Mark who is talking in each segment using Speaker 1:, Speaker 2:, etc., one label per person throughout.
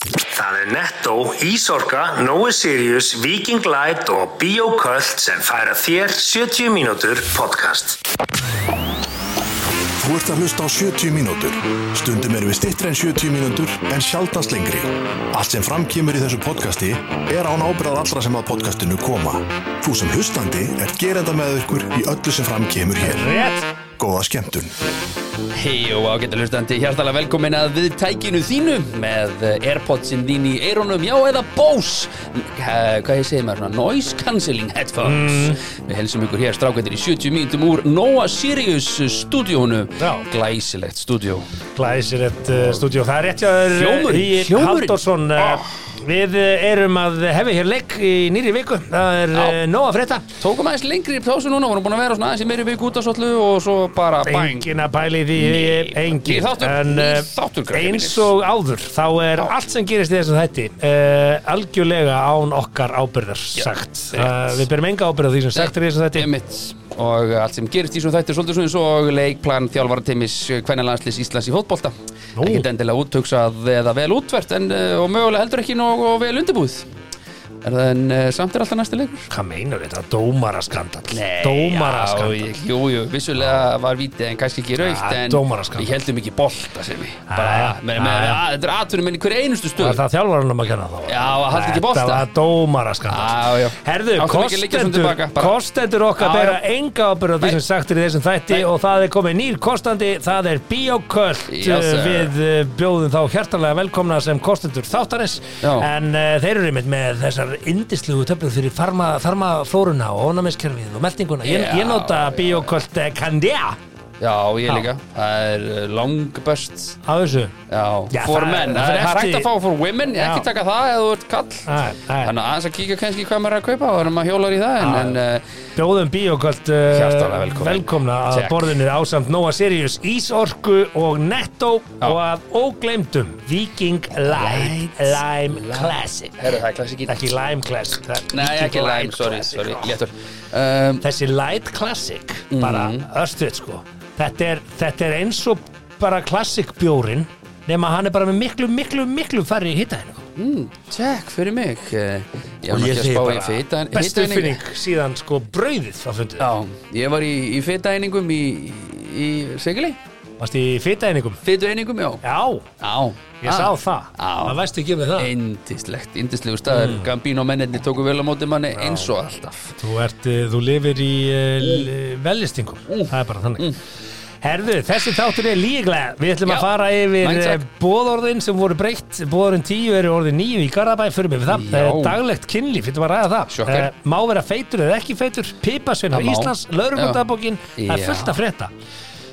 Speaker 1: Það er Netto, Ísorka, Nói Sirius, Viking Light og Bioköld sem færa þér 70 mínútur podcast.
Speaker 2: Þú ert að hlusta á 70 mínútur. Stundum erum við stittri en 70 mínútur en sjaldast lengri. Allt sem framkýmur í þessu podcasti er án ábyrðað allra sem að podcastinu koma. Þú sem hlustandi er gerenda með ykkur í öllu sem framkýmur hér.
Speaker 3: Rétt
Speaker 2: Góða skemmtun.
Speaker 3: Hei og ágættu hlustandi, hjartalega velkomin að við tækinu þínu með Airpodsin þín í eirónum, já eða Bose Eh, Hvað ég segi maður svona, Noise Cancelling Headphones
Speaker 4: Mm.
Speaker 3: Við helsum ykkur hér strákvættir í 70 mínutum úr Noah Sirius stúdíónu
Speaker 4: Já.
Speaker 3: Glæsilegt stúdíó
Speaker 4: Glæsilegt uh, stúdíó, það er rétt hjá þér
Speaker 3: Hljómurinn,
Speaker 4: Hljómurinn
Speaker 3: hljómurinn. Ah.
Speaker 4: Halldórsson uh, Við uh, erum að hefði hér leik í nýri viku Það er
Speaker 3: Já.
Speaker 4: uh, nóg að frétta
Speaker 3: Tókum aðeins lengri pásu núna, vorum búin að vera svona aðeins í meiri vik út af svollu og svo bara bang
Speaker 4: Engin að pæli því,
Speaker 3: Nei,
Speaker 4: engin
Speaker 3: nýr þáttur,
Speaker 4: En
Speaker 3: nýr
Speaker 4: eh,
Speaker 3: þáttur, krakkar
Speaker 4: eins
Speaker 3: mínir.
Speaker 4: og áður Þá er
Speaker 3: Já.
Speaker 4: allt sem gerist í þessum þætti uh, Algjörlega án okkar ábyrðar
Speaker 3: Já,
Speaker 4: sagt uh,
Speaker 3: rétt.
Speaker 4: Við berum enga ábyrðar því sem sagt er í þessum þætti
Speaker 3: Einmitt. og allt sem gerist í svona þættir svolítið svona eins og leikplan þjálfara timis hvernig Íslands í fótbolta
Speaker 4: Nú.
Speaker 3: ekkert endilega úttöksað eða vel útvert en, eh, og mögulega heldur ekki nóg og vel undirbúð er það en eh, samt er alltaf næsti leikur
Speaker 4: Hvað meinar þetta? Dómaraskandall Dómaraskandall
Speaker 3: já, ég- Jú, jú, vissulega var vítið en kannski ekki raukt
Speaker 4: Ja,
Speaker 3: en
Speaker 4: dómaraskandall.
Speaker 3: við heldum ekki bolta sem við
Speaker 4: Ja,
Speaker 3: bara, með, með,
Speaker 4: ja, ja.
Speaker 3: að, þetta er atvinnum í hverju einustu
Speaker 4: Það er
Speaker 3: stöð
Speaker 4: það þjálfarunum að kenna þá
Speaker 3: Já, að halda ekki bolta.
Speaker 4: Þetta var
Speaker 3: Já,
Speaker 4: dómaraskandall
Speaker 3: já.
Speaker 4: Herðu,
Speaker 3: Áttum ekki að liggja svona
Speaker 4: kostendur
Speaker 3: tilbaka, bara.
Speaker 4: Kostendur okkar
Speaker 3: Já,
Speaker 4: bera
Speaker 3: já.
Speaker 4: enga ábyrgð á því
Speaker 3: Nei.
Speaker 4: sem sagt er í þessum þætti
Speaker 3: Nei.
Speaker 4: og það er komið nýr kostandi það er Bioköld
Speaker 3: Já, sir.
Speaker 4: Við uh, bjóðum þá hjartalega velkomna sem kostendur þáttarins
Speaker 3: Já.
Speaker 4: en uh, þeir eru einmitt með þessar indislugu töflur fyrir farma- farmaflóruna og ónæmiskerfið og meltinguna Ég,
Speaker 3: Já,
Speaker 4: ég nota
Speaker 3: já.
Speaker 4: Bioköld eh, Candia
Speaker 3: Já, ég
Speaker 4: Já.
Speaker 3: líka, það er eh, langbest
Speaker 4: á þessu
Speaker 3: Já,
Speaker 4: Já,
Speaker 3: for
Speaker 4: það-
Speaker 3: men,
Speaker 4: það
Speaker 3: það
Speaker 4: fer
Speaker 3: er hægt
Speaker 4: eftir-
Speaker 3: að fá for women,
Speaker 4: Já.
Speaker 3: ekki taka það eða þú ert kall
Speaker 4: Nei, nei. Ah.
Speaker 3: Þannig að aðeins að kíka kannski hvað maður er að kaupa og þannig að maður hjólar í það en, en uh,
Speaker 4: Bjóðum bíoköld
Speaker 3: Hjartanlega velkomin.
Speaker 4: eh, velkomna að
Speaker 3: Takk.
Speaker 4: borðinu ásamt Nóa Sirius, Ísorku og Netto
Speaker 3: Já.
Speaker 4: og að óglemdum Viking Lime, Lime Classic
Speaker 3: Herru, það er klassikinn
Speaker 4: ekki Lime Classic það er
Speaker 3: Nei,
Speaker 4: Viking
Speaker 3: ekki lime,
Speaker 4: Light
Speaker 3: sorry, Mhm.
Speaker 4: Classic.
Speaker 3: sorry, léttur um,
Speaker 4: þessi Light Classic bara östuð sko þetta er, þetta er eins og bara Classic bjórin nema hann er bara með miklu, miklu, miklu færri hitta hennu
Speaker 3: mm, Check, fyrir mig uh, Ég var
Speaker 4: og
Speaker 3: nú
Speaker 4: ég
Speaker 3: ekki að
Speaker 4: segi
Speaker 3: spá
Speaker 4: bara
Speaker 3: í fita
Speaker 4: bestu finning síðan sko brauðið á fundið,
Speaker 3: Já, ég var í, í fitaeiningum í, í Segili
Speaker 4: varst í fita einingum
Speaker 3: Fitaeiningum, já
Speaker 4: já,
Speaker 3: Já,
Speaker 4: Ég sá
Speaker 3: Ah.
Speaker 4: það,
Speaker 3: Á.
Speaker 4: maður veist ekki með það Mm.
Speaker 3: Indislegt, indislegu staður Gambino mennirni tóku vel á móti manni eins og alltaf
Speaker 4: Þú, ert, eh, þú lifir í
Speaker 3: Mm.
Speaker 4: uh, vellistingum, það er bara þannig Herðu, þessi þáttur er líklega Við ætlum
Speaker 3: Já,
Speaker 4: að fara yfir
Speaker 3: mindset.
Speaker 4: bóðorðin sem voru breytt Bóðorðin 10 eru orðin 9 í Garðabæ Fyrir með það,
Speaker 3: Já.
Speaker 4: Já. daglegt kynlíf Fyrir að ræða það,
Speaker 3: Sjokker.
Speaker 4: Eh, má vera feitur eða ekki feitur Pipasvein á
Speaker 3: Það má.
Speaker 4: Íslands, laurugundabókin Það er
Speaker 3: Já.
Speaker 4: fullt að frétta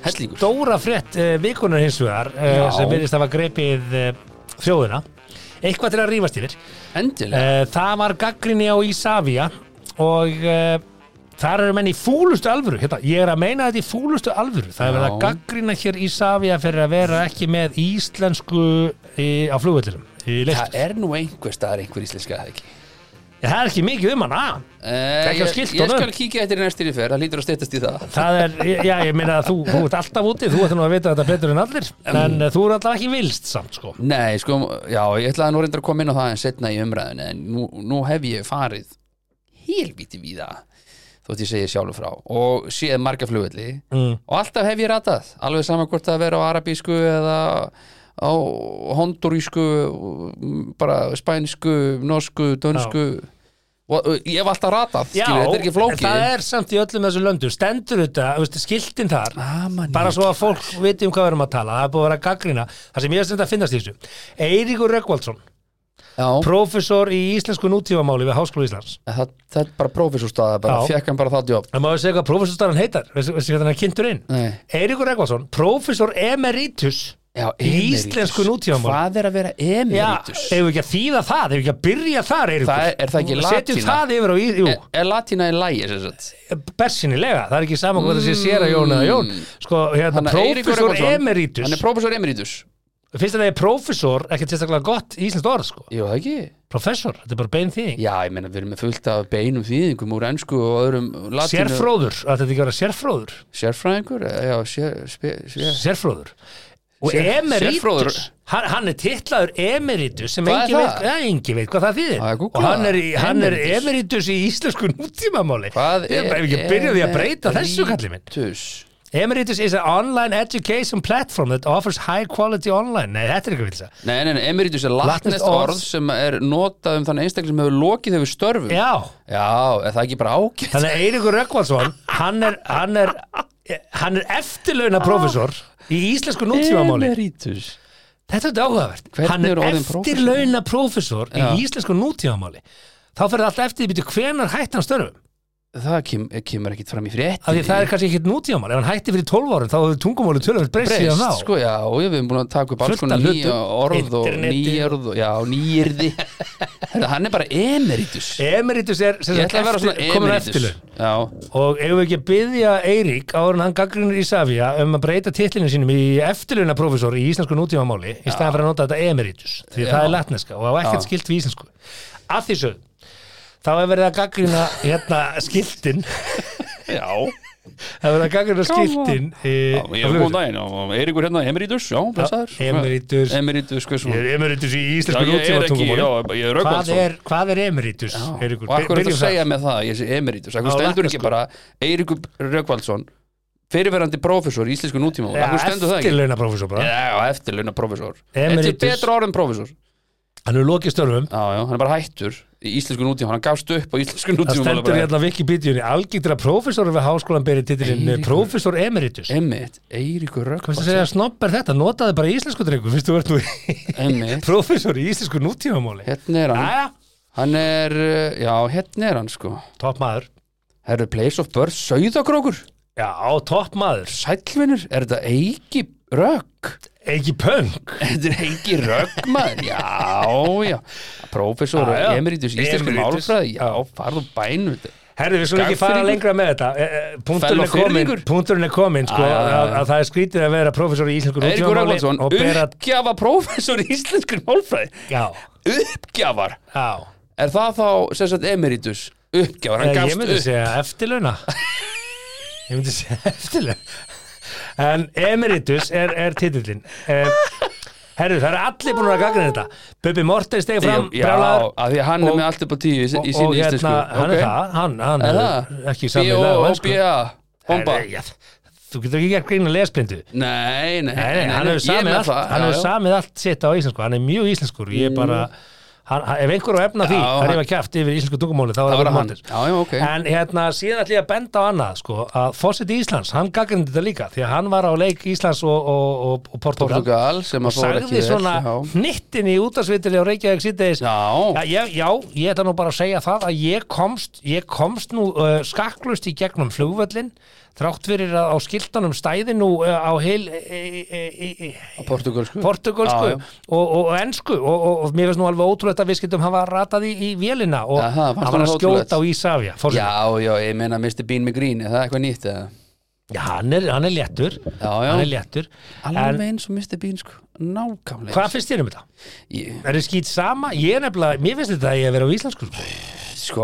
Speaker 3: Hellingur
Speaker 4: Dóra frétt uh, vikunar hins vegar uh,
Speaker 3: Já.
Speaker 4: Sem verðist að var greipið uh, þjóðina Eitthvað til að rífast yfir
Speaker 3: Endilega
Speaker 4: Eh, Það var gaggrinni á Ísafía og uh, þar eru menn í fúlustu alvöru hérna, ég er að meina þetta í fúlustu alvöru það er
Speaker 3: Já.
Speaker 4: verið að gaggrina hér Ísafía fyrir að vera ekki með íslensku í, á flugvöldinum
Speaker 3: Það
Speaker 4: það,
Speaker 3: er nú einhver staðar einhver íslenska eða ekki
Speaker 4: það er ekki mikið um hana
Speaker 3: Eh,
Speaker 4: Ekki á
Speaker 3: ég, ég
Speaker 4: skiltunum.
Speaker 3: skal kíkja eftir í næstir í ferð, það lítur að steytast í það
Speaker 4: það er, já ég meina að þú, þú ert alltaf úti þú ert nú að vita þetta betur en allir en eh, þú ert alltaf ekki vilst samt sko
Speaker 3: Nei, sko, já, ég ætlaði nú reyndar að koma inn á það en setna í umræðinu, en nú, nú hef ég farið helvíti víða þótt ég segi sjálfur frá og séð marga flugvelli
Speaker 4: Mm.
Speaker 3: og alltaf hef ég ratað, alveg saman hvort það vera á arabísku eða á hondurísku bara spænsku, norsku, dönsku og og ég hef alltaf ratað,
Speaker 4: Já,
Speaker 3: skilur, þetta er ekki flókið
Speaker 4: en það er samt í öllum þessu löndum stendur þetta, þú veist, skiltin þar
Speaker 3: Ah, manni.
Speaker 4: bara svo að fólk viti um hvað við erum að tala það er búið að vera að gaggrina, það sem ég er stend að finnast í þessu Eiríkur Röggvaldsson
Speaker 3: Já.
Speaker 4: professor í íslensku nútífamáli við Háskóla Íslands
Speaker 3: það, það er bara prófessorstaða bara,
Speaker 4: Já.
Speaker 3: fekk hann bara það jobb
Speaker 4: það má við segja hvað professorstæðan heitar veistu veistu hvað hann er kynntur inn
Speaker 3: Nei.
Speaker 4: Eiríkur Röggvaldsson, professor emeritus
Speaker 3: Já,
Speaker 4: í
Speaker 3: emeritus.
Speaker 4: íslensku nútífamáli
Speaker 3: Hvað er að vera
Speaker 4: Já,
Speaker 3: emeritus?
Speaker 4: ef við ekki að þýða það, ef við ekki að byrja þar Eiríkur
Speaker 3: Það er- er það ekki
Speaker 4: Setjum
Speaker 3: latína? Eh.
Speaker 4: það yfir á í, jú,
Speaker 3: er, E, er latína í lægi sem sagt?
Speaker 4: bersinilega, það er ekki saman hvað það sé sér að Jón eða Jón sko, hérna,
Speaker 3: Mm. Þannig að Eiríkur
Speaker 4: professor
Speaker 3: Rögnvaldsson,
Speaker 4: emeritus
Speaker 3: Hann er prófessor emeritus
Speaker 4: Fyrst að það er prófessor, ekkert sérstaklega gott íslenskt orð, sko.
Speaker 3: Jú, það ekki?
Speaker 4: Professor, þetta er bara bein þýðing.
Speaker 3: Já, ég meina, við erum með fullt af beinum þýðingum úr ennsku og öðrum latínu Eh,
Speaker 4: Sérfróður, að þetta ekki að vera sérfróður.
Speaker 3: Sérfræðingur? Já, sér, spe, sér,
Speaker 4: Sérfróður. og
Speaker 3: Sér-
Speaker 4: Emeritus
Speaker 3: sérfróður-
Speaker 4: hann, hann er titlaður Emeritus sem
Speaker 3: Hvað er
Speaker 4: engin
Speaker 3: það?
Speaker 4: veit, ja, engin veit hvað það þýðir
Speaker 3: Já, ég
Speaker 4: og
Speaker 3: googlaði
Speaker 4: hann er, í-
Speaker 3: það.
Speaker 4: hann er
Speaker 3: Emeritus.
Speaker 4: Emeritus í íslensku nútímamáli
Speaker 3: Hvað
Speaker 4: ég er ekki að byrja því að breyta þessu kallið minn
Speaker 3: Emeritus?
Speaker 4: Emeritus is an online education platform that offers high quality online nei, þetta er ekki að vilja
Speaker 3: Nei, nei, nei, emeritus er
Speaker 4: Latneskt
Speaker 3: latnest
Speaker 4: orð.
Speaker 3: orð sem er notað um þann einstakling sem hefur lokið hefur störfum
Speaker 4: já,
Speaker 3: Já, er það ekki bara ágætt?
Speaker 4: þannig að Eiríkur Rökkvaldsson hann er, hann er, hann er eftirlauna professor í íslensku nútímamáli
Speaker 3: Emeritus
Speaker 4: Þetta er þetta áhugavert.
Speaker 3: Hvernig
Speaker 4: hann er
Speaker 3: eru orðin
Speaker 4: eftirlauna prófessor í
Speaker 3: Já.
Speaker 4: íslensku nútífamáli. Þá fyrir alltaf eftir því býtu hvenar hætti hann störfum.
Speaker 3: Það kem, kemur ekkit fram í frétt
Speaker 4: Af því það er kannski ekkit nútífamáli. Ef hann hætti fyrir 12 árum þá hefur tungumáli tölvöld breyst síðan þá.
Speaker 3: breyst, sko, já, og við erum búin að taka upp alls
Speaker 4: Fullt
Speaker 3: konar
Speaker 4: af
Speaker 3: nýja
Speaker 4: hlutum.
Speaker 3: orð og
Speaker 4: Interneti.
Speaker 3: nýjörð og, já, nýjirði Þetta, hann er bara emeritus
Speaker 4: Emeritus er sem
Speaker 3: Ég
Speaker 4: sagt
Speaker 3: ætla að vera svona
Speaker 4: eftir- kominn á
Speaker 3: emeritus
Speaker 4: eftirlaun.
Speaker 3: Já,
Speaker 4: Og eigum við ekki að byggja Eirík áður en hann gaggrinur í Savia um að breyta titlinu sínum í eftirlauna prófessor í íslensku nútífamáli í staðan fyrir að nota þetta Emeritus. Því
Speaker 3: Já.
Speaker 4: það er latneska og á ekkert
Speaker 3: Já.
Speaker 4: skilt við íslensku. Af því sögðu, þá er verið að gaggrina hérna skiltin
Speaker 3: já,
Speaker 4: Það verður að gagna skiltin eh, í,
Speaker 3: ég hef góðan daginn og Eiríkur hérna emeritus, já, blessaður
Speaker 4: Emeritus.
Speaker 3: Emeritus, hvað er
Speaker 4: Ég
Speaker 3: svona
Speaker 4: er emeritus í
Speaker 3: Já,
Speaker 4: íslensku
Speaker 3: ég er
Speaker 4: nútíma
Speaker 3: ekki, já,
Speaker 4: tungumóli
Speaker 3: ég er
Speaker 4: hvað,
Speaker 3: Röggvaldsson
Speaker 4: er- hvað er emeritus?
Speaker 3: Já,
Speaker 4: Eiríkur?
Speaker 3: og akkur er
Speaker 4: Byrjum
Speaker 3: þetta að segja með það ég sé emeritus, akkur
Speaker 4: Á
Speaker 3: stendur
Speaker 4: latnesku.
Speaker 3: ekki bara Eiríkur Röggvaldsson fyrirverandi prófessor í íslensku nútíma
Speaker 4: Já,
Speaker 3: akkur stendur það ekki
Speaker 4: eftirlauna prófessor bara
Speaker 3: Já, eftirlauna prófessor Þetta er
Speaker 4: Emeritus.
Speaker 3: betra orðin prófessor Já,
Speaker 4: Hann er lokið störfum
Speaker 3: já, hann er bara hættur í íslensku nútíma hann gafst upp á íslensku
Speaker 4: Það
Speaker 3: nútíma
Speaker 4: stendur hérna Wikipediunni algildra prófessor við háskólan berið titilinn eh,
Speaker 3: Eiríkur.
Speaker 4: prófessor emeritus
Speaker 3: Emmitt, Eiríkur
Speaker 4: Hvað finnst
Speaker 3: Röggvaldsson
Speaker 4: að segja snobber þetta? Notaði bara íslensku drengu Fyrst þú ert nú
Speaker 3: Einmitt.
Speaker 4: prófessor í íslensku nútímamáli
Speaker 3: Hérna er hann
Speaker 4: Jæja,
Speaker 3: Hann er, uh, já, hérna er hann sko
Speaker 4: topp maður
Speaker 3: Herru, place of birth, sauðakrókur
Speaker 4: Já, topp maður
Speaker 3: Sælvinur, er þetta Eiki Rögg?
Speaker 4: Ekki punk
Speaker 3: Þetta er Eiki Rögg, maður Já, já Prófessor
Speaker 4: Ah, Já, já.
Speaker 3: Emeritus, íslensku
Speaker 4: Emeritus. Ah.
Speaker 3: málfræði Já, farðu bæn
Speaker 4: Herði, við skulum ekki fara
Speaker 3: Skagfirðingur.
Speaker 4: lengra með þetta Punturinn
Speaker 3: Fell
Speaker 4: er
Speaker 3: og
Speaker 4: komin,
Speaker 3: firðingur.
Speaker 4: punkturinn er komin sko,
Speaker 3: Já, já, já, já.
Speaker 4: Að, að það er skrítið að vera professor í íslensku
Speaker 3: Eiríkur
Speaker 4: nútímamáli
Speaker 3: Röggvaldsson,
Speaker 4: og bera
Speaker 3: uppgjafa prófessor í íslensku málfræði
Speaker 4: Já,
Speaker 3: uppgjafar
Speaker 4: já
Speaker 3: er það þá sem sagt emeritus uppgjafar, hann
Speaker 4: Eh, Ég
Speaker 3: gafst
Speaker 4: myndi
Speaker 3: upp
Speaker 4: segja eftirlauna Ég myndi segja eftirlauna En emeritus er, er titillin Herðu, það eru allir búin að gagna þetta Bubbi Morten stegi fram
Speaker 3: já,
Speaker 4: brjálaður,
Speaker 3: að því að hann
Speaker 4: Og-
Speaker 3: er með allt upp á tíu í,
Speaker 4: og,
Speaker 3: í
Speaker 4: og
Speaker 3: sinni
Speaker 4: hérna,
Speaker 3: íslensku
Speaker 4: hann er það Hann, hann
Speaker 3: Er
Speaker 4: er
Speaker 3: það?
Speaker 4: ekki
Speaker 3: B.O.
Speaker 4: samið sko.
Speaker 3: og B.A. Bomba
Speaker 4: Herðu, já, Þú getur ekki að grína lesblindu
Speaker 3: Nei,
Speaker 4: Nei,
Speaker 3: nei,
Speaker 4: nei, hann hefur
Speaker 3: ég er
Speaker 4: samið
Speaker 3: með
Speaker 4: allt,
Speaker 3: það,
Speaker 4: hann
Speaker 3: já,
Speaker 4: hefur
Speaker 3: já. Mm.
Speaker 4: samið allt sitt á íslensku, hann er mjög íslenskur ég er bara, hann, hann- ef einhver á efna því
Speaker 3: Já,
Speaker 4: það er
Speaker 3: hann-
Speaker 4: ég að kæft yfir íslensku tungumóli þá er það
Speaker 3: Það var
Speaker 4: bara
Speaker 3: hann,
Speaker 4: mótis
Speaker 3: já, já, ok
Speaker 4: en hérna, síðan ætlum ég að benda á annað sko, að Fawcett Íslands, hann gaggrindi þetta líka því að hann var á leik Íslands og, og, og, og Portugal,
Speaker 3: Portugal sem
Speaker 4: og
Speaker 3: að fór ekki
Speaker 4: sagði svona
Speaker 3: vel, já.
Speaker 4: hnittin í útarsvitili á Reykjavík síðdeis Já,
Speaker 3: Já,
Speaker 4: ég, já, ég ætla nú bara að segja það að ég komst, ég komst nú uh, skakklust í gegnum flugvöllin þrátt fyrir að á skiltanum stæði nú uh, á heil e, e, e, e,
Speaker 3: portugalsku
Speaker 4: portugalsku
Speaker 3: Já, já.
Speaker 4: og, og, og ensku og, og, og mér finnst nú alveg ótrúlegt að við skildum hafa ratað í, í vélina og
Speaker 3: Aha, fannst
Speaker 4: hann var
Speaker 3: honum
Speaker 4: að
Speaker 3: ótrúlegt?
Speaker 4: skjóta á Ísafja
Speaker 3: Já, já, ég meina Mr. Bean með grín, er það eitthvað nýtt eða?
Speaker 4: já hann, er, hann er léttur
Speaker 3: Já, já.
Speaker 4: hann er léttur en
Speaker 3: Alveg eins og Mr. Bean sko, nákvæmlega
Speaker 4: hvað finnst þér um þetta?
Speaker 3: Ég-
Speaker 4: Er þið skýt sama? Ég er nefnilega, mér finnst þetta að ég er að vera á íslensku sko.
Speaker 3: Sko,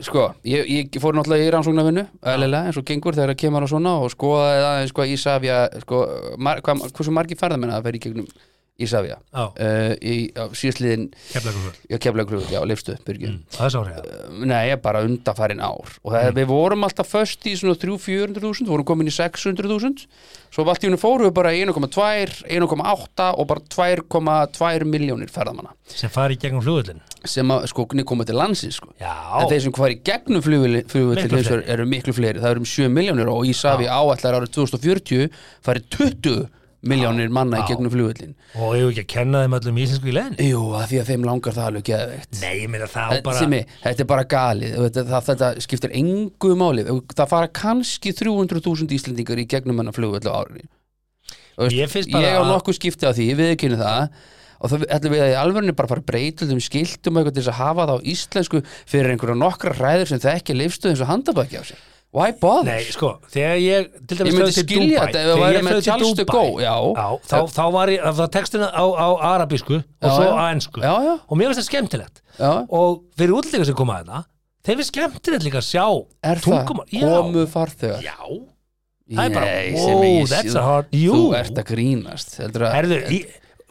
Speaker 3: sko ég, ég fór náttúrulega í rannsóknarvinnu eðlilega, eins og gengur þegar það kemur á svona og skoðaði aðeins sko Ísafja sko, mar, hva, hversu margir ferðamenn það fer í gegnum Ísafja
Speaker 4: Já.
Speaker 3: uh, í á síðastliðin
Speaker 4: Keflavíkurflugvöll.
Speaker 3: já, keflaglug, já, leifstu, byrgir
Speaker 4: Það er sárið
Speaker 3: Nei, bara undafarin ár og það, við vorum alltaf föst í svona 300-400.000 vorum komin í 600.000 svo allt í húnu fórum við bara í 1,2 1,8 og bara 2,2 miljónir ferðamanna
Speaker 4: sem fari í gegnum flugvöllin
Speaker 3: sem að sko koma til landsins sko
Speaker 4: Já,
Speaker 3: en þeir sem hvað í gegnum
Speaker 4: Miklu
Speaker 3: flugvöldin
Speaker 4: fleiri.
Speaker 3: eru miklu fleiri, það eru um 7 miljónir og Ísafi áallar árið 2040 farið 20 miljónir manna í gegnum flugvöldin
Speaker 4: og hefur ekki að kenna þeim öllum íslensku í leðinni
Speaker 3: Jú, að því að þeim langar það alveg geðveikt
Speaker 4: Nei, ég meina það á
Speaker 3: Þetta,
Speaker 4: bara
Speaker 3: Simmi, þetta er bara galið þetta, það, þetta skiptir engu máli það fara kannski 300.000 Íslendingar í gegnum hennar flugvöldu árinni
Speaker 4: Ég finnst bara
Speaker 3: ég á
Speaker 4: að-
Speaker 3: nokkuð skipti á því, ég viðkynni það og það ætlum við að í alvörinu bara fara að breyta um skiltum og eitthvað til þess að hafa það á íslensku fyrir einhverja nokkra ræður sem það ekki leifstuð eins og handabækja á sér why bother?
Speaker 4: Nei, sko, þegar ég til dæmis
Speaker 3: Ég myndi
Speaker 4: flaug til
Speaker 3: skilja
Speaker 4: Dubai,
Speaker 3: þetta ef það
Speaker 4: þegar
Speaker 3: væri
Speaker 4: ég
Speaker 3: með
Speaker 4: flaug til
Speaker 3: Charles de
Speaker 4: Dubai,
Speaker 3: Gaulle, já.
Speaker 4: þá, þá var ég, það var textina á, á arabísku og
Speaker 3: Já,
Speaker 4: svo
Speaker 3: já.
Speaker 4: á ensku
Speaker 3: Já, já.
Speaker 4: og mér finnst það skemmtilegt
Speaker 3: Já.
Speaker 4: og fyrir útlendingar sem hérna, koma að það þeir finnst skemmtilegt líka að sjá
Speaker 3: er
Speaker 4: tungumál
Speaker 3: það komu farþegar?
Speaker 4: Já, já, Það er bara,
Speaker 3: Nei, sem
Speaker 4: wow,
Speaker 3: ég sé-
Speaker 4: that's a hard Jú,
Speaker 3: Þú ert að grínast Heldur að
Speaker 4: herðu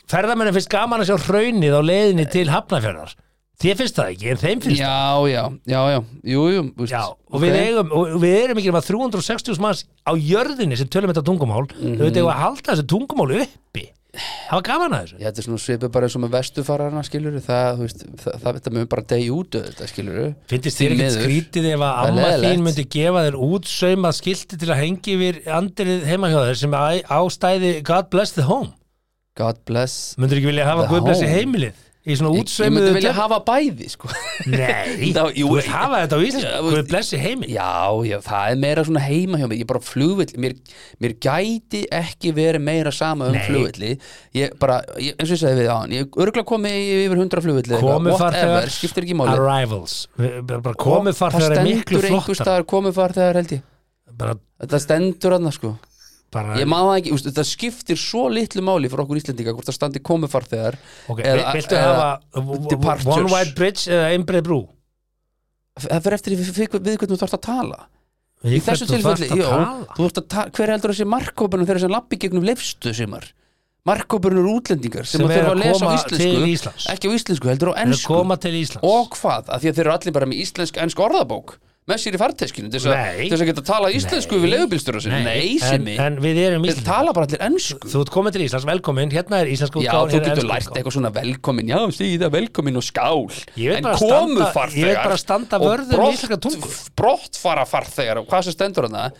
Speaker 4: Ferðamennin finnst gaman að sjá hraunið á leiðinni til Hafnafjörðar Þér finnst það ekki, en þeim finnst
Speaker 3: Já, já, já, já Jú, jú úst,
Speaker 4: Já, og við, eigum, og við erum ekki nema 360 manns á jörðinni sem tölum þetta tungumál
Speaker 3: Mhm.
Speaker 4: þau veit eigum að halda þessu tungumál uppi það var gaman að þessu
Speaker 3: Ég hætti svona svipið bara eins og með vestufararna skilur Það, þú veist, það, það þetta mun bara degi út Þetta skilur
Speaker 4: Fyndist þér ekkert skrítið ef að
Speaker 3: Það er
Speaker 4: amma þín
Speaker 3: leiðilegt.
Speaker 4: myndi gefa þér útsaumað skilti til að hengi yfir andrið heima hjá þér sem á- ástæði God bless the home
Speaker 3: God bless
Speaker 4: myndur ekki vilja hafa
Speaker 3: The
Speaker 4: God bless the
Speaker 3: home.
Speaker 4: heimilið í svona
Speaker 3: Ég- Ég myndi
Speaker 4: útsaumuðu
Speaker 3: vilja
Speaker 4: töflu?
Speaker 3: hafa bæði sko
Speaker 4: Nei,
Speaker 3: Þá- jú,
Speaker 4: þú vilt
Speaker 3: ég-
Speaker 4: hafa þetta á
Speaker 3: Já,
Speaker 4: Ísland
Speaker 3: þú-
Speaker 4: God bless the heimilið
Speaker 3: Já, já, það er meira svona heima hjá mig Ég bara flugvill, mér, mér gæti ekki verið meira sama um
Speaker 4: Nei.
Speaker 3: flugvilli Ég bara, ég, eins og ég sagði við á hann Ég örgla komi yfir hundra flugvilli
Speaker 4: komu farþegar
Speaker 3: skiptir ekki máli
Speaker 4: arrivals Við- bara komu farþegar er miklu flottar
Speaker 3: flottar Komu farþegar held ég
Speaker 4: bara,
Speaker 3: Þetta stendur hann sko
Speaker 4: bara
Speaker 3: Ég má það ekki, úst, þetta skiptir svo litlu máli fyrir okkur Íslendinga hvort það standi komu farþegar
Speaker 4: Ok,
Speaker 3: eða-
Speaker 4: viltu
Speaker 3: eða
Speaker 4: hafa
Speaker 3: departures.
Speaker 4: One Wide Bridge eða Einbreið Brú?
Speaker 3: Það fyrir eftir við, við, við hvernig þú þarft að tala í þessu
Speaker 4: Hvern þú
Speaker 3: tilfelli,
Speaker 4: þarft að
Speaker 3: já,
Speaker 4: tala?
Speaker 3: þú ert að tala hver heldur þessi markkópunum þeirra sem lappi gegnum leifstu sumar markkópunum eru útlendingar sem,
Speaker 4: Sem
Speaker 3: að
Speaker 4: eru að
Speaker 3: þurfa að lesa á
Speaker 4: koma til
Speaker 3: íslensku
Speaker 4: Íslands.
Speaker 3: ekki á íslensku, heldur á
Speaker 4: En að
Speaker 3: ennsku
Speaker 4: koma til Íslands
Speaker 3: og hvað, af því að þeir eru allir bara með íslensk ennsk orðabók með sér í farteskinu til þess að-
Speaker 4: Nei.
Speaker 3: til þess að geta tala íslensku við leifubílstjóra sinni, nei
Speaker 4: en,
Speaker 3: sem ég
Speaker 4: en við erum
Speaker 3: þeir
Speaker 4: Íslands
Speaker 3: tala bara allir ennsku
Speaker 4: Þú ert komið til Íslands, velkomin, hérna er íslensk
Speaker 3: Já,
Speaker 4: útgáfan
Speaker 3: þú
Speaker 4: hérna er
Speaker 3: getur
Speaker 4: ensk
Speaker 3: lært
Speaker 4: útgáfan.
Speaker 3: eitthvað svona velkomin Já, segi það velkomin og skál
Speaker 4: Ég vil
Speaker 3: En
Speaker 4: bara
Speaker 3: komu
Speaker 4: standa-
Speaker 3: farþegar
Speaker 4: ég vil bara standa
Speaker 3: og
Speaker 4: vörð um
Speaker 3: brott-
Speaker 4: íslenska tungu.
Speaker 3: Brottfara farþegar og hvað sem stendur hana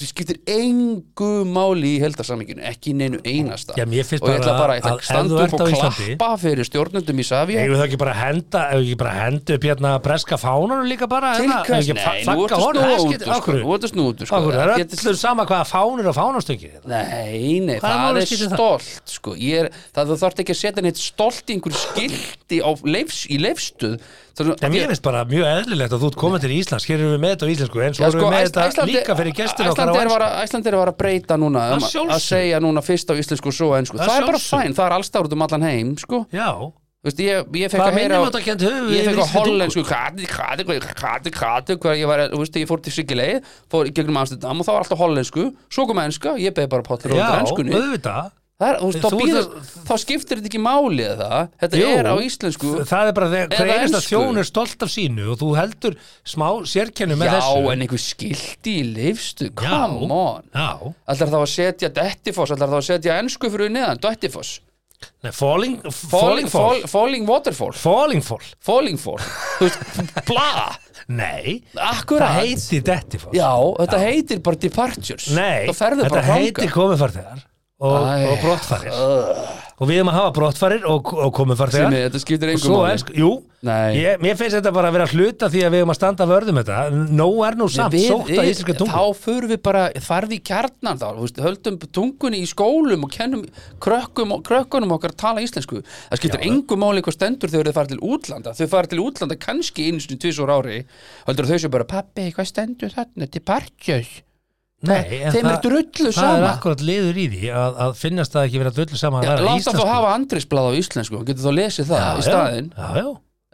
Speaker 3: Það skiptir engu máli í heldarsaminginu Ekki í neinu einasta
Speaker 4: Já, mér finnst
Speaker 3: Og ég ætla
Speaker 4: bara að
Speaker 3: bara að
Speaker 4: ef þú
Speaker 3: standa
Speaker 4: ert
Speaker 3: upp og
Speaker 4: á Íslandi-
Speaker 3: klappa fyrir stjórnundum í Savja
Speaker 4: Eigum við það ekki bara að henda, ef við ekki bara að henda upp hérna breska fánanum líka bara
Speaker 3: Til
Speaker 4: hérna?
Speaker 3: hvers?
Speaker 4: Eigum við ekki að
Speaker 3: Nei,
Speaker 4: fa-
Speaker 3: nú
Speaker 4: fagga
Speaker 3: ertu
Speaker 4: honum?
Speaker 3: snúa
Speaker 4: Það
Speaker 3: út
Speaker 4: skiptir-
Speaker 3: úr,
Speaker 4: af
Speaker 3: sko.
Speaker 4: hverju?
Speaker 3: Nú ertu snúa út úr,
Speaker 4: Af
Speaker 3: sko.
Speaker 4: hverju? Það er
Speaker 3: Þetta er-
Speaker 4: öllu sama hvaða fánur og fánastöngir hérna.
Speaker 3: Nei, nei,
Speaker 4: Hvaða
Speaker 3: það
Speaker 4: máli
Speaker 3: er
Speaker 4: skiptir það?
Speaker 3: stolt sko. ég er, það þú þarft ekki að setja neitt stolt í einhver skilti á leifs, í leifstuð Það
Speaker 4: En mér finnst bara mjög eðlilegt að þú ert komið til Íslands Hér erum við með þetta á íslensku En svo
Speaker 3: Já, sko,
Speaker 4: erum við með
Speaker 3: Æs-
Speaker 4: þetta
Speaker 3: Æslandi-
Speaker 4: líka fyrir gestur okkar á
Speaker 3: Æslandir
Speaker 4: ensku.
Speaker 3: var, að- Æslandir var að breyta núna um,
Speaker 4: Að sjálfsögðu.
Speaker 3: að segja núna fyrst á íslensku og svo á ensku
Speaker 4: Að
Speaker 3: það er bara
Speaker 4: sjálfsögðu.
Speaker 3: fæn, það er allstáður um allan heim sko.
Speaker 4: Já,
Speaker 3: Þú veist, ég, ég fekk
Speaker 4: Hvaða
Speaker 3: að heyra á-
Speaker 4: minnimáttarkennd höfum við
Speaker 3: ég
Speaker 4: yfir
Speaker 3: fekk að
Speaker 4: íslenskri tungu?
Speaker 3: hollensku krati, krati, krati, krati hver ég, var, þú veist, ég fór til Sigilegi fór í gegnum Amsterdam og það var alltaf hollensku svo kom enska, ég beði bara páttur
Speaker 4: já,
Speaker 3: á enskunni
Speaker 4: auðvitað
Speaker 3: Það er, þú veist,
Speaker 4: Þú
Speaker 3: þá,
Speaker 4: ert
Speaker 3: býður,
Speaker 4: að-
Speaker 3: þá skiptir þetta ekki máli eða það, þetta
Speaker 4: Jú,
Speaker 3: er á íslensku
Speaker 4: Það er bara þegar hver
Speaker 3: Eða
Speaker 4: einasta
Speaker 3: ensku.
Speaker 4: þjón er stolt af sínu og þú heldur smá sérkennum með
Speaker 3: Já,
Speaker 4: þessu
Speaker 3: en einhver skilti í leifstu,
Speaker 4: Já,
Speaker 3: come on
Speaker 4: Já,
Speaker 3: Ætlar þá að setja Dettifoss, ætlar þá að setja ennsku fyrir neðan, Dettifoss
Speaker 4: Nei, falling, falling,
Speaker 3: Falling, fall,
Speaker 4: fall
Speaker 3: falling Waterfall
Speaker 4: Falling fall
Speaker 3: Falling Fall Þú veist, bla,
Speaker 4: Nei,
Speaker 3: akkurat
Speaker 4: það heiti detti fall
Speaker 3: Já, þetta heitir bara Departures
Speaker 4: Nei,
Speaker 3: Það ferðu
Speaker 4: þetta
Speaker 3: bara
Speaker 4: heiti
Speaker 3: þangað.
Speaker 4: komufarþegar og,
Speaker 3: Æ.
Speaker 4: og brottfarir Og við erum að hafa brottfarir og, og komufarþegar
Speaker 3: Simmi, þetta skiptir
Speaker 4: Og
Speaker 3: engum
Speaker 4: svo
Speaker 3: máli.
Speaker 4: elsku, jú,
Speaker 3: Nei.
Speaker 4: ég, mér finnst þetta bara að vera hluta því að við erum að standa vörðum þetta Nó er nú samt,
Speaker 3: Við-
Speaker 4: sótt að
Speaker 3: við-
Speaker 4: íslenska tungu
Speaker 3: Þá förum við bara, farði í kjarnan þá þú veist, Höldum tungunni í skólum og kennum krökkum, krökkunum okkar að tala íslensku Það skiptir engu máli hvað stendur þegar þau fara til útlanda Þau fara til útlanda kannski einu sinni tvisur ári Höldur þau sem bara, pappi, hvað stendur þarna? Departures
Speaker 4: Nei, en
Speaker 3: Þeim er drullu
Speaker 4: það er
Speaker 3: sama
Speaker 4: akkurat liður í því að, að finnast það ekki vera drullu sama að
Speaker 3: Já,
Speaker 4: vera
Speaker 3: Láta þá
Speaker 4: íslensku
Speaker 3: hafa andrisblað á íslensku og getur þá lesið það í staðinn
Speaker 4: já, já.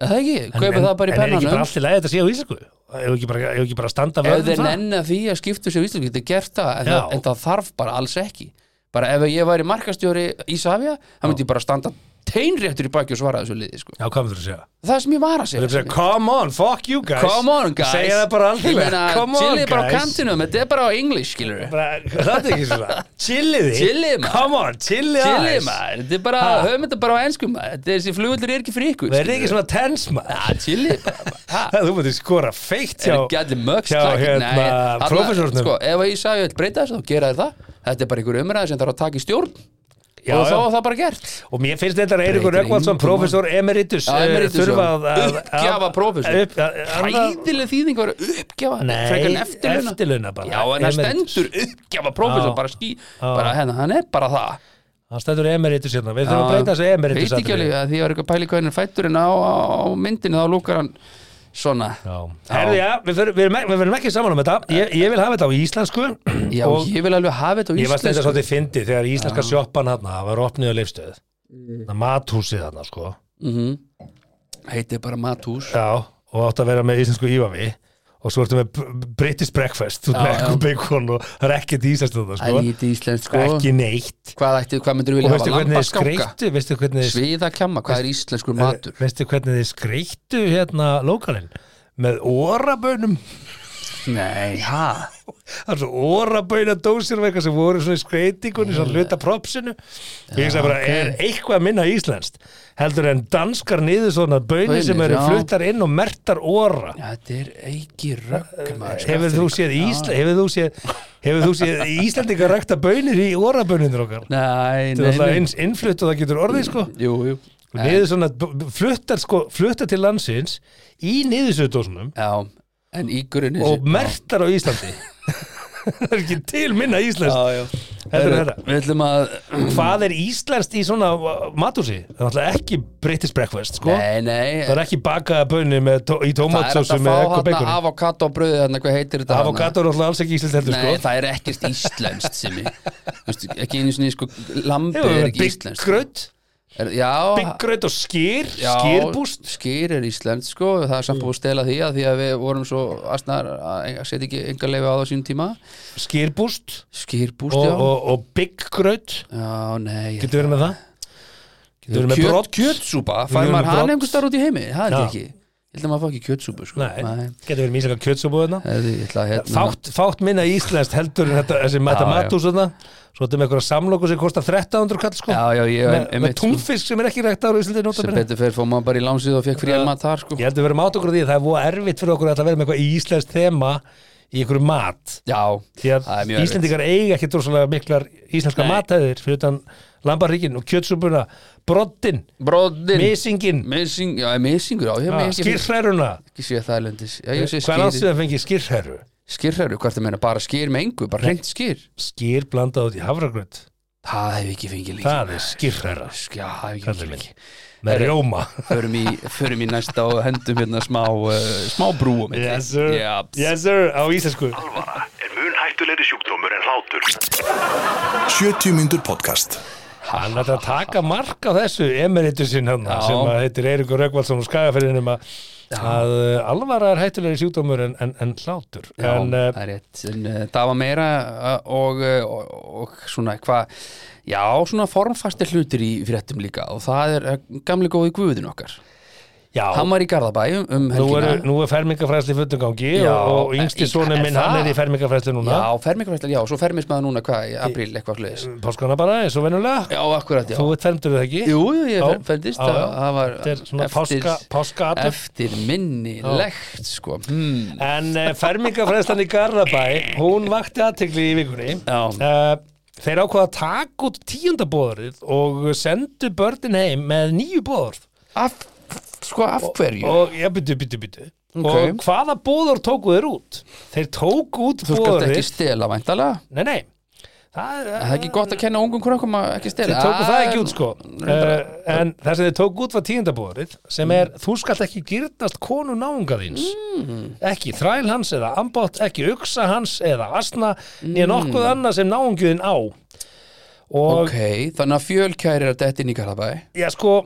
Speaker 3: Er Það ekki, kaupa
Speaker 4: en,
Speaker 3: það bara í
Speaker 4: en er ekki bara
Speaker 3: pennanum
Speaker 4: allt í lagi að þetta sé á íslensku ef ekki bara, ef ekki bara standa
Speaker 3: Ef
Speaker 4: vörðum
Speaker 3: þeir
Speaker 4: það
Speaker 3: nenni að því að skiptu sér á íslensku getur gert það,
Speaker 4: Já.
Speaker 3: en, það, en það þarf bara alls ekki Bara ef ég væri markastjóri í Savia, það myndi ég bara standa teinréttur í baki og svara þessu liði sko.
Speaker 4: já, hvað myndir þú segja?
Speaker 3: Það sem ég var að
Speaker 4: Þú
Speaker 3: segja
Speaker 4: myndir segja, come on, fuck you guys
Speaker 3: Come on guys
Speaker 4: segja það bara
Speaker 3: Ég
Speaker 4: allir
Speaker 3: meina,
Speaker 4: come on
Speaker 3: chillið bara á
Speaker 4: guys
Speaker 3: kantinum, þetta er bara á English skilur við
Speaker 4: Bara- það er ekki svona chillið þið
Speaker 3: Chillið, maður.
Speaker 4: come on, chillið
Speaker 3: Chillið
Speaker 4: aðeins.
Speaker 3: maður, þetta er bara,
Speaker 4: Ha.
Speaker 3: höfum þetta bara á ensku maður Þetta er þessi flugvöldur er ekki fyrir ykkur
Speaker 4: verðið
Speaker 3: skilurðu.
Speaker 4: ekki svona tens maður
Speaker 3: Ja, chillið bara bara, ha.
Speaker 4: þú myndir skora feitt
Speaker 3: Er
Speaker 4: hjá
Speaker 3: ekki allir mögst
Speaker 4: hjá hérna profesornum
Speaker 3: sko, ef að ég sagði að breyta þessu þá gera þér það þetta er bara einhver umræða sem þarf að taka í stjórn
Speaker 4: Já,
Speaker 3: og þá
Speaker 4: já.
Speaker 3: er það bara gert
Speaker 4: Og mér finnst þetta Eirikur
Speaker 3: Breytir
Speaker 4: Röggvaldsson,
Speaker 3: engu
Speaker 4: professor emeritus,
Speaker 3: Já,
Speaker 4: eh,
Speaker 3: emeritus,
Speaker 4: þurfa
Speaker 3: já.
Speaker 4: að, að
Speaker 3: Uppgjafa prófessor.
Speaker 4: að- upp- að- að-
Speaker 3: hæðileg þýðing var að uppgefa
Speaker 4: Nei,
Speaker 3: frekar en eftirlauna
Speaker 4: eftirlauna bara,
Speaker 3: já, en það
Speaker 4: emeritus.
Speaker 3: stendur uppgefa prófessor
Speaker 4: Já.
Speaker 3: bara ský bara hérna, hann er bara það
Speaker 4: Það stættur emeritus hérna, við þurfum að
Speaker 3: Já,
Speaker 4: breyta þessu emeritus
Speaker 3: veit ekki alveg að því að er eitthvað pæli hvað hann er fættur en á, á, á myndinu þá lúkar hann svona
Speaker 4: Herði, já, við förum- við erum ek- við verðum ekki saman um þetta ég, ég vil hafa þetta á íslensku
Speaker 3: Eh. já,
Speaker 4: og
Speaker 3: ég vil alveg hafa þetta á
Speaker 4: ég var stendast
Speaker 3: íslensku
Speaker 4: svolítið fyndið þegar íslenska sjoppan hérna var opnið á leifstöð mm. mathúsið hérna sko
Speaker 3: heitir bara Matús
Speaker 4: já, og átt að vera með íslensku ífavi og svo ertu með br- British breakfast þú ert
Speaker 3: Já,
Speaker 4: með
Speaker 3: já.
Speaker 4: egg og bacon og það er ekkert ísast þetta
Speaker 3: Það
Speaker 4: sko.
Speaker 3: er lítið íslenskt sko
Speaker 4: ekki neitt
Speaker 3: Hvað, ætti, hvað myndir
Speaker 4: og
Speaker 3: vilja
Speaker 4: veistu
Speaker 3: hafa?
Speaker 4: hvernig þið
Speaker 3: Lambaskáka?
Speaker 4: skreittu veistu hvernig þið
Speaker 3: Sviðakjamma, hvað er íslenskur matur?
Speaker 4: veistu hvernig þið skreittu hérna lókalinn með orabönum Eh,
Speaker 3: Nei, ha?
Speaker 4: það er svo oraböna dósir og eitthvað sem voru svona í skreitingunni svona hluta propsinu og ég sagði bara
Speaker 3: ok.
Speaker 4: er eitthvað minna íslenskt heldur en danskar niður svona bönir sem
Speaker 3: Baunir,
Speaker 4: eru
Speaker 3: já.
Speaker 4: fluttar inn og mertar ora
Speaker 3: Já, þetta er ekki rögg maður
Speaker 4: Eh,
Speaker 3: sko.
Speaker 4: Hefur þú séð Ísla, hefur þú séð hefur þú séð Íslandingar rækta bönir í orabönir okkar?
Speaker 3: Nei,
Speaker 4: Þetta er
Speaker 3: nei,
Speaker 4: alltaf
Speaker 3: nei
Speaker 4: eins innflutt og það getur orðið sko
Speaker 3: Jú, jú
Speaker 4: og niður svona, b- b- fluttar sko fluttar til landsins í niðursöðdósunum
Speaker 3: Já, en í grunni
Speaker 4: og mertar á Íslandi það er ekki til minna íslenskt
Speaker 3: Já, já
Speaker 4: Þetta er þetta.
Speaker 3: Við ætlum að
Speaker 4: hvað er íslenskt í svona uh, matúsi? Það er alltaf ekki British breakfast sko
Speaker 3: Nei, nei
Speaker 4: það er ekki bakaða bönni með tó í
Speaker 3: Það er hægt
Speaker 4: tómatsósu
Speaker 3: að
Speaker 4: með
Speaker 3: fá
Speaker 4: ekko
Speaker 3: hann
Speaker 4: beikoni
Speaker 3: avokado á bröðu hann hvað heitir þetta þarna?
Speaker 4: avokado er alltaf alls ekki íslenskt heldur
Speaker 3: Nei,
Speaker 4: sko
Speaker 3: það er ekkert íslenskt sem ég Vistu, ekki einu sinni sko lambi
Speaker 4: Hefur
Speaker 3: er
Speaker 4: við
Speaker 3: ekki íslenskt
Speaker 4: bygggröð
Speaker 3: er, Já,
Speaker 4: bygggröð og skýr,
Speaker 3: já,
Speaker 4: skýrbúst
Speaker 3: Skýr er íslenskt sko það er samt búið að stela því að því að við vorum svo astnar að setja ekki enga leifi á það á sínum tíma
Speaker 4: skýrbúst
Speaker 3: Skýrbúst,
Speaker 4: og,
Speaker 3: já
Speaker 4: og, og bygggröð
Speaker 3: Já, nei
Speaker 4: getur verið með það getur verið með
Speaker 3: Kjöt-
Speaker 4: brott
Speaker 3: Kjötsúpa,
Speaker 4: Við
Speaker 3: fær
Speaker 4: erum
Speaker 3: maður
Speaker 4: með
Speaker 3: hann
Speaker 4: brodd.
Speaker 3: einhvers þar út í heimi Það er
Speaker 4: Já.
Speaker 3: ekki Ég held að maður fá ekki kjötsúpu sko
Speaker 4: Nei, getur verið mísaka kjötsúbúðina
Speaker 3: Herðu, ég ætla að hérna
Speaker 4: fátt, fátt minna íslenskt heldur en þetta, þessi
Speaker 3: Já, já.
Speaker 4: matamatús þarna. svo þetta með einhverja samloku sem kostar 1300 kall sko
Speaker 3: Já, já, ég
Speaker 4: með, með
Speaker 3: einmitt, sko,
Speaker 4: túnfisk sem er ekki rækt ára í Íslandi nota
Speaker 3: sem
Speaker 4: bene.
Speaker 3: betur fyrir fór maður bara í lánsið og fekk frí
Speaker 4: Já.
Speaker 3: mat þar sko
Speaker 4: ég heldur við verðum átt okkur á því að það er voða erfitt fyrir okkur að ætla að vera með eitthvað íslenskt þema í einhverju mat
Speaker 3: Já,
Speaker 4: því að
Speaker 3: það er mjög erfitt
Speaker 4: Íslendingar eiga ekki drossalega miklar íslenska
Speaker 3: Nei.
Speaker 4: matæðir fyrir utan lambaríkin og kjötsúbuna broddin,
Speaker 3: Broddin
Speaker 4: misingin
Speaker 3: Missing, já, missingur, já, ég hef ekki
Speaker 4: skýrhæruna
Speaker 3: ekki séð það erlendis Já, ég sé
Speaker 4: Ah, hvað
Speaker 3: skýri,
Speaker 4: ástum að fengi skýrhæru
Speaker 3: skýrhæru, hvað ertu að meina, bara skýr með engu, bara hreint skýr
Speaker 4: skýr blandað út í hafragrönd
Speaker 3: Það hef ég ekki fengið líka
Speaker 4: það er skýrhæra
Speaker 3: Já, það hef ég ekki
Speaker 4: Kallið
Speaker 3: fengið
Speaker 4: minn.
Speaker 3: líka
Speaker 4: með
Speaker 3: Herru.
Speaker 4: rjóma
Speaker 3: förum í, förum í næsta og hendum hérna smá, uh, smá brú á milli.
Speaker 4: yes sir,
Speaker 3: Já, pss.
Speaker 4: yes sir, á íslensku
Speaker 5: Alvara er mun hættulegri sjúkdómur en hlátur.
Speaker 2: 70 mínútur podcast
Speaker 4: hann ætti að taka mark á þessu emeritusinn hann
Speaker 3: Já.
Speaker 4: sem að heitir Eiríkur Röggvaldsson og skagaferðinum um að, að uh, alvara er hættulegri sjúkdómur en, en, en hlátur
Speaker 3: Já,
Speaker 4: en
Speaker 3: það
Speaker 4: uh,
Speaker 3: er rétt en, uh, það var meira uh, og, uh, og, og svona hvað já, svona formfastir hlutir í fréttum líka og það er uh, gamli góði guðin okkar
Speaker 4: já,
Speaker 3: hann var í Garðabæ um, um
Speaker 4: nú
Speaker 3: helgina
Speaker 4: er, nú er fermingafræðsli fullum gangi
Speaker 3: Já,
Speaker 4: og, og
Speaker 3: en
Speaker 4: yngsti
Speaker 3: í-
Speaker 4: sonum
Speaker 3: er
Speaker 4: minn hann
Speaker 3: það?
Speaker 4: er í fermingafræðsli núna
Speaker 3: já, fermingafræslan, já, svo fermismæða núna hvað, í apríl eitthvað hlutis
Speaker 4: páskana bara, eins og venulega
Speaker 3: já, akkurat, já
Speaker 4: þú ert fermdur eða ekki
Speaker 3: jú, jú, ég
Speaker 4: Já, já,
Speaker 3: fermdist, það
Speaker 4: já.
Speaker 3: það var
Speaker 4: þetta er svona páska, páska
Speaker 3: eftir minnilegt sko, hmm,
Speaker 4: En uh, fermingafræðslan í Garðabæ, hún vakti aðtegli í vikunni.
Speaker 3: Já.
Speaker 4: Eh, þeir ákvaða að taka út tíundabóðarið og sendu börnin heim með nýju bóðorð.
Speaker 3: af, sko, af hverju
Speaker 4: Og, já, byttu, byttu, byttu.
Speaker 3: Ok.
Speaker 4: Og hvaða bóðorð tóku þeir út? Þeir tóku út
Speaker 3: þú skalt ekki
Speaker 4: bóðorðið.
Speaker 3: stela, væntalega
Speaker 4: Nei, nei. Það, eh,
Speaker 3: Það er ekki gott að kenna ungum krökkum að ekki stela
Speaker 4: Þeir tóku það
Speaker 3: Ah,
Speaker 4: ekki út sko uh, En það sem þeir tóku út var tíundabóðarið sem er,
Speaker 3: Mm.
Speaker 4: þú skalt ekki gyrtast konu náunga þíns ekki þræl hans eða ambátt, ekki uksa hans eða asna,
Speaker 3: Mm.
Speaker 4: nýja nokkuð annað sem náungjuðin á og
Speaker 3: Ah, Ok, þannig að fjölkæri er að detti inn í Garðabæ
Speaker 4: já sko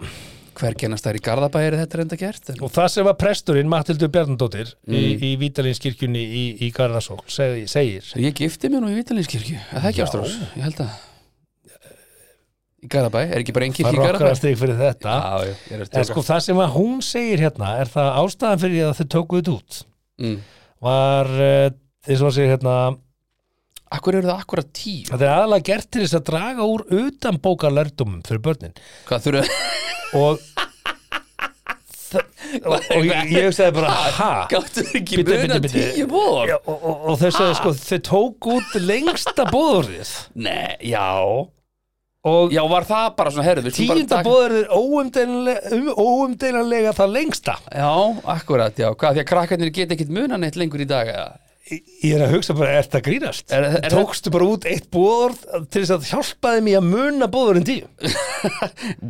Speaker 3: Hver kennast þær í Garðabæ er þetta reynda gert? En...
Speaker 4: og það sem var presturinn Matildur Bjarnadóttir í,
Speaker 3: Mm.
Speaker 4: í Vítalinskirkjunni í, í Garðasók seg, segir,
Speaker 3: Ég gifti mér nú í Vítalinskirkju Er það ekki ástrós? Ég held að Í Garðabæ, er ekki bara einn kirkja
Speaker 4: það
Speaker 3: í Garðabæ?
Speaker 4: rokkar að stig fyrir þetta
Speaker 3: Já, já, ég er að
Speaker 4: en
Speaker 3: tjóka
Speaker 4: sko það sem að hún segir hérna er það ástæðan fyrir að þau tóku þetta út
Speaker 3: mm.
Speaker 4: var uh, eins og hann segir hérna
Speaker 3: Akkur eru það akkurat tíu?
Speaker 4: Þetta er aðalega gert til þess að draga úr utan bókar lærdumum fyrir börnin
Speaker 3: Hvað þurfa?
Speaker 4: og og, og ég, ég hugsaði bara ha
Speaker 3: Gáttu þið ekki
Speaker 4: Bíddu,
Speaker 3: muna
Speaker 4: bíddu, bíddu.
Speaker 3: tíu vor?
Speaker 4: Já, og, og, og þau sagði sko þau tók út lengsta bóðurðið
Speaker 3: Nei, já
Speaker 4: og
Speaker 3: Já, var það bara svona herðu við skulum bara
Speaker 4: tíunda
Speaker 3: taka-
Speaker 4: bóðurðið óumdeilanlega, óumdeilanlega um, það lengsta
Speaker 3: Já, akkurat, já, hvað, því að krakkarnir geta ekkit muna neitt lengur í dag eða?
Speaker 4: Ég ég er að hugsa bara, er það grínast?
Speaker 3: Er- er-
Speaker 4: Tókstu bara út eitt bóðurð til þess að hjálpa þeim í að muna bóðurðin tíu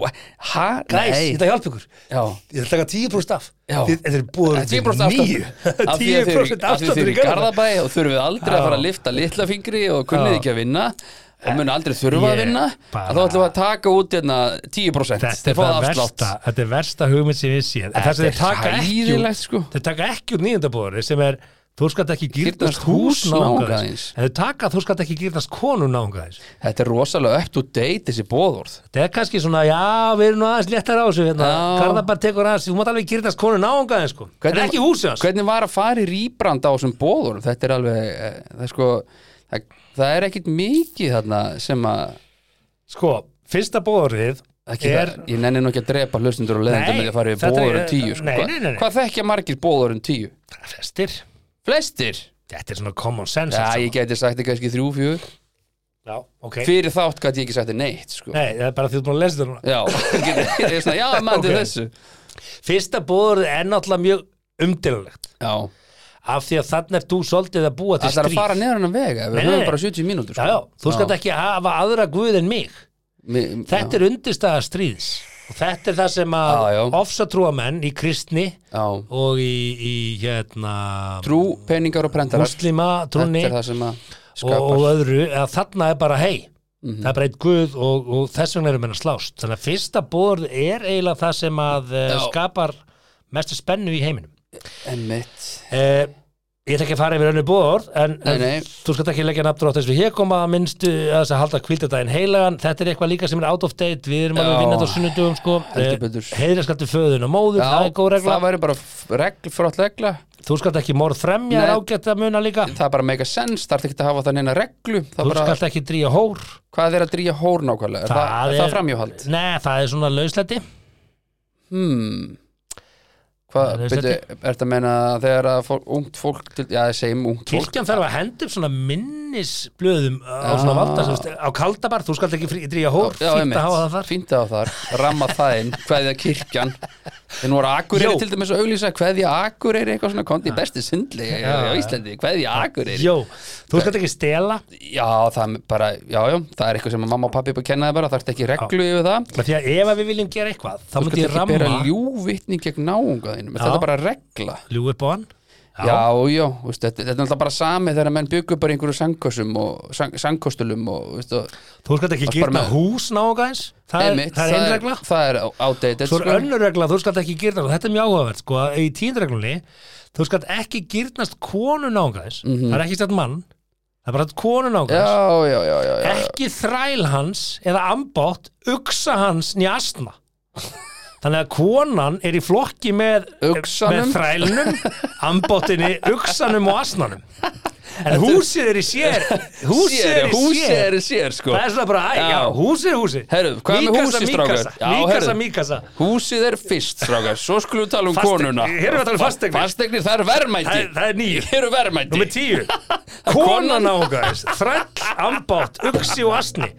Speaker 3: Wha- Ha?
Speaker 4: Gæs, ég ætla að hjálpa ykkur
Speaker 3: Já,
Speaker 4: Ég ætla að taka 10% af
Speaker 3: Já.
Speaker 4: Þið- Þetta er búið
Speaker 3: 10% afsláttur. Af því að þeir eru-
Speaker 4: 10%
Speaker 3: af því að þeir
Speaker 4: afsláttur í
Speaker 3: eru í
Speaker 4: garða
Speaker 3: Garðabæ og þurfum við aldrei að fara að
Speaker 4: Já.
Speaker 3: lifta litla fingri og kunnið ekki að vinna og mun aldrei þurfa að
Speaker 4: Ég
Speaker 3: vinna
Speaker 4: bara-
Speaker 3: að þá ætlum við að taka út hérna 10%
Speaker 4: Þetta
Speaker 3: þeir
Speaker 4: er
Speaker 3: fá
Speaker 4: það
Speaker 3: afslátt
Speaker 4: versta Þetta er versta hugmynd sem ég sé En það sem þeir
Speaker 3: Þetta er
Speaker 4: taka ekki út
Speaker 3: hræðilegt, sko.
Speaker 4: Þeir taka ekki út nýjöndabóðari sem er Þú skalt ekki
Speaker 3: Gyrnast
Speaker 4: gyrnast
Speaker 3: hús
Speaker 4: hús
Speaker 3: náunga
Speaker 4: náungaðins
Speaker 3: þíns.
Speaker 4: En þau taka að þú skalt ekki gyrnast konu náungaðins
Speaker 3: Þetta er rosalega up to date þessi bóðorð
Speaker 4: Þetta er kannski svona, já, við erum nú aðeins léttar á þessu hérna.
Speaker 3: Já.
Speaker 4: Garðabar tekur aðeins, þú mátt alveg gyrnast konu náungaðins sko. En ekki húsið hans
Speaker 3: Hvernig var að fara í rýbrand á þessum bóðorð Þetta er alveg eh, Það er, sko, það, það er ekkit mikið þarna sem að
Speaker 4: Sko, fyrsta bóðrið
Speaker 3: ekki,
Speaker 4: er
Speaker 3: Ég nenni nú ekki að drepa hlustundur og leðendum
Speaker 4: Nei,
Speaker 3: með að fara í
Speaker 4: þetta er-
Speaker 3: bóðorðum tíu sko.
Speaker 4: nei, nei, nei, nei.
Speaker 3: Hvað þekkja margir bóðorðum tíu?
Speaker 4: Flestir,
Speaker 3: Flestir?
Speaker 4: þetta er svona common sense
Speaker 3: Já,
Speaker 4: allt saman.
Speaker 3: ég gæti sagt þið kannski þrjú, fjögur
Speaker 4: já ok
Speaker 3: Fyrir þátt gæti ég ekki sagt þið neitt sko.
Speaker 4: Nei, það er bara því að þú búin að lesa þetta núna
Speaker 3: Já, geti, ég er svona, já, mann til
Speaker 4: Ok.
Speaker 3: þessu
Speaker 4: Fyrsta bóðrið er náttúrulega mjög umdilulegt
Speaker 3: Já,
Speaker 4: Af því að þannig er þú svolítið að búa til
Speaker 3: það er að
Speaker 4: stríð
Speaker 3: fara sko? neður hennan vega
Speaker 4: Nei,
Speaker 3: Við
Speaker 4: nei,
Speaker 3: höfum
Speaker 4: nei.
Speaker 3: bara 70 mínútur
Speaker 4: Já, já, þú skalt ekki hafa aðra guð en mig
Speaker 3: ekki
Speaker 4: Þetta er undirstaða stríðs og þetta er það sem að
Speaker 3: Já, já.
Speaker 4: ofsatrúamenn í kristni
Speaker 3: Já,
Speaker 4: og í, í hérna
Speaker 3: trú, peningar og prentarar
Speaker 4: muslima, trúni
Speaker 3: Þetta er það sem að
Speaker 4: og,
Speaker 3: skapar Mhm.
Speaker 4: og öðru að þarna er bara hei það er bara eitt guð og, og þess vegna erum við að slást þannig að fyrsta borð er eiginlega það sem að
Speaker 3: Já.
Speaker 4: já. skapar mestu spennu í heiminum
Speaker 3: Einmitt.
Speaker 4: eh, ég ætla ekki að fara yfir önnu borð en,
Speaker 3: Nei,
Speaker 4: en
Speaker 3: nei. Já.
Speaker 4: að vinna þetta á sunnudugum sko.
Speaker 3: Heldur betur.
Speaker 4: heiðra skaltu föðun og móður, það er góð regla
Speaker 3: það væri bara f- regl, frott regla
Speaker 4: þú skalt ekki morð fremja er
Speaker 3: Nei.
Speaker 4: ágætt að muna líka
Speaker 3: það er bara mega sens, það er ekki að hafa það neina reglu það
Speaker 4: þú
Speaker 3: bara,
Speaker 4: skalt ekki dríja hór
Speaker 3: hvað er að dríja hór nákvæmlega er það, er... það framjóhald
Speaker 4: Nei, það er svona lauslæti
Speaker 3: hmm. hvað,
Speaker 4: Nei, það er
Speaker 3: byrju, er þetta að meina að þegar að fólk, ungt fólk til, já, segjum ungt fólk
Speaker 4: Kirkjan þarf að henda upp svona minnisblöðum eh, á svona valda sem, á kaldabar, þú skalt ekki frí- dríja hór
Speaker 3: Ah. Já,
Speaker 4: fínt
Speaker 3: einmitt.
Speaker 4: að hafa það þar
Speaker 3: Fínt að hafa það þar, ramma það inn, hveðja kirkjan Þeir voru Akureyri
Speaker 4: Jó.
Speaker 3: til dæmis að auglýsa hveðja Akureyri eitthvað svona konti besti sundlega á Íslandi, hveðja Akureyri
Speaker 4: Jó, þú skalt ekki stela
Speaker 3: Já, það er bara, já, já, það er eitthvað sem mamma og pappi bara kenna það bara, það er ekki reglu yfir það
Speaker 4: af því að ef að við viljum gera eitthvað þá
Speaker 3: Þú skalt
Speaker 4: myndi ég
Speaker 3: ekki bera
Speaker 4: ramma
Speaker 3: ljúvitni gegn náunga þínum, en
Speaker 4: Já.
Speaker 3: þetta er bara regla
Speaker 4: ljú upp á hann
Speaker 3: Já, já, já veist, þetta, þetta er alltaf bara sami þegar menn byggu bara í einhverju sangkostum og sang, sangkostulum og, veist, og
Speaker 4: Þú skalt ekki
Speaker 3: Það er bara
Speaker 4: gyrna
Speaker 3: með-
Speaker 4: hús náðgæðins Það er,
Speaker 3: einmitt,
Speaker 4: það er einn regla
Speaker 3: það, það er outdated
Speaker 4: Svo er
Speaker 3: sko.
Speaker 4: önnur regla, þú skalt ekki gyrna Þetta er mjög áhugavert, sko, að í tíndreglunni Þú skalt ekki gyrnast konu náðgæðins Það er ekki stætt mann Það er bara konu náðgæðins
Speaker 3: Mhm. Já, já, já, já, já.
Speaker 4: ekki þræl hans eða ambátt, uksa hans né asna þannig að konan er í flokki með,
Speaker 3: Uxanum.
Speaker 4: með þrælnum ambáttinni, uksanum og asnanum en húsið er í sér húsið
Speaker 3: Sér,
Speaker 4: er í
Speaker 3: húsið
Speaker 4: sér
Speaker 3: er í sér, sko
Speaker 4: það er svona bara, æ, já,
Speaker 3: Já.
Speaker 4: húsið er húsið
Speaker 3: Herru, hvað með
Speaker 4: Míkasa,
Speaker 3: húsið,
Speaker 4: Míkasa,
Speaker 3: strákar? Já,
Speaker 4: Míkasa,
Speaker 3: herru.
Speaker 4: Míkasa
Speaker 3: Húsið er fyrst, strákar, svo skulum við tala um
Speaker 4: Fasteign-
Speaker 3: konuna
Speaker 4: Hér erum við að tala um fasteignir.
Speaker 3: Fasteignir, það er verðmæti
Speaker 4: Það er- það er níu.
Speaker 3: Hér eru verðmæti
Speaker 4: Númer tíu Konan ágæðis Þræll, ambátt, uxi og asni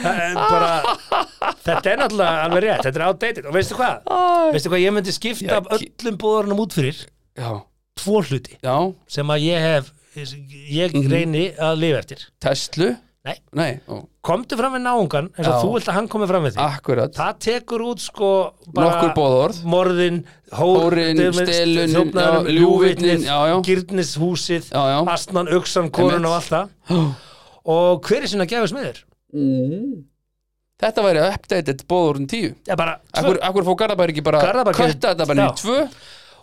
Speaker 4: Það er bara, Þetta er náttúrulega alveg rétt Þetta er outdated Og veistu hvað? Veistu hvað ég myndi skipta af öllum búðarunum út fyrir
Speaker 3: Já,
Speaker 4: Tvo hluti
Speaker 3: já,
Speaker 4: sem að ég hef Ég reyni að lifa eftir
Speaker 3: Tesla
Speaker 4: Nei,
Speaker 3: Nei, ó,
Speaker 4: komdu fram við náungan eins og
Speaker 3: Já.
Speaker 4: þú vilt að hann komi fram við því
Speaker 3: akkurat
Speaker 4: Það tekur út sko
Speaker 3: Nokkur boðorð.
Speaker 4: Morðin,
Speaker 3: Hórin, stelun,
Speaker 4: þjófnaðurinn,
Speaker 3: já, ljúfvitnið,
Speaker 4: ljúvitnið,
Speaker 3: já, já.
Speaker 4: gyrnishúsið,
Speaker 3: Já, já.
Speaker 4: astnan, uksan, korun og allt það. Og hver er sinna gefis með þér?
Speaker 3: Þetta væri updated bóðurinn tíu
Speaker 4: Já, bara tvö.
Speaker 3: Akkur, akkur fór Garðabær ekki bara
Speaker 4: Garðabær gerir-
Speaker 3: Kötta þetta bara
Speaker 4: Já.
Speaker 3: í tvö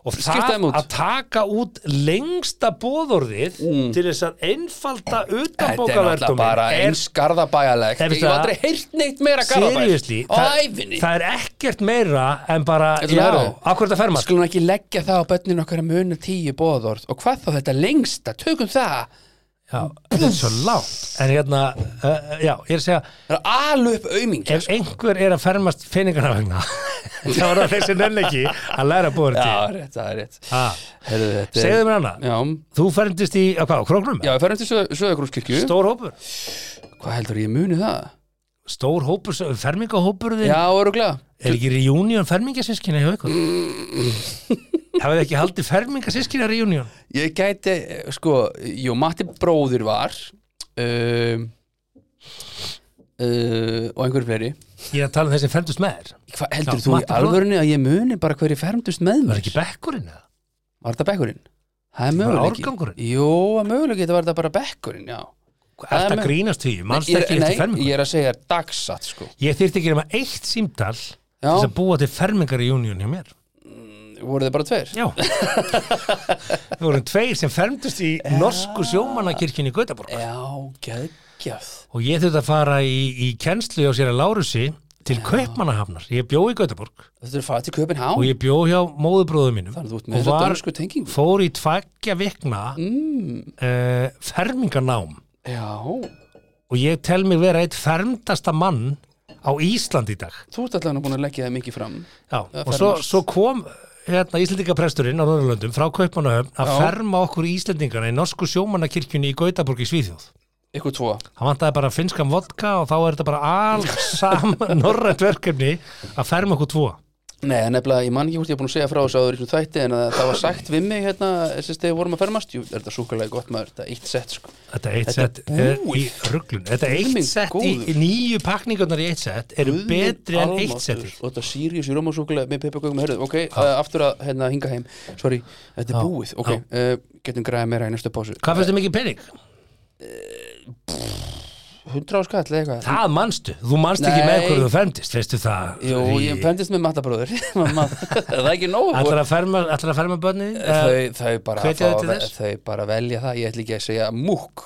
Speaker 4: Og
Speaker 3: skipta þeim
Speaker 4: það
Speaker 3: út.
Speaker 4: að taka út lengsta bóðorðið til þess að einfalda
Speaker 3: Mm. Þetta er náttúrulega
Speaker 4: utanbókavertum
Speaker 3: bara eins Garðabæjalegt
Speaker 4: Nei,
Speaker 3: Ég
Speaker 4: veistu
Speaker 3: hef
Speaker 4: það?
Speaker 3: aldrei heyrt neitt meira Garðabær
Speaker 4: Seriously,
Speaker 3: Á
Speaker 4: það,
Speaker 3: æfinni
Speaker 4: það er ekkert meira en bara,
Speaker 3: Þetta er Sko-
Speaker 4: já,
Speaker 3: verið.
Speaker 4: akkur þetta fer maður
Speaker 3: Skulum ekki leggja það á börnin okkar að muna tíu bóðorð Og hvað þá þetta lengsta, tökum það
Speaker 4: Já, þetta er svo langt En hérna, uh, já, ég er að segja
Speaker 3: Það er alu upp aumingi
Speaker 4: ef einhver er að fermast peningana vegna þá er það þessi nenn ekki að læra búið
Speaker 3: Já,
Speaker 4: til
Speaker 3: rétt, það er rétt
Speaker 4: Ha,
Speaker 3: Heyrðu, þetta er-
Speaker 4: segðu mér hana,
Speaker 3: Já,
Speaker 4: þú fermdist í á hvað, á króknum?
Speaker 3: já, við ferum til Söðagrúskirkju
Speaker 4: stór hópur,
Speaker 3: Hvað heldur ég muni það?
Speaker 4: stór hópur fermingahópur þinn,
Speaker 3: Já, öruglega
Speaker 4: er ekki reunion fermingasískinni hjá ykkur? hafið þið ekki haldið fermingasískinni reunion?
Speaker 3: Ég gæti, eh, sko, jú, Matti bróðir var um, uh, og einhver fleiri
Speaker 4: ég er að tala um þessi fermdust með þér
Speaker 3: Hvað heldur
Speaker 4: Já,
Speaker 3: þú
Speaker 4: Matti
Speaker 3: í alvörunni að ég muni bara hverju fermdust með
Speaker 4: var
Speaker 3: mér?
Speaker 4: ekki bekkurinn eða?
Speaker 3: Var þetta bekkurinn? Það er
Speaker 4: Bara
Speaker 3: möguleiki
Speaker 4: árgangurinn?
Speaker 3: Jú, að möguleiki þetta var þetta bara bekkurinn, já
Speaker 4: er
Speaker 3: Það er
Speaker 4: þetta
Speaker 3: með-
Speaker 4: grínast því, mannst
Speaker 3: Ég er-
Speaker 4: ekki eftir
Speaker 3: Nei,
Speaker 4: fermingu
Speaker 3: ég er að segja dagsatt, sko
Speaker 4: ég þyrfti ekki nema eitt símtal til
Speaker 3: Já,
Speaker 4: þess að búa til fermingar reunion hjá mér
Speaker 3: voru þið bara tveir?
Speaker 4: Já Við vorum tveir sem fermdust í norsku sjómannakirkjunni í Gautaborg
Speaker 3: Já, geðgjaf
Speaker 4: og ég þurfti að fara í, í kennslu hjá sér að Lárusi til Kaupmannahafnar ég bjó í Gautaborg
Speaker 3: Þetta er að fara til Köpinn Há
Speaker 4: og ég bjó hjá móðubróðum mínum
Speaker 3: Þannig að þú ert með
Speaker 4: og
Speaker 3: þessa
Speaker 4: var,
Speaker 3: dönsku tengingu.
Speaker 4: fór í tveggja vikna mm. fermingarnám
Speaker 3: Já,
Speaker 4: og ég tel mig vera eitt fermdasta mann á Ísland í dag
Speaker 3: þú ert allavega búin að leggja það mikið fram
Speaker 4: Já, og svo,
Speaker 3: fermast.
Speaker 4: svo kom hérna Íslendingapresturinn á Norðurlöndum frá Kaupmannahöfn að
Speaker 3: Já.
Speaker 4: ferma okkur Íslendingana í norsku sjómannakirkjunni í Gautaborg í Svíþjóð
Speaker 3: Ykkur tvo
Speaker 4: Það vantaði bara finskan vodka og þá er þetta bara allsam norrænt verkefni að ferma okkur tvo.
Speaker 3: Nei, en nefnilega, ég man ekki hvort ég er búin að segja frá þessu áður í þessum þætti en að það var sagt við mig hérna þess að við vorum að fermast Jú, er þetta súkulega gott maður, þetta er eitt sett sko
Speaker 4: Þetta eitt
Speaker 3: Þetta er
Speaker 4: sett er í
Speaker 3: búið.
Speaker 4: rugglun. Þetta
Speaker 3: Guð
Speaker 4: eitt
Speaker 3: minn
Speaker 4: sett í
Speaker 3: góður.
Speaker 4: í nýju pakningarnar í eitt sett eru
Speaker 3: Guð minn
Speaker 4: betri en eitt
Speaker 3: almáttugur.
Speaker 4: settir.
Speaker 3: Og þetta Sirius í Rómasúkulega með pepparkökum Hörðu, ok, uh, aftur að hérna hinga heim Sorry, þetta er búið, ok uh, Getum græðið meira í næstu pásu
Speaker 4: Hvað finnst þið mikið pening?
Speaker 3: 100 á skall eða eitthvað
Speaker 4: Það manstu. Þú manst ekki
Speaker 3: Nei.
Speaker 4: með hverju þú fermdist, veistu það?
Speaker 3: Jú, ég pendist með matabróður Það er ekki nóg
Speaker 4: Ætlar að ferma, ætlar að ferma börnin? Eh,
Speaker 3: þau, þau, bara
Speaker 4: hvetja
Speaker 3: fá
Speaker 4: þau
Speaker 3: að
Speaker 4: til
Speaker 3: ve-
Speaker 4: þess?
Speaker 3: þau bara velja það Ég ætla ekki að segja múk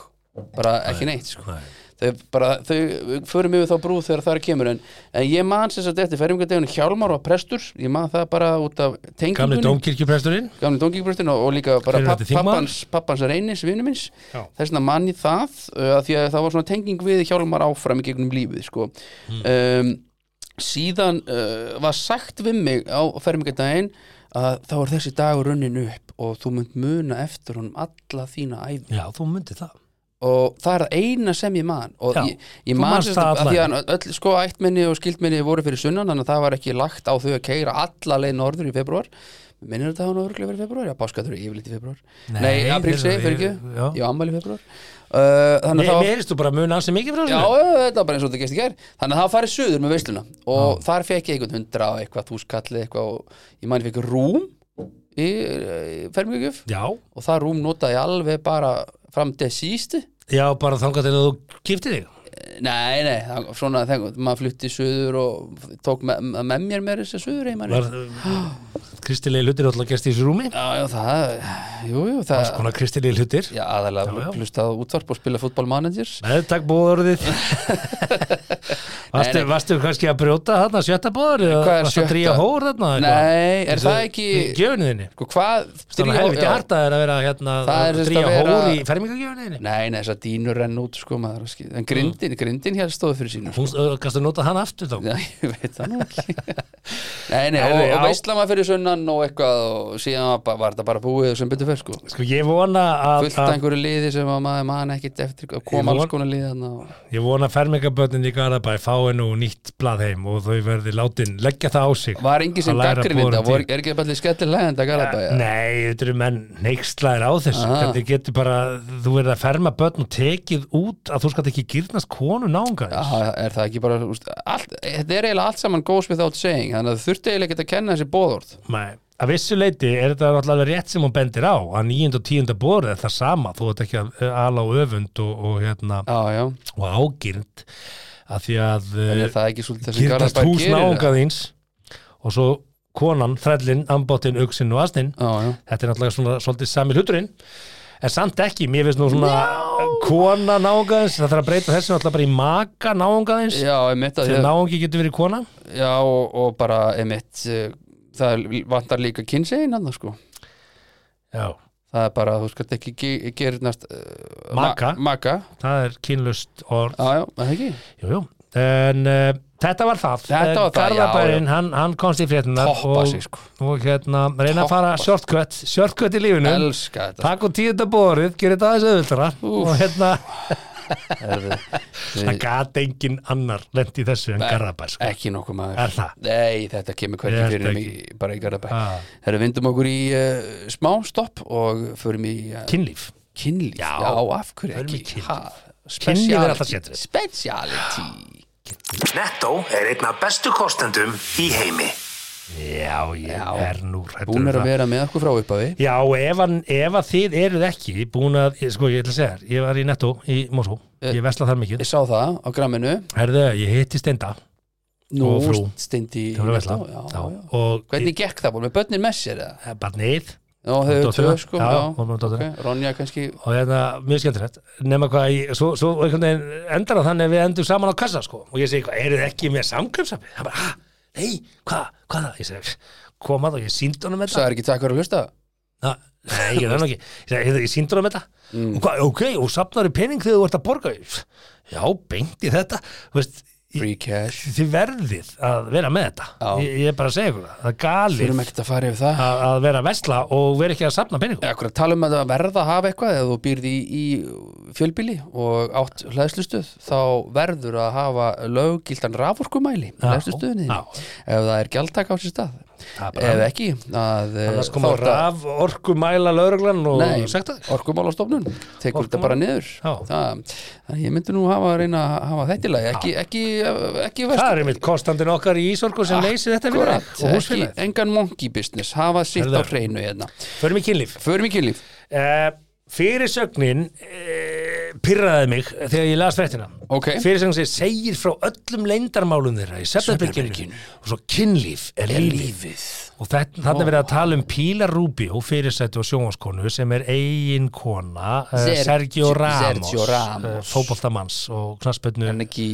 Speaker 3: Bara ekki neitt sko.
Speaker 4: Nei.
Speaker 3: Þau bara, þau förum yfir þá brúð þegar það kemur en, en ég man sem sagt eftir fermingardegun Hjálmar var prestur, ég man það bara út af
Speaker 4: Gamli
Speaker 3: tengingunni
Speaker 4: dómkirkjupresturinn?
Speaker 3: gamli dóngíkbröstin og, og líka bara
Speaker 4: Fyrir
Speaker 3: papp,
Speaker 4: þetta þingmaður?
Speaker 3: pappans, pappans reynis vinnu minns,
Speaker 4: Já.
Speaker 3: þess vegna manni það uh, að því að það var svona tenging við hjálmar áfram í gegnum lífið sko.
Speaker 4: Hmm.
Speaker 3: um, síðan uh, var sagt við mig á fermingardaginn að þá er þessi dagur runnin upp og þú munt muna eftir honum alla þína æfi
Speaker 4: Já, þú myndir það.
Speaker 3: og það er það eina sem ég man og
Speaker 4: Já,
Speaker 3: ég, ég
Speaker 4: þú
Speaker 3: man
Speaker 4: manst
Speaker 3: sem
Speaker 4: það
Speaker 3: þetta að því
Speaker 4: alla.
Speaker 3: að öll sko ættminni og skildminni voru fyrir sunnan þannig að það var ekki lagt á þau að keira alla leið norður í februar minnir þetta að hún örgulega verið í februar? Já, páskatur er yfirleitt í februar
Speaker 4: Nei,
Speaker 3: Nei, apríl
Speaker 4: þeir
Speaker 3: segi,
Speaker 4: eru-
Speaker 3: fyrir ekki,
Speaker 4: já.
Speaker 3: ég á ammæli í februar uh,
Speaker 4: Nei,
Speaker 3: Þannig að það
Speaker 4: mér erist þú bara að muna ansið mikið frá
Speaker 3: Já,
Speaker 4: þessu?
Speaker 3: já, þetta var bara eins og þetta gæst í gær Þannig að það farið suður með veisluna og þar fekk ég einhvern hundra og eitthvað þúskalli eitthvað og ég mani fekk rúm í, eh, í fermingjöf
Speaker 4: Já,
Speaker 3: og það rúm notaði ég alveg bara fram til sísti
Speaker 4: já, bara þangað til að þú giftir þig.
Speaker 3: Nei, nei, það, svona þegar maður flutti suður og tók með, með mér með þessi suður einmann
Speaker 4: var
Speaker 3: Já,
Speaker 4: kristilegi hlutir alltaf gerst í þessu rúmi
Speaker 3: já, það, jú, jú, það
Speaker 4: konar kristilegi hlutir
Speaker 3: Já, aðalega,
Speaker 4: já.
Speaker 3: hlustað á útvarp og spila fútbol managers
Speaker 4: með takk bóðorðið
Speaker 3: Nei,
Speaker 4: varstu,
Speaker 3: nei.
Speaker 4: varstu kannski að brjóta þarna sjötta bóður eða
Speaker 3: Hvað er
Speaker 4: varstu
Speaker 3: sjötta?
Speaker 4: að dríja hór þarna
Speaker 3: Nei, er það ekki-
Speaker 4: gjöfniðinni
Speaker 3: Sko, hvað
Speaker 4: þannig
Speaker 3: drífa-
Speaker 4: helviti
Speaker 3: já.
Speaker 4: harta er að vera hérna
Speaker 3: Það
Speaker 4: að
Speaker 3: er sem sagt
Speaker 4: dríja
Speaker 3: að vera-
Speaker 4: hór í fermingagjöfniðinni
Speaker 3: Nei, nei, þess að dínur renn út, sko, maður er að skil- En grindin, grindin hér stóðu fyrir sínum sko.
Speaker 4: hún ö, kannstu nota hann aftur þá
Speaker 3: Já, ég veit það nú ekki Nei, nei, og,
Speaker 4: Herðu,
Speaker 3: og
Speaker 4: já.
Speaker 3: veisla maður fyrir sunnan og eitthvað og síðan var, bara- var þetta bara búið og sem betur fyrr, sko
Speaker 4: sko ég vona að,
Speaker 3: Fullt að
Speaker 4: að
Speaker 3: einhverju liði sem að maður man ekkit eftir að
Speaker 4: Ég
Speaker 3: koma
Speaker 4: von-
Speaker 3: alls konar liði þarna og
Speaker 4: ég vona að fermingabötnin í Garabæ fái nú nýtt blað heim og þau verði látin leggja það á sig
Speaker 3: Var engin sem
Speaker 4: að læra að
Speaker 3: gaggrinni
Speaker 4: bora
Speaker 3: þetta?
Speaker 4: til.
Speaker 3: Voru- Er ekki bara allir skellir lægandi að Garabæja?
Speaker 4: Nei, þetta eru menn neykslaðir á þessu
Speaker 3: Aha.
Speaker 4: Þetta getur bara, þú verður að ferma börn og tekið út að þú skalt ekki gyrnast konu nánga
Speaker 3: er það ekki bara úst, allt, Þetta er eiginlega allt saman goes without saying þannig að þú þurfti eiginlega ekki að kenna þessi bóðorð
Speaker 4: Nei, að vissu leiti er þetta náttúrulega alveg rétt sem hún bendir á að nýjund og tíund borð er það sama þú ert ekki að ala á öfund og, og, hérna,
Speaker 3: Já, já,
Speaker 4: og ágyrnd að því að
Speaker 3: en er
Speaker 4: eh,
Speaker 3: það ekki svolítið það sem
Speaker 4: gyrnast
Speaker 3: Garabæja
Speaker 4: hús
Speaker 3: gerir
Speaker 4: nánga þíns og svo konan, þrællin, ambáttin, uksinn og asnin
Speaker 3: Já, já,
Speaker 4: þetta er náttúrulega svona svolítið sami hluturinn en samt ekki, mér finnst nú svona kona náungaðins, það þarf að breyta þessu náttúrulega bara í maka náungaðins
Speaker 3: já, emitt
Speaker 4: þegar náungi getur verið kona
Speaker 3: Já, og, og bara emitt það er- vantar líka kynsegin annars sko
Speaker 4: já,
Speaker 3: Það er bara, þú skalt ekki ge- gerðnast uh,
Speaker 4: Maka.
Speaker 3: ma Maka,
Speaker 4: það er kynlust orð,
Speaker 3: já, já, er það ekki
Speaker 4: jú, jú en uh, þetta var það,
Speaker 3: Þetta var það, já,
Speaker 4: Garðabærin, hann, hann komst í fréttina
Speaker 3: Toppa
Speaker 4: og,
Speaker 3: sig, sko.
Speaker 4: og hérna, reyna að fara
Speaker 3: Toppa sig.
Speaker 4: shortcut, shortcut í lífinu
Speaker 3: Elska þetta
Speaker 4: takk og tíunda borið, gerir þetta aðeins auðvöldra og hérna,
Speaker 3: Herðu,
Speaker 4: það gat engin annar lent í þessu en Garðabær sko.
Speaker 3: Ekki nokkuð maður
Speaker 4: er það
Speaker 3: Nei, þetta kemur
Speaker 4: Ég held
Speaker 3: hvernig
Speaker 4: Ah.
Speaker 3: fyrir um í, bara í Garðabæ Þegar við vindum okkur í uh, smá stopp og förum í uh,
Speaker 4: kynlíf
Speaker 3: kynlíf
Speaker 4: Já.
Speaker 3: Já, af hverju
Speaker 4: Förum í
Speaker 3: ekki
Speaker 4: kynlíf.
Speaker 3: Ha,
Speaker 4: Kynlíf er alltaf
Speaker 3: speciality.
Speaker 4: setrið.
Speaker 3: Speciality
Speaker 1: Netto er einn af bestu kostendum í heimi.
Speaker 4: Já, ég
Speaker 3: Já.
Speaker 4: er nú hræddur um
Speaker 3: Búin er
Speaker 4: það.
Speaker 3: að vera með okkur frá uppafi
Speaker 4: Já, ef, hann, ef að þið eruð ekki búin að, ég- sko ég ætla að segja þér ég var í
Speaker 3: Eh.
Speaker 4: Netto í Mosó, ég vesla þar mikið
Speaker 3: Ég sá það á gramminu
Speaker 4: Herðu, ég hitti Steinda
Speaker 3: Nú,
Speaker 4: Og frú.
Speaker 3: steindi
Speaker 4: Þau voru að veitla.
Speaker 3: já, já,
Speaker 4: Já.
Speaker 3: já.
Speaker 4: Og
Speaker 3: Hvernig gekk það búin með börnin með sér eða?
Speaker 4: eh, barnið
Speaker 3: Já, þau eru tvö
Speaker 4: Dótturina.
Speaker 3: sko
Speaker 4: Já, og með dótturina.
Speaker 3: ok. Ronja kannski
Speaker 4: og hérna, mjög skemmtilegt nema hvað, ég, svo, svo einhvern veginn endar það þannig að við endum saman á kassa sko og ég segi, hvað, eru þið ekki með samkjömsafið? hann bara, hæ, nei, hvað, hvað það? ég segi, komað og ég síndi honum þetta
Speaker 3: Það er ekki takk fyrir að hlusta
Speaker 4: Na, nei, ég reyna ekki ég, segi, heyrðu, ég síndi honum þetta
Speaker 3: Mm.
Speaker 4: og hvað, ok, og safnar í pening þegar þú ert að borga já, beint í þetta Þú veist, ég-
Speaker 3: Free cash
Speaker 4: þið verðið að vera með þetta
Speaker 3: Já.
Speaker 4: ég, ég er bara að segja ykkur það, það er galið
Speaker 3: Þurfum ekkert að fara yfir það
Speaker 4: að, að vera að vesla og vera ekki að safna peningum
Speaker 3: Akkur að tala um að það verða að hafa eitthvað eða þú býrð í, í fjölbíli og átt hlæðslustuð þá verður að hafa löggildan raforkumæli í
Speaker 4: Já,
Speaker 3: hlæðslustuðinni
Speaker 4: já.
Speaker 3: ef það er gjaldtak á sér stað
Speaker 4: Það er bara-
Speaker 3: ef ekki að, eh,
Speaker 4: annars
Speaker 3: þá
Speaker 4: koma
Speaker 3: er það-
Speaker 4: raf orkumæla lögreglan og
Speaker 3: Nei,
Speaker 4: sekta þig
Speaker 3: orkumálastofnun tekur þetta bara niður
Speaker 4: Já.
Speaker 3: Það- þannig ég myndi nú hafa að reyna að hafa þetta í lagi ekki, ekki, ekki verst
Speaker 4: Það er einmitt kostandin okkar í Ísorku sem leysir þetta við
Speaker 3: Ah, Akkurat,
Speaker 4: og húsfélagið.
Speaker 3: ekki, engan monkey business hafa sitt
Speaker 4: Herðu.
Speaker 3: á hreinu hérna
Speaker 4: Förum í kynlíf.
Speaker 3: förum í kynlíf
Speaker 4: Uh, fyrirsögnin uh, pyrraði mig þegar ég las fréttina.
Speaker 3: Ok.
Speaker 4: Fyrirsögnin sem segir frá öllum leyndarmálum þeirra í Söfnabyrginu og svo kynlíf er lífið. Og þetta, þarna er verið að tala um Píla Rubio, fyrirsættu og sjónvaskonu sem er eigin kona uh,
Speaker 3: Sergio-
Speaker 4: Sergio Ramos,
Speaker 3: Sergio Ramos.
Speaker 4: eh, fótboltamanns og knarsbyrnu
Speaker 3: hann ekki,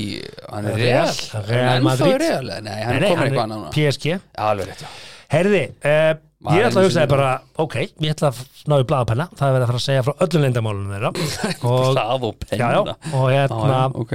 Speaker 3: hann er
Speaker 4: Real,
Speaker 3: real
Speaker 4: Real
Speaker 3: hann er
Speaker 4: Madrid.
Speaker 3: ennþá real, nei, hann er komin eitthvað annað núna.
Speaker 4: PSG.
Speaker 3: alveg rétt, já
Speaker 4: Herði, uh,
Speaker 3: Var
Speaker 4: ég ætla að
Speaker 3: einu
Speaker 4: hugsaði
Speaker 3: sinni-
Speaker 4: bara, ok, ég ætla að ná í blaðapenna, það er verið að fara að segja frá öllum leyndamálunum þeirra og,
Speaker 3: Blað og
Speaker 4: já,
Speaker 3: penna
Speaker 4: já, og hérna,
Speaker 3: ok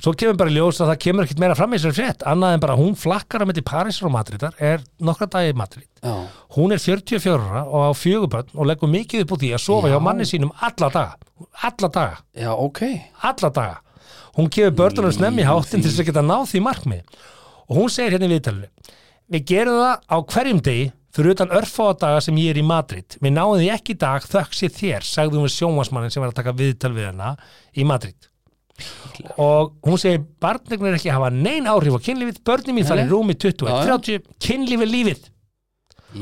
Speaker 4: svo kemur bara í ljós að það kemur ekkert meira fram í þessum frétt, annað en bara hún flakkar á milli Parísar og Madridar, er nokkra dagi í Madrid,
Speaker 3: já,
Speaker 4: hún er 44 ára og á fjögubönn og leggur mikið upp úr því að sofa
Speaker 3: Já.
Speaker 4: hjá manni sínum alla daga, alla daga,
Speaker 3: já, ok
Speaker 4: alla daga hún gefur börnunum snemmi háttin til þess að geta náð því markmið og hún segir hérna í viðtalinu við gerum það á hverjum degi fyrir utan örfáa daga sem ég er í Madrid við náðum því ekki í dag þökk sér þér sagði hún við sjónvarsmannin sem var að taka viðtal við hana í Madrid og hún segir barnegnir ekki hafa nein áhrif á kynlífið börnum mín þar í
Speaker 3: Nei.
Speaker 4: rúmi
Speaker 3: Já, já.
Speaker 4: 21-30 kynlífið lífið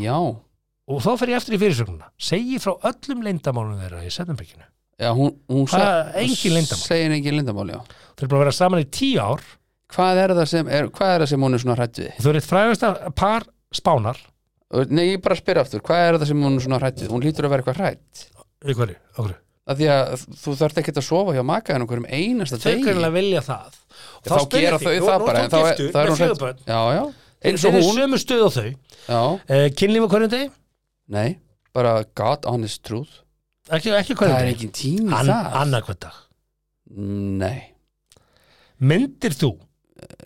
Speaker 3: já,
Speaker 4: og þá fer ég eftir í fyrirsögnuna segi frá öllum leyndamálunum þeirra í Sennanbygginu
Speaker 3: já hún, hún
Speaker 4: Það
Speaker 3: sa-
Speaker 4: er engin leyndarmál.
Speaker 3: segir engin lindamál, já
Speaker 4: þeir eru bara að vera saman í 10 ár
Speaker 3: hvað er það sem, er, hvað er það sem hún er svona hrætt við
Speaker 4: og þau eru eitt frægasta par spánar
Speaker 3: Og- nei, ég bara spyr aftur, hvað er það sem hún er svona hrætt við hún lítur að vera eitthvað hrætt
Speaker 4: Við hverju? Okkur.
Speaker 3: að því að þú þarft ekkert að sofa hjá makaðinu hverjum einasta
Speaker 4: Þau
Speaker 3: degi
Speaker 4: kannilega vilja það. Og
Speaker 3: þá gera þau það bara en þá er- þá er hún
Speaker 4: hrætt.
Speaker 3: hrædd- já, já, eins
Speaker 4: Þeir
Speaker 3: og
Speaker 4: eru
Speaker 3: hún
Speaker 4: sömu stöð á þau.
Speaker 3: já,
Speaker 4: Uh, kynlífa hverjum degi?
Speaker 3: nei, bara God honest truth
Speaker 4: Ekki, ekki
Speaker 3: það
Speaker 4: hverjum
Speaker 3: er
Speaker 4: degi.
Speaker 3: engin tími í
Speaker 4: An,
Speaker 3: það
Speaker 4: Annarkvæmt dag.
Speaker 3: nei,
Speaker 4: Myndir þú,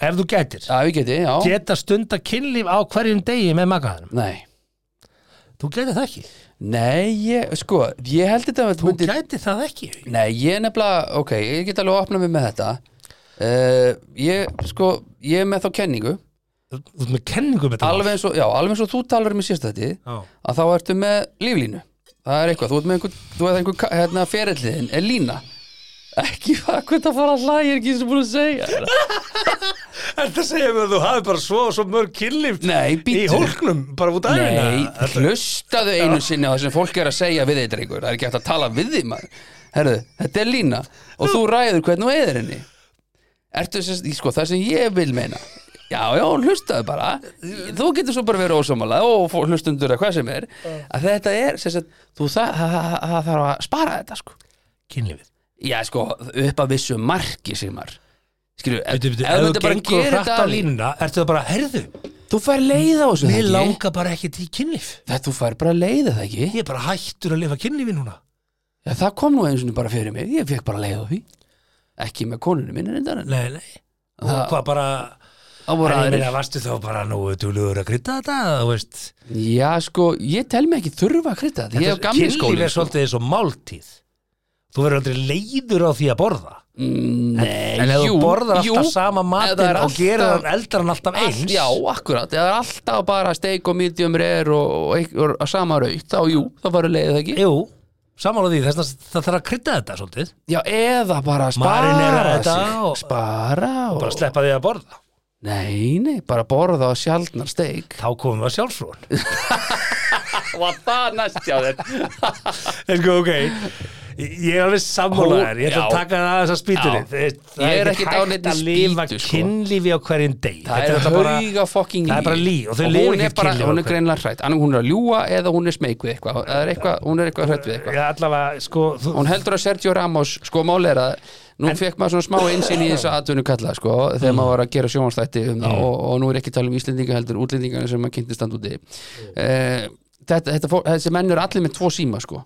Speaker 4: ef þú getur,
Speaker 3: já, við geti, já
Speaker 4: geta stunda kynlíf á hverjum degi með makaðinum?
Speaker 3: nei,
Speaker 4: Þú getur það ekki.
Speaker 3: nei, ég, sko ég held þetta að
Speaker 4: Þú
Speaker 3: myndi,
Speaker 4: getur það ekki.
Speaker 3: nei, ég nefnilega ok, ég get alveg að opna mig með þetta uh, ég, sko ég er með þá kenningu,
Speaker 4: Þú þú ert með kenningum þetta.
Speaker 3: alveg eins og já, alveg eins og þú talar um í sérstætti að þá ertu með líflínu það er eitthvað, þú ert með einhver, þú ert einhver ka- hérna, ferillin, er lína ekki hvað, hvað það fara að hlæja, ég er ekki sem búin að segja það.
Speaker 4: Þetta segja mér að þú hafi bara svo, svo mörg kynlíf
Speaker 3: Nei, bíddu.
Speaker 4: hólknum, bara út af
Speaker 3: nei, hlustaðu einu sinni á það sem fólk er að segja við þetta einhver, það er ekki hægt að tala við því maður herðu, þetta er lína og þú ræður hvernig þú eðir henni ertu, sem, sko, það sem ég vil meina já, já, hlustaðu bara þú getur svo bara verið ósámála og fó- hlustundur að hvað sem er að þetta er, sem sagt, þú það, það, það, það þarf að spara þetta sko
Speaker 4: Kynlífið.
Speaker 3: Já, sko, upp að vissu marki Sigmar Skilju, ef
Speaker 4: Bíddu, bíddu,
Speaker 3: ef þú
Speaker 4: Ef þú
Speaker 3: myndir bara
Speaker 4: gengur
Speaker 3: gera
Speaker 4: hratt á
Speaker 3: þetta
Speaker 4: línuna, ertu það bara, herðu,
Speaker 3: Þú fær leið á þessu
Speaker 4: Mér
Speaker 3: það ekki
Speaker 4: langar bara ekkert í kynlíf
Speaker 3: Það þú fær bara leið það ekki
Speaker 4: Ég er bara hættur að lifa kynlífi núna
Speaker 3: Já, það kom nú eins og bara fyrir mig Ég fekk bara leið á því Ekki með konunni minni reyndar en
Speaker 4: Nei, nei Og hvað bara
Speaker 3: Það
Speaker 4: En
Speaker 3: voru
Speaker 4: ég
Speaker 3: aðrir
Speaker 4: meina, varstu þá bara nú duglegur að krydda þetta Þú veist
Speaker 3: Já, sko, ég tel mig ekki þurfa að krytta þetta Ég hef gamli skóli
Speaker 4: Kynlíf er sko. svolítið eins og máltíð Þú verður aldrei leiður á því að borða
Speaker 3: Mm, Nei,
Speaker 4: En ef
Speaker 3: jú,
Speaker 4: þú borðar alltaf
Speaker 3: jú,
Speaker 4: sama
Speaker 3: ef það er
Speaker 4: matinn og gerir
Speaker 3: alltaf-
Speaker 4: hann eldar hann alltaf eins
Speaker 3: Já, akkurat, Ef það er alltaf bara steik og medium rare og, og, eik- og, og sama raut þá jú, það var leið það ekki
Speaker 4: Jú, samála því þess að það þarf að krydda þetta svolítið
Speaker 3: Já, eða bara
Speaker 4: Marinera
Speaker 3: spara
Speaker 4: þetta
Speaker 3: sig
Speaker 4: og-
Speaker 3: Spara og
Speaker 4: Bara sleppa því að borða
Speaker 3: Nei, nei, bara borða á sjaldnar steik
Speaker 4: Þá komum við að sjálfsfrón
Speaker 3: Var það næst hjá þér?
Speaker 4: En sko, ok Ég er alveg sammála
Speaker 3: Hú-
Speaker 4: þér, ég ætla að
Speaker 3: já.
Speaker 4: taka það aðeins að spýtunni
Speaker 3: Já.
Speaker 4: Það
Speaker 3: Ég er
Speaker 4: ekkert
Speaker 3: ekkert á
Speaker 4: hægt
Speaker 3: neinni
Speaker 4: að lifa
Speaker 3: spýtu, sko.
Speaker 4: kynlífi á hverjum deg
Speaker 3: Það er hauga fokking
Speaker 4: Það er bara lí og þau
Speaker 3: og
Speaker 4: lifa
Speaker 3: hún er
Speaker 4: ekkert
Speaker 3: bara,
Speaker 4: kynlífi
Speaker 3: hún er
Speaker 4: á hverju.
Speaker 3: greinlega hrætt annum hún er að ljúa eða hún er smeyk við eitthvað Það er eitthvað, hún er eitthvað hrætt við eitthvað
Speaker 4: Já, allavega, sko þú,
Speaker 3: hún heldur að Sergio Ramos sko máli er að nú fekk maður svona smá einsinn í þess að atvinnu kalla sko
Speaker 4: Mm.
Speaker 3: þegar maður var að gera sjónvastætti um það og, og nú er ekki að tala um Íslendinga heldur útlendingar sem maður kynnti stand úti uh, þetta, þetta, fó- þessi menn eru allir með tvo síma sko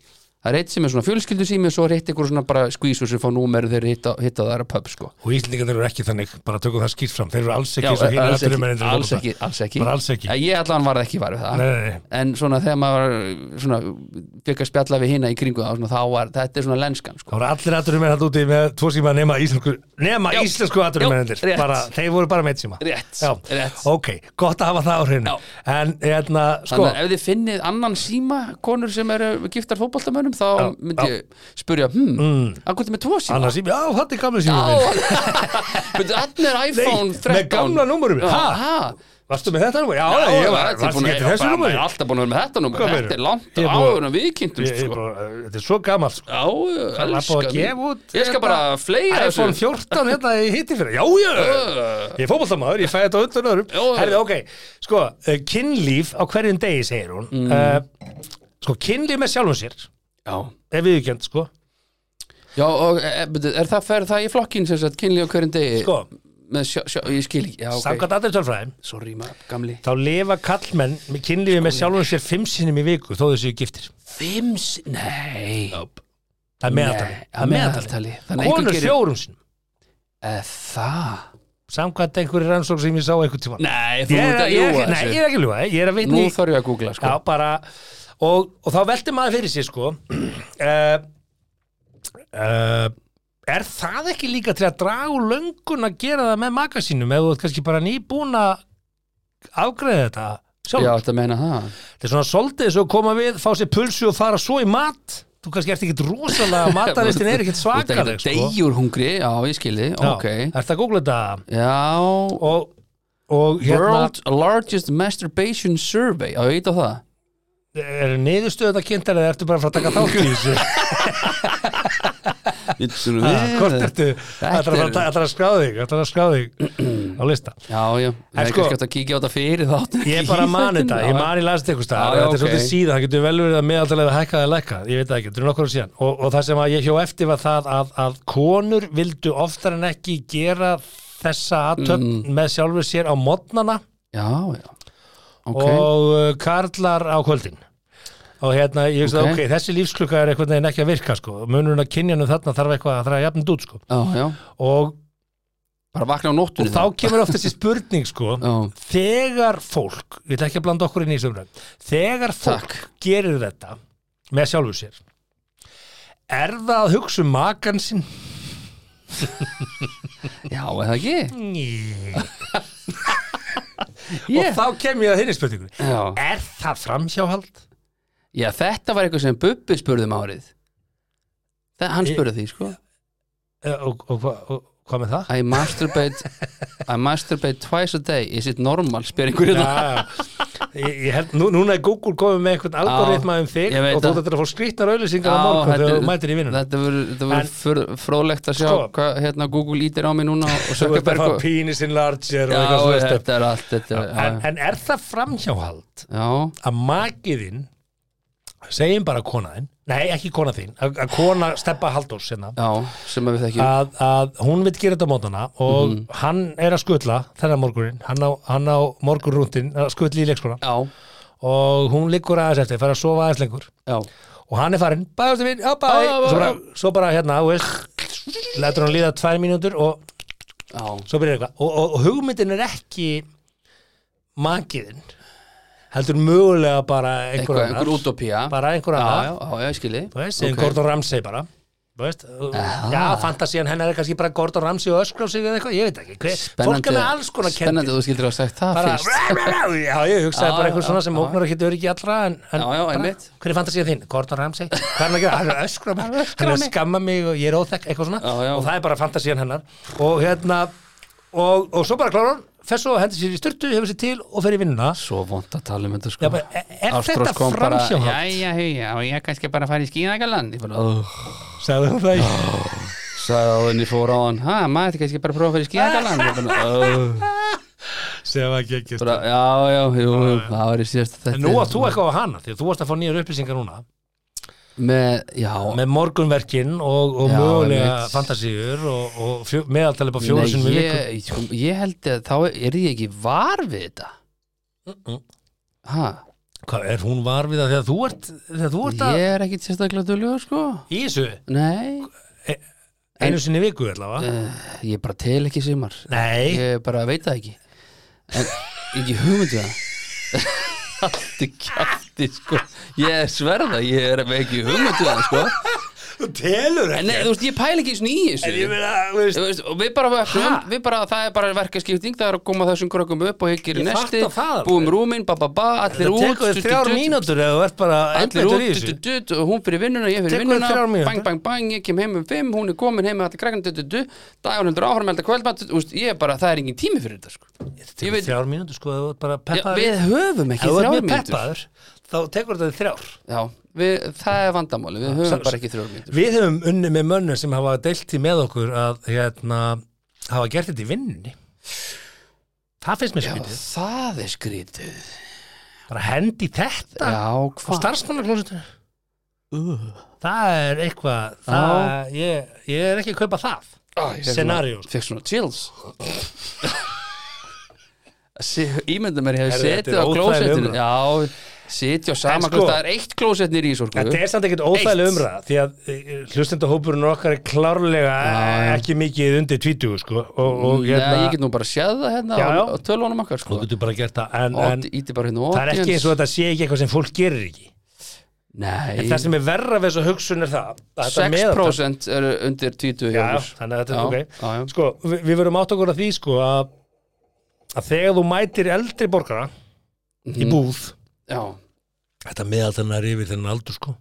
Speaker 3: það er eitt sem er svona fjölskyldu sími og svo er eitt einhver svona bara skvísur sem fá númer og þeir hitta, hitta það að pub sko
Speaker 4: Og Íslendingar eru ekki þannig, bara tökum það skýrt fram Þeir eru alls ekki
Speaker 3: Já,
Speaker 4: eins og hinir
Speaker 3: alls ekki,
Speaker 4: atvinnumennirnir í
Speaker 3: alls
Speaker 4: fótbolta.
Speaker 3: ekki, alls ekki.
Speaker 4: Bara alls ekki.
Speaker 3: Ja, Ég allan var ekki varfið það
Speaker 4: Nei, nei, nei.
Speaker 3: En svona þegar maður var svona, fekk að spjalla við hina í kringu það, svona, þá var, þetta er svona lenskan sko.
Speaker 4: Það voru allir atvinnumenn hann úti með tvo síma nema íslensku, nema
Speaker 3: Já.
Speaker 4: íslensku atvinnumennir
Speaker 3: Já, rétt.
Speaker 4: bara, þeir voru bara með einn síma
Speaker 3: Rétt,
Speaker 4: Já.
Speaker 3: rétt.
Speaker 4: ok, gott að hafa það á hreinu
Speaker 3: Já.
Speaker 4: en hérna, sko
Speaker 3: Þannig að ef þið finnið annan síma konur sem eru giftar fótboltamönnum þá myndi ég spurja hmm, mm. að hvað er með tvo síma?
Speaker 4: annars síma, já, þetta er gamla síma minn
Speaker 3: Þannig er iPhone
Speaker 4: Nei,
Speaker 3: 13
Speaker 4: með gamla númerum,
Speaker 3: Já,
Speaker 4: ha?
Speaker 3: ha?
Speaker 4: varstu með þetta númer? já,
Speaker 3: Já,
Speaker 4: ég var,
Speaker 3: þetta er
Speaker 4: varstu
Speaker 3: búin
Speaker 4: ekki
Speaker 3: að-
Speaker 4: eftir þessu
Speaker 3: bara-
Speaker 4: númer
Speaker 3: maður er alltaf búin að vera með þetta númer
Speaker 4: Hvað
Speaker 3: Þetta
Speaker 4: meinar?
Speaker 3: er langt
Speaker 4: Ég er búin-
Speaker 3: áður en við kynntum sko.
Speaker 4: þetta er svo gamalt sko.
Speaker 3: Já,
Speaker 4: Það var búið að gefa
Speaker 3: elskan
Speaker 4: út
Speaker 3: Ég skal bara
Speaker 4: hérna,
Speaker 3: fleira
Speaker 4: iPhone 14 hérna í hitti fyrir Já, já, ég er fótballtamaður, ég fæði þetta á undan
Speaker 3: Jú,
Speaker 4: öðrum
Speaker 3: jú.
Speaker 4: Herði, ok, sko, eh, kynlíf á hverjum degi segir hún
Speaker 3: Mm.
Speaker 4: Eh, Sko, kynlíf með sjálfum sér
Speaker 3: Já,
Speaker 4: er viðurkjönd, sko
Speaker 3: já og e, e, er það fer það í flokkin sem sagt kynli á hverjum degi
Speaker 4: Sko,
Speaker 3: með sjá, sjá, ég skil ekki Já, ok,
Speaker 4: samkvæmt allir tölfræðum
Speaker 3: sorry maður, gamli
Speaker 4: Þá lifa kallmenn með kynlífi
Speaker 3: Sko.
Speaker 4: með sjálfum sér fimm sinnum í viku þó þau séu giftir
Speaker 3: Fims, nei
Speaker 4: Það er meðaltali
Speaker 3: Nei, að meðaltali Þannig að
Speaker 4: Konur
Speaker 3: einhver gerir
Speaker 4: fjórum sinnum
Speaker 3: Eh, Það?
Speaker 4: Samkvæmt einhverju rannsók sem ég sá einhvern tímann
Speaker 3: Nei, þú
Speaker 4: Ég
Speaker 3: ert
Speaker 4: er
Speaker 3: að
Speaker 4: ég- nei, ég
Speaker 3: ljúga þessu
Speaker 4: er ekki að ljúga, ég er að vitni
Speaker 3: Nú
Speaker 4: í-
Speaker 3: þarf ég að googla sko
Speaker 4: Já, bara og, og þá velti maður fyrir sér sko uh, uh, Er það ekki líka til að draga úr löngun að gera það með maka sínum eða þú ert kannski bara nýbúin að afgreða þetta sjálf
Speaker 3: Já, þetta meina það
Speaker 4: Þetta er svona soldið svo koma við, fá sér pulsu og fara svo í mat Þú kannski ert ekkit rosalega mataristin er ekkit svakaleg
Speaker 3: sko
Speaker 4: sko.
Speaker 3: Degjur hungri, já, ég skilði,
Speaker 4: Já,
Speaker 3: ok
Speaker 4: Ertu að googla þetta
Speaker 3: Já
Speaker 4: og, og hérna
Speaker 3: World Largest Masturbation Survey Já, ég veit á það
Speaker 4: er niðurstöðu þetta kynntar eða ertu bara að fara að taka þátt í þessu
Speaker 3: Bittu-
Speaker 4: Ha, Hvort ertu
Speaker 3: Þetta
Speaker 4: ætlar
Speaker 3: er-
Speaker 4: að- ætlar að skráða þig ætlar að skráða þig á lista
Speaker 3: Já, já, það er
Speaker 4: sko-
Speaker 3: kannski hægt að kíkja á þetta fyrir þátt
Speaker 4: Ég er bara að mani þetta, ég mani last eitthvað staðar
Speaker 3: Já, já,
Speaker 4: Þetta er
Speaker 3: ok.
Speaker 4: svolítið síðan, það getur vel verið að meðaldalega hækka eða lækka, ég veit það ekki, þetta er nokkur ár síðan og, og það sem að ég hjó eftir var það að, að konur vildu oftar en ekki gera þessa aðtöfn
Speaker 3: Mm.
Speaker 4: með sjálfur sér á modnana
Speaker 3: Já, já Ok,
Speaker 4: og uh, karlar á kvöldin og hérna, ég veist að
Speaker 3: Ok.
Speaker 4: ok, þessi lífsklukka er einhvern veginn ekki að virka sko, munurinn að kynjanum þarna þarf eitthvað að þarf að jafnund út sko
Speaker 3: já, já
Speaker 4: og,
Speaker 3: Bara vakna á nóttunni
Speaker 4: og þá kemur oft þessi spurning sko
Speaker 3: Já,
Speaker 4: þegar fólk, ég ætla ekki að blanda okkur inn í sömrönd, þegar fólk gerir þetta með sjálfu sér er það að hugsa um makan sinn?
Speaker 3: já, eða ekki
Speaker 4: Yeah.
Speaker 3: Yeah.
Speaker 4: og þá kem ég að þinni spurningu
Speaker 3: Já.
Speaker 4: er það framhjáhald?
Speaker 3: Já, þetta var eitthvað sem Bubbi spurði um árið Það, hann spurði því, sko
Speaker 4: Eh, og, og, og, og hvað með það?
Speaker 3: I masturbate I masturbate twice a day Is it normal, spyr hérna. einhverju það
Speaker 4: Já, ég, ég held, nú, núna er Google komið með einhvern algoritma um þig
Speaker 3: ég veit
Speaker 4: og þú
Speaker 3: það.
Speaker 4: þetta er að fá skrýtnar auðlýsingar á morgun þegar þú mætir í vinnun
Speaker 3: Þetta
Speaker 4: En-
Speaker 3: verður fróðlegt að sjá
Speaker 4: Sko.
Speaker 3: hvað hérna Google ítir á mig núna og
Speaker 4: þú ert að
Speaker 3: Sökkaberg
Speaker 4: fá
Speaker 3: og...
Speaker 4: penis enlarger og
Speaker 3: Já,
Speaker 4: eitthvað svona stöf
Speaker 3: þetta er allt þetta,
Speaker 4: en,
Speaker 3: já,
Speaker 4: en er það framhjáhald
Speaker 3: já,
Speaker 4: að makiðinn segjum bara kona þinn nei ekki kona þín, að að kona steppa Halldórs hérna,
Speaker 3: já, Mhm. sem að við þekkjum
Speaker 4: að, að hún vil gera þetta á mótana og hann er að skutla þennan morgunin, hann á, hann á morgunrúndin að skutla í leikskona
Speaker 3: Já,
Speaker 4: og hún liggur aðeins eftir, fær að sofa aðeins lengur
Speaker 3: já,
Speaker 4: og hann er farinn, bæðastu minn, já bæ
Speaker 3: Já,
Speaker 4: svo bara,
Speaker 3: bæ.
Speaker 4: svo bara hérna, þú veist letur hann líða tvær mínútur og
Speaker 3: já
Speaker 4: svo byrjar eitthvað og, og, og hugmyndin er ekki makiðinn heldur mögulega bara einhver
Speaker 3: Eitthvað,
Speaker 4: annar.
Speaker 3: einhver utopía
Speaker 4: bara einhver
Speaker 3: Já,
Speaker 4: annar
Speaker 3: já, já, já, ég skilji
Speaker 4: þú veist, okay. Gordon Ramsay bara Þú veist, já, fantasían hennar er kannski bara Gordon Ramsay og öskra á sig eða eitthvað, ég veit ekki hver, fólk er með alls konar
Speaker 3: Spennandi,
Speaker 4: kendir
Speaker 3: þú skildir að hafa sagt það
Speaker 4: bara,
Speaker 3: fyrst
Speaker 4: já, ég hugsaði
Speaker 3: Já,
Speaker 4: bara
Speaker 3: já,
Speaker 4: eitthvað svona sem
Speaker 3: já.
Speaker 4: ógnar ekki öryggi allra en, en
Speaker 3: Já, já,
Speaker 4: bara,
Speaker 3: einmitt.
Speaker 4: hver er fantasían þín? Gordon Ramsay, hvað er hann að gera? hann er að öskra á mig,
Speaker 3: öskra
Speaker 4: hann er
Speaker 3: á
Speaker 4: að
Speaker 3: mig.
Speaker 4: skamma mig og ég er óþekk, eitthvað svona
Speaker 3: Já, já.
Speaker 4: og það er bara fantasían hennar og hérna, og, og svo bara klárar hann, fer svo og hendur sér í styrtu, hefur sér til og fer í vinnuna
Speaker 3: Svo vond að tala um þetta sko
Speaker 4: Já, bara, e, er- er
Speaker 3: Ástrós
Speaker 4: þetta
Speaker 3: kom bara,
Speaker 4: framsjáhald?
Speaker 3: Jæja, hei, já, ég kannski bara að fara í skíðagaland Ég bara, oh,
Speaker 4: sagði hún það ekki
Speaker 3: sagði á henni fór á hann ha, maður þetta kannski bara að prófa að fyrir skíðagalan
Speaker 4: sem var ekki ekki
Speaker 3: bara, já, já, jú, jú, það var í síðast þetta
Speaker 4: en nú að þú eitthvað á hana því að þú varst að fá nýjar upplýsingar núna
Speaker 3: með, já,
Speaker 4: með morgunverkin og, og
Speaker 3: Já,
Speaker 4: mögulega
Speaker 3: einmitt.
Speaker 4: fantasíur og, og fjö, meðaltalið bara fjóru
Speaker 3: nei,
Speaker 4: sinni við viku
Speaker 3: ég, sko, ég held að þá er ég ekki var við þetta ha,
Speaker 4: hvað er hún var við það þegar þú ert þegar þú ert að
Speaker 3: ég er ekkit sérstaklega döljóð sko,
Speaker 4: í þessu
Speaker 3: nei
Speaker 4: einu sinni í viku allavega
Speaker 3: ég er bara til ekki sumar
Speaker 4: nei,
Speaker 3: Eh, ég bara veit það ekki en ekki hugmyndu það Haldi kjátti sko Ég sverða, ég er með ekki hugmyndu það sko
Speaker 4: þú telur
Speaker 3: En nei,
Speaker 4: ekki
Speaker 3: þú veist, ég pæla ekki svona í þessu
Speaker 4: en ég meina, þú veist
Speaker 3: Þú veist, og við bara vöknum,
Speaker 4: Ha?
Speaker 3: við bara, það er bara verkaskipting það er að koma þessum krökkum upp og higgir í
Speaker 4: Ég
Speaker 3: nesti
Speaker 4: fatta það alveg.
Speaker 3: búum rúmin, ba ba ba, allir
Speaker 4: það
Speaker 3: út
Speaker 4: tekur
Speaker 3: dutt,
Speaker 4: þér þrjár
Speaker 3: dutt, dutt,
Speaker 4: mínútur eða þú ert bara
Speaker 3: allir
Speaker 4: endleitur í
Speaker 3: út,
Speaker 4: þessu
Speaker 3: dutt, dutt, og hún fyrir vinnuna, ég fyrir
Speaker 4: Tekur
Speaker 3: vinnuna
Speaker 4: þrjár mínútur.
Speaker 3: bang, bang, bang, ég kem heim um fimm, hún er komin heim með allir krakkan, dutt, dutt, dutt, dagur hundur áhrum elda kvöldmatt, þú veist, ég er bara, það er engin tími fyrir þetta sko.
Speaker 4: Það
Speaker 3: ég
Speaker 4: tekur
Speaker 3: veit-
Speaker 4: þrjár mínútur sko, þú ert bara
Speaker 3: Já,
Speaker 4: peppaður
Speaker 3: við höfum
Speaker 4: ef
Speaker 3: ekki
Speaker 4: þú ert
Speaker 3: þrjár
Speaker 4: mjög
Speaker 3: mínútur
Speaker 4: peppaður þá tekur þetta þér þrjár
Speaker 3: já, við, það er vandamáli, við höfum
Speaker 4: Sá-
Speaker 3: bara ekki þrjár mínútur
Speaker 4: Við höfum unni með mönnum sem hafa deilt í með okkur að hérna, hafa gert þetta í vinnunni Það finnst mér skrítið
Speaker 3: það er skrítið
Speaker 4: bara hendi í þetta
Speaker 3: já,
Speaker 4: á
Speaker 3: hvað,
Speaker 4: starfsmannaklósitinu Uh. Það er eitthvað það, ég, ég er ekki að kaupa það
Speaker 3: Æ, Ah, ég
Speaker 4: Scenario.
Speaker 3: fekk svona- Fekk svona chills Sí- Ímynda mér
Speaker 4: Herðu,
Speaker 3: hefur setið
Speaker 4: þetta er
Speaker 3: á
Speaker 4: óþægileg
Speaker 3: klósettinu
Speaker 4: umræða.
Speaker 3: Já, setið
Speaker 4: En
Speaker 3: á sama
Speaker 4: sko-
Speaker 3: sko, Það er eitt klósett nýri í sorgu
Speaker 4: Þetta er samt ekkert óþægileg umræða því að eh, hlustendahópurinn okkar er klárlega ekki mikið undir tvítugu sko, og, og
Speaker 3: Nei,
Speaker 4: hérna
Speaker 3: ég get nú bara séð það hérna
Speaker 4: Já, já.
Speaker 3: á, á tölunum okkar sko
Speaker 4: þú getur bara gert það en,
Speaker 3: Og
Speaker 4: en
Speaker 3: íti bara hérna
Speaker 4: það er ekki eins og þetta sé ekki eitthvað sem fólk gerir ekki
Speaker 3: Nei,
Speaker 4: en það sem er verra við þessu hugsun er það að þetta meðaltal-
Speaker 3: 6% eru undir 20
Speaker 4: Já,
Speaker 3: hjá
Speaker 4: já,
Speaker 3: okkur.
Speaker 4: þannig að þetta
Speaker 3: Já,
Speaker 4: er
Speaker 3: já, já.
Speaker 4: ok Sko, við, við verum átt okkur að því sko að, að þegar þú mætir eldri borgara
Speaker 3: Mhm.
Speaker 4: í búð
Speaker 3: Já,
Speaker 4: Þetta meðal þannig er yfir þennan aldur sko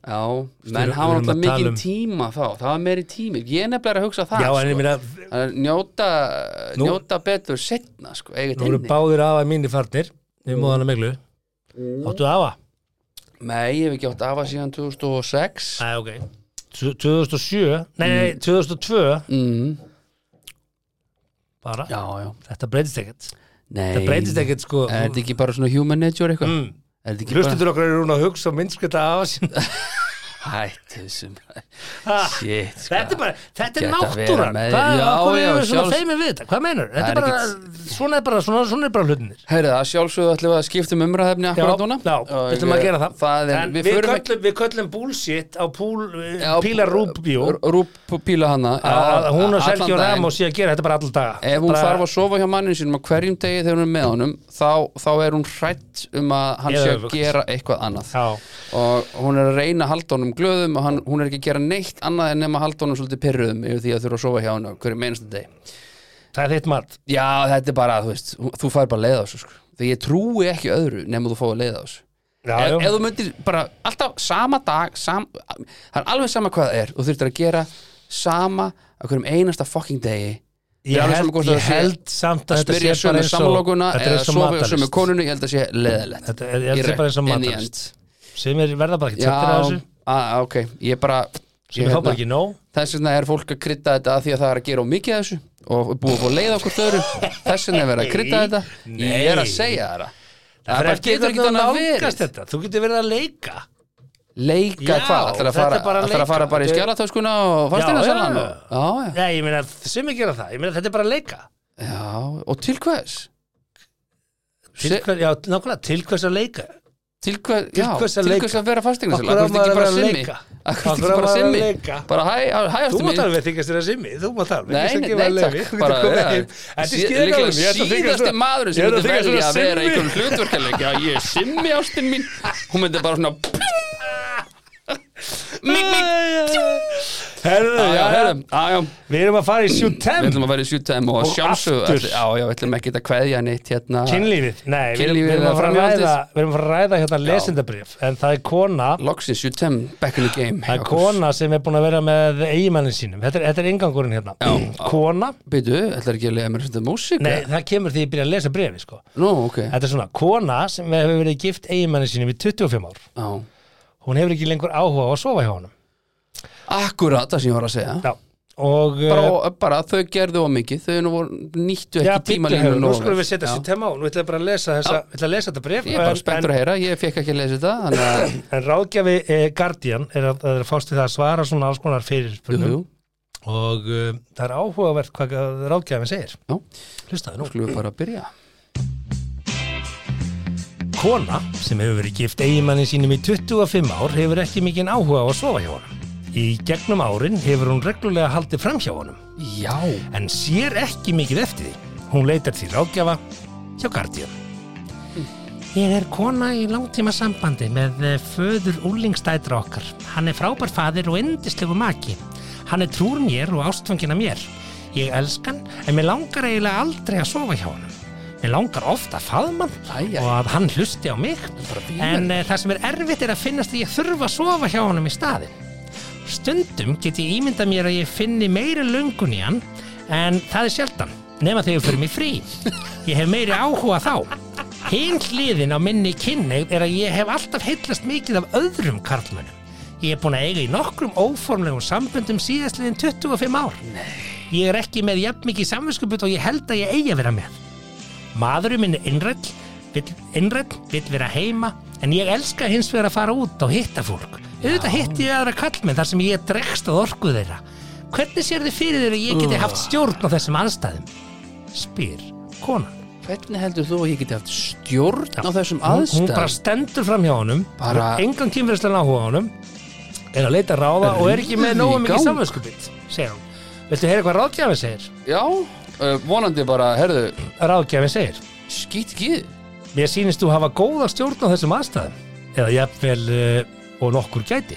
Speaker 3: já
Speaker 4: Við
Speaker 3: Menn
Speaker 4: erum- við
Speaker 3: hafa
Speaker 4: erum
Speaker 3: náttúrulega
Speaker 4: að tala
Speaker 3: mikið
Speaker 4: um-
Speaker 3: tíma þá Það var meiri tími Ég er nefnilega að hugsa það
Speaker 4: Já, en
Speaker 3: sko.
Speaker 4: ég meina,
Speaker 3: Að njóta,
Speaker 4: Nú-
Speaker 3: njóta betur setna sko, eigið
Speaker 4: nú eru
Speaker 3: inni
Speaker 4: báðir afa mínir farnir
Speaker 3: Mm.
Speaker 4: Við móðan að meglu Áttu afa?
Speaker 3: Nei, ég hef ekki átt afa síðan 2006
Speaker 4: Æ, ok 2007, nei, nei, 2002
Speaker 3: mm,
Speaker 4: bara,
Speaker 3: Já, já
Speaker 4: þetta breytist ekkert
Speaker 3: Nei,
Speaker 4: Þetta breytist ekkert sko
Speaker 3: Er þetta ekki bara svona human nature eitthvað?
Speaker 4: Mm.
Speaker 3: Er þetta ekki
Speaker 4: Hlustundur okkar eru hún að hugsa og minnskvita afa sín
Speaker 3: bara Hættu þessum Shit, sko.
Speaker 4: Þetta er bara, þetta er
Speaker 3: Geta vera
Speaker 4: náttúran
Speaker 3: með-
Speaker 4: Hvað
Speaker 3: Já,
Speaker 4: hvað
Speaker 3: já,
Speaker 4: erum við svona
Speaker 3: sjálfs-
Speaker 4: feimið við þetta? Hvað meinar? Þetta
Speaker 3: er
Speaker 4: er bara, svona er bara, svona, svona er bara hlutinir
Speaker 3: Heyrðu það, sjálfsögðu ætlum við að skipta um umræðefni akkurat núna
Speaker 4: já,
Speaker 3: Og,
Speaker 4: við ætlum að gera það,
Speaker 3: það er,
Speaker 4: En
Speaker 3: Við förum ekki
Speaker 4: köllum, við köllum bullshit á púl, já,
Speaker 3: Já,
Speaker 4: Píla Rúbjó
Speaker 3: R- Rúp píla hana
Speaker 4: að hún og
Speaker 3: allan
Speaker 4: Sergio
Speaker 3: daginn.
Speaker 4: Ramos sé að gera þetta bara allan daga
Speaker 3: Ef hún
Speaker 4: bara,
Speaker 3: þarf að sofa hjá manninu sínum á hverjum degi þegar hún er með honum þá, þá er hún hrætt um að hann
Speaker 4: Eða
Speaker 3: sé að
Speaker 4: öfugt.
Speaker 3: gera eitthvað annað
Speaker 4: Já.
Speaker 3: og hún er að reyna að halda honum glöðum og hann, hún er ekki að gera neitt annað en nema að halda honum svolítið pyrruðum yfir því að þurfa að sofa hjá hann á hverjum einasta deg
Speaker 4: Það er þitt mat
Speaker 3: Já, þetta er bara, þú veist, hún- þú fær bara leið á þessu sko. því ég trúi ekki öðru nema þú fáið leið á þessu
Speaker 4: já,
Speaker 3: ef,
Speaker 4: já.
Speaker 3: ef þú myndir bara alltaf sama dag sam, það er alveg sama hvað það er og þurftir að gera sama á hverjum einasta fucking degi
Speaker 4: Ég,
Speaker 3: alveg
Speaker 4: held,
Speaker 3: sama hvort
Speaker 4: ég
Speaker 3: það sé-
Speaker 4: held samt að
Speaker 3: að
Speaker 4: þetta sé
Speaker 3: spyrja
Speaker 4: bara
Speaker 3: sömu
Speaker 4: eins og
Speaker 3: samlokuna
Speaker 4: þetta er
Speaker 3: eða
Speaker 4: eins og
Speaker 3: sofa hjá sömu
Speaker 4: matarlist.
Speaker 3: konunni ég held að sé leðilegt
Speaker 4: Þetta er, ég held að sé bara eins og matalist sem er verða bara ekki
Speaker 3: já,
Speaker 4: tættir af þessu
Speaker 3: á, ok, ég bara
Speaker 4: sem
Speaker 3: ég,
Speaker 4: ég fá bara
Speaker 3: hérna,
Speaker 4: ekki nóg
Speaker 3: þess vegna er fólk að krydda þetta að því að það er að gera of mikið af þessu og búið að fá leið okkur öðru þess vegna er verið að krydda þetta ég er að
Speaker 4: Nei.
Speaker 3: segja þetta
Speaker 4: Það
Speaker 3: það
Speaker 4: er
Speaker 3: bara
Speaker 4: eftir
Speaker 3: getur
Speaker 4: hvernig þú
Speaker 3: ekki þannig að
Speaker 4: nálgast
Speaker 3: verið
Speaker 4: þetta. Þú getur verið að leika
Speaker 3: leika
Speaker 4: Já,
Speaker 3: hvað, ætlar að
Speaker 4: þetta
Speaker 3: fara,
Speaker 4: er bara að
Speaker 3: ætlar að fara
Speaker 4: leika.
Speaker 3: bara í
Speaker 4: Þetta er-
Speaker 3: skjálatöskuna og fastina
Speaker 4: já.
Speaker 3: já, já,
Speaker 4: Nei, ég meina, sem ég gera það Ég meina, þetta er bara að leika
Speaker 3: já, og til hvers
Speaker 4: Til
Speaker 3: Se-
Speaker 4: hvers, já, nákvæmlega, til hvers að leika
Speaker 3: til, hver,
Speaker 4: Til
Speaker 3: já,
Speaker 4: hvers að
Speaker 3: til
Speaker 4: leika?
Speaker 3: hvers að vera fastegna
Speaker 4: Af hverju á
Speaker 3: akkur er
Speaker 4: maður
Speaker 3: ekki
Speaker 4: að
Speaker 3: bara
Speaker 4: vera að
Speaker 3: simmi
Speaker 4: leika?
Speaker 3: akkur
Speaker 4: Af
Speaker 3: er
Speaker 4: hverju á
Speaker 3: ekki bara
Speaker 4: maður að
Speaker 3: simmi
Speaker 4: leika?
Speaker 3: bara hæ, hæ,
Speaker 4: Þú
Speaker 3: hæ, ástin
Speaker 4: mátt
Speaker 3: mín
Speaker 4: alveg þykast þér að simmi, þú mátt alveg
Speaker 3: Nei, nei, nei, takk bara, ja. Sí- líka síðasti maður sem myndi velja að vera í einhvern hlutverkaleik Já, ég er simmi ástin mín Hún myndi bara svona Mík, mík
Speaker 4: Herðu,
Speaker 3: Já, já, herðum, já, já
Speaker 4: Við erum að fara í
Speaker 3: Við
Speaker 4: sjúttem
Speaker 3: ætlum að vera í sjúttæm og
Speaker 4: Og
Speaker 3: sjálfsög
Speaker 4: aftur.
Speaker 3: Já, já, við ætlum ekki að kveðja neitt hérna
Speaker 4: Kynlífið, nei, við erum,
Speaker 3: Kynlífið
Speaker 4: við erum að fara að
Speaker 3: framhaldið.
Speaker 4: ræða Við erum að fara að ræða hérna lesendabrif En það er kona
Speaker 3: Loksins sjúttæm, back in the game
Speaker 4: Það er kona sem er búin að vera með eigimannin sínum Þetta er, þetta er ingangurinn hérna
Speaker 3: Já.
Speaker 4: Kona,
Speaker 3: Býtu, ætlar ekki að lega mér að setja músík
Speaker 4: nei,
Speaker 3: eða?
Speaker 4: það kemur því ég byrja að lesa brefi sko.
Speaker 3: Nú, ok Já,
Speaker 4: Þetta er svona, kona sem hefur verið gift eigimannin sínum í 25 ár
Speaker 3: já,
Speaker 4: Hún hefur ekki lengur áhuga á að sofa hjá honum
Speaker 3: Akkurat það sem ég var að segja
Speaker 4: Já, og
Speaker 3: bara,
Speaker 4: eh,
Speaker 3: bara þau gerðu á mikið Þau nú voru, nýttu
Speaker 4: já,
Speaker 3: ekki
Speaker 4: bíddu,
Speaker 3: tímalínu
Speaker 4: hefur, nú
Speaker 3: nógu
Speaker 4: skulum
Speaker 3: vel.
Speaker 4: við setja
Speaker 3: Já.
Speaker 4: sér tema á nú ætla ég bara að lesa, þessa, ég ætla að lesa þetta bref
Speaker 3: Ég er bara
Speaker 4: en-
Speaker 3: spenntur að heyra, ég fekk ekki að lesa þetta Þannig að,
Speaker 4: en, en ráðgjafi eh, Guardian er að, að fást til það að svara svona alls konar
Speaker 3: jú,
Speaker 4: fyrirspurnum
Speaker 3: jú,
Speaker 4: og uh, það er áhugavert hvað að ráðgjafin segir
Speaker 3: já,
Speaker 4: Hlustaðu nú
Speaker 3: skulum við bara að byrja
Speaker 4: Kona sem hefur verið gift eigimanni sínum í 25 ár hefur ekki mikinn áhuga á að sofa hjá honum Í gegnum árin hefur hún reglulega haldið fram hjá honum
Speaker 3: Já,
Speaker 4: en sér ekki mikið eftir því. Hún leitar því ráðgjafa hjá Guardian. Ég er kona í langtíma sambandi með eh, föður úlingstætra okkar. Hann er frábær fadir og endislegu maki. Hann er trúr mér og ástfangina mér. Ég elska hann, en mér langar eiginlega aldrei að sofa hjá honum. Mér langar ofta að faðma hann
Speaker 3: Æ, æ.
Speaker 4: og að hann hlusti á mig.
Speaker 3: bara fín
Speaker 4: En eh, það sem er erfitt er að finnast því ég þurfa að sofa hjá honum í staðinn. Stundum get ég ímyndað mér að ég finni meiri löngun í hann en það er sjaldan, nema þegar við förum í frí. Ég hef meiri áhuga þá. Hinn hliðin á minni kynneigð er að ég hef alltaf heillast mikið af öðrum karlmönnum. Ég er búin að eiga í nokkrum óformlegum samböndum síðastliðin 25 ár. Ég er ekki með jafn mikið samvinskuput og ég held að ég eigi að vera með. Maðurinn minn er innrætt, vill, innrætt, vill vera heima, en ég elska hins vegar að fara út og hitta fólk. Auðvitað hitti ég aðra kallmenn þar sem ég dregst að orku þeirra. Hvernig sér þið fyrir þeirra ég geti haft stjórn á þessum anstæðum? Spyr konan.
Speaker 3: hvernig heldur þú að ég geti haft stjórn á þessum
Speaker 4: Hún bara
Speaker 3: aðstæð
Speaker 4: stendur fram hjá honum, bara...
Speaker 3: Bara-
Speaker 4: engan kynfyrirslega áhuga á honum, er að leita ráða og er ekki með um
Speaker 3: Rífið
Speaker 4: nógu
Speaker 3: í
Speaker 4: mikið
Speaker 3: gang.
Speaker 4: samvinskupið, segir hún. Viltu heyra hvað ráðgjafin segir?
Speaker 3: Já, uh, vonandi bara, herðu,
Speaker 4: Ráðgjafin segir.
Speaker 3: skýt ekki
Speaker 4: Mér sýnist þú hafa góða stjórn á þessum aðstæðum eða jafnvel uh, og nokkur gæti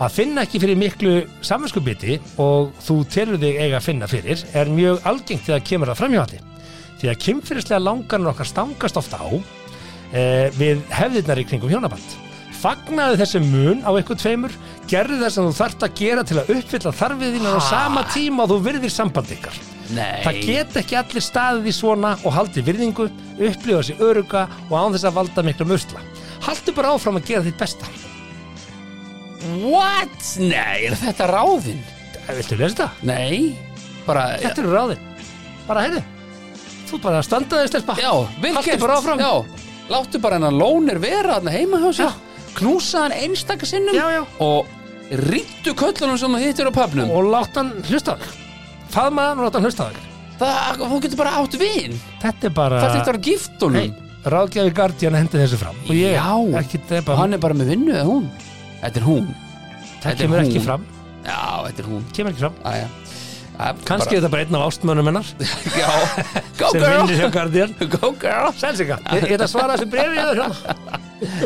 Speaker 4: að finna ekki fyrir miklu samvinskubiti og þú telur þig eiga að finna fyrir er mjög algengt þegar kemur að framhjóðalli því að kynfyrirslega langarnir okkar stangast ofta á eh, við hefðirnar í kringum hjónaband. Fagnaðu þessi mun á eitthvað tveimur, gerðu það sem þú þarft að gera til að uppfylla þarfið þín á
Speaker 3: Ha?
Speaker 4: sama tíma og þú virðir samband ykkar.
Speaker 3: Nei,
Speaker 4: Það get ekki allir staðið í svona og haldið virðingu, upplifa sér öruga og án þess að valda mikla musla. Haltu bara áfram að gera þitt besta.
Speaker 3: what? Nei, er þetta ráðin?
Speaker 4: Eh, Viltu lesa þetta?
Speaker 3: Nei, bara
Speaker 4: Þetta eru ráðin. Bara heyrðu. Þú ert bara að standa þig stelpa.
Speaker 3: Já, vel
Speaker 4: Haltu
Speaker 3: gert
Speaker 4: bara áfram.
Speaker 3: Já, láttu bara hennar lónir vera hann heima hjá sér
Speaker 4: Já.
Speaker 3: Knúsa hann einstaka sinnum
Speaker 4: Já, já.
Speaker 3: Og rýttu köllunum sem þú hittir á pöfnum
Speaker 4: Og láta hann hlusta á þig. Faðma hann og láta hann hlusta á þig.
Speaker 3: Það, þú getur bara átt vin
Speaker 4: Þetta er bara...
Speaker 3: Það er þetta að gift honum
Speaker 4: Nei, ráðgjafi Guardian hendi þessu fram. Og ég,
Speaker 3: Já.
Speaker 4: ekki, það er
Speaker 3: Og
Speaker 4: bara,
Speaker 3: hann er bara með vinnu eða hún Þetta er hún þetta
Speaker 4: það
Speaker 3: er
Speaker 4: kemur
Speaker 3: hún.
Speaker 4: ekki fram.
Speaker 3: Já, þetta er hún
Speaker 4: Kemur ekki fram.
Speaker 3: Æja
Speaker 4: Kanski er þetta bara einn af ástmönnum hennar
Speaker 3: Já, go
Speaker 4: sem vinnir hjá
Speaker 3: girl
Speaker 4: Guardian.
Speaker 3: Go girl
Speaker 4: Sælsika, ég ég ætla að svara þessu brefi eða hérna.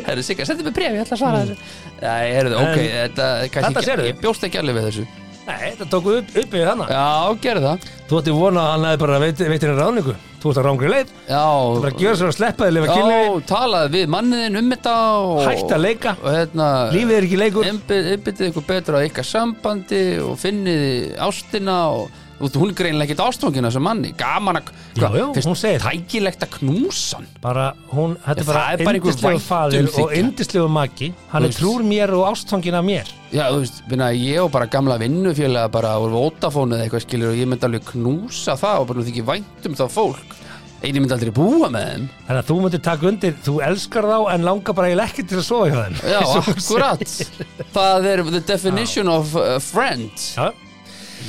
Speaker 3: Herðu, Sigga, sendu mig bref, ég ætla að svara þessu Nei, herðu,
Speaker 4: Mm.
Speaker 3: ok,
Speaker 4: En-
Speaker 3: þetta er kannski
Speaker 4: Þetta
Speaker 3: ekki-
Speaker 4: sérðu.
Speaker 3: Ég bjóst ekki alveg við þessu
Speaker 4: Nei, þetta tóku upp, upp yfir þannig
Speaker 3: Já, gerðu það
Speaker 4: Þú ætti vona að hann hefði bara veit, veitir henni ráningu Þú ert að rángri leið Þú
Speaker 3: Já,
Speaker 4: bara að gjöra sér að sleppa þig lifa kynlífi
Speaker 3: Já, talaði við manniðin um þetta og,
Speaker 4: Hætt að leika
Speaker 3: og hérna
Speaker 4: Lífið er ekki leikur
Speaker 3: einbyttið ykkur betra að ykkar sambandi og finnið ástina og þú veist, hún er greinlega ekkert ástfangina sem manni gaman að,
Speaker 4: Já, já, hún segir það.
Speaker 3: tækilegt að knúsan
Speaker 4: Bara, hún, þetta
Speaker 3: Já,
Speaker 4: er bara
Speaker 3: það er bara einhver um
Speaker 4: indislegu faðir
Speaker 3: væntumþykja.
Speaker 4: og indislegu maki Hann
Speaker 3: Þú
Speaker 4: er
Speaker 3: veist.
Speaker 4: trúr mér og ástfangin af mér
Speaker 3: Já, þú veist, minna, ég og bara gamla vinnufélaga bara úr Vodafone eða eitthvað skilur og ég myndi alveg knúsa það og bara nú þykir vænt um það fólk einu myndi aldrei búa með þeim
Speaker 4: Þannig að þú myndir taka undir, þú elskar þá en langar bara eiginlega ekki til að sofa hjá þeim
Speaker 3: Já,
Speaker 4: Eins og hún
Speaker 3: akkurat
Speaker 4: segir.
Speaker 3: Það er the definition of uh, friend
Speaker 4: Já.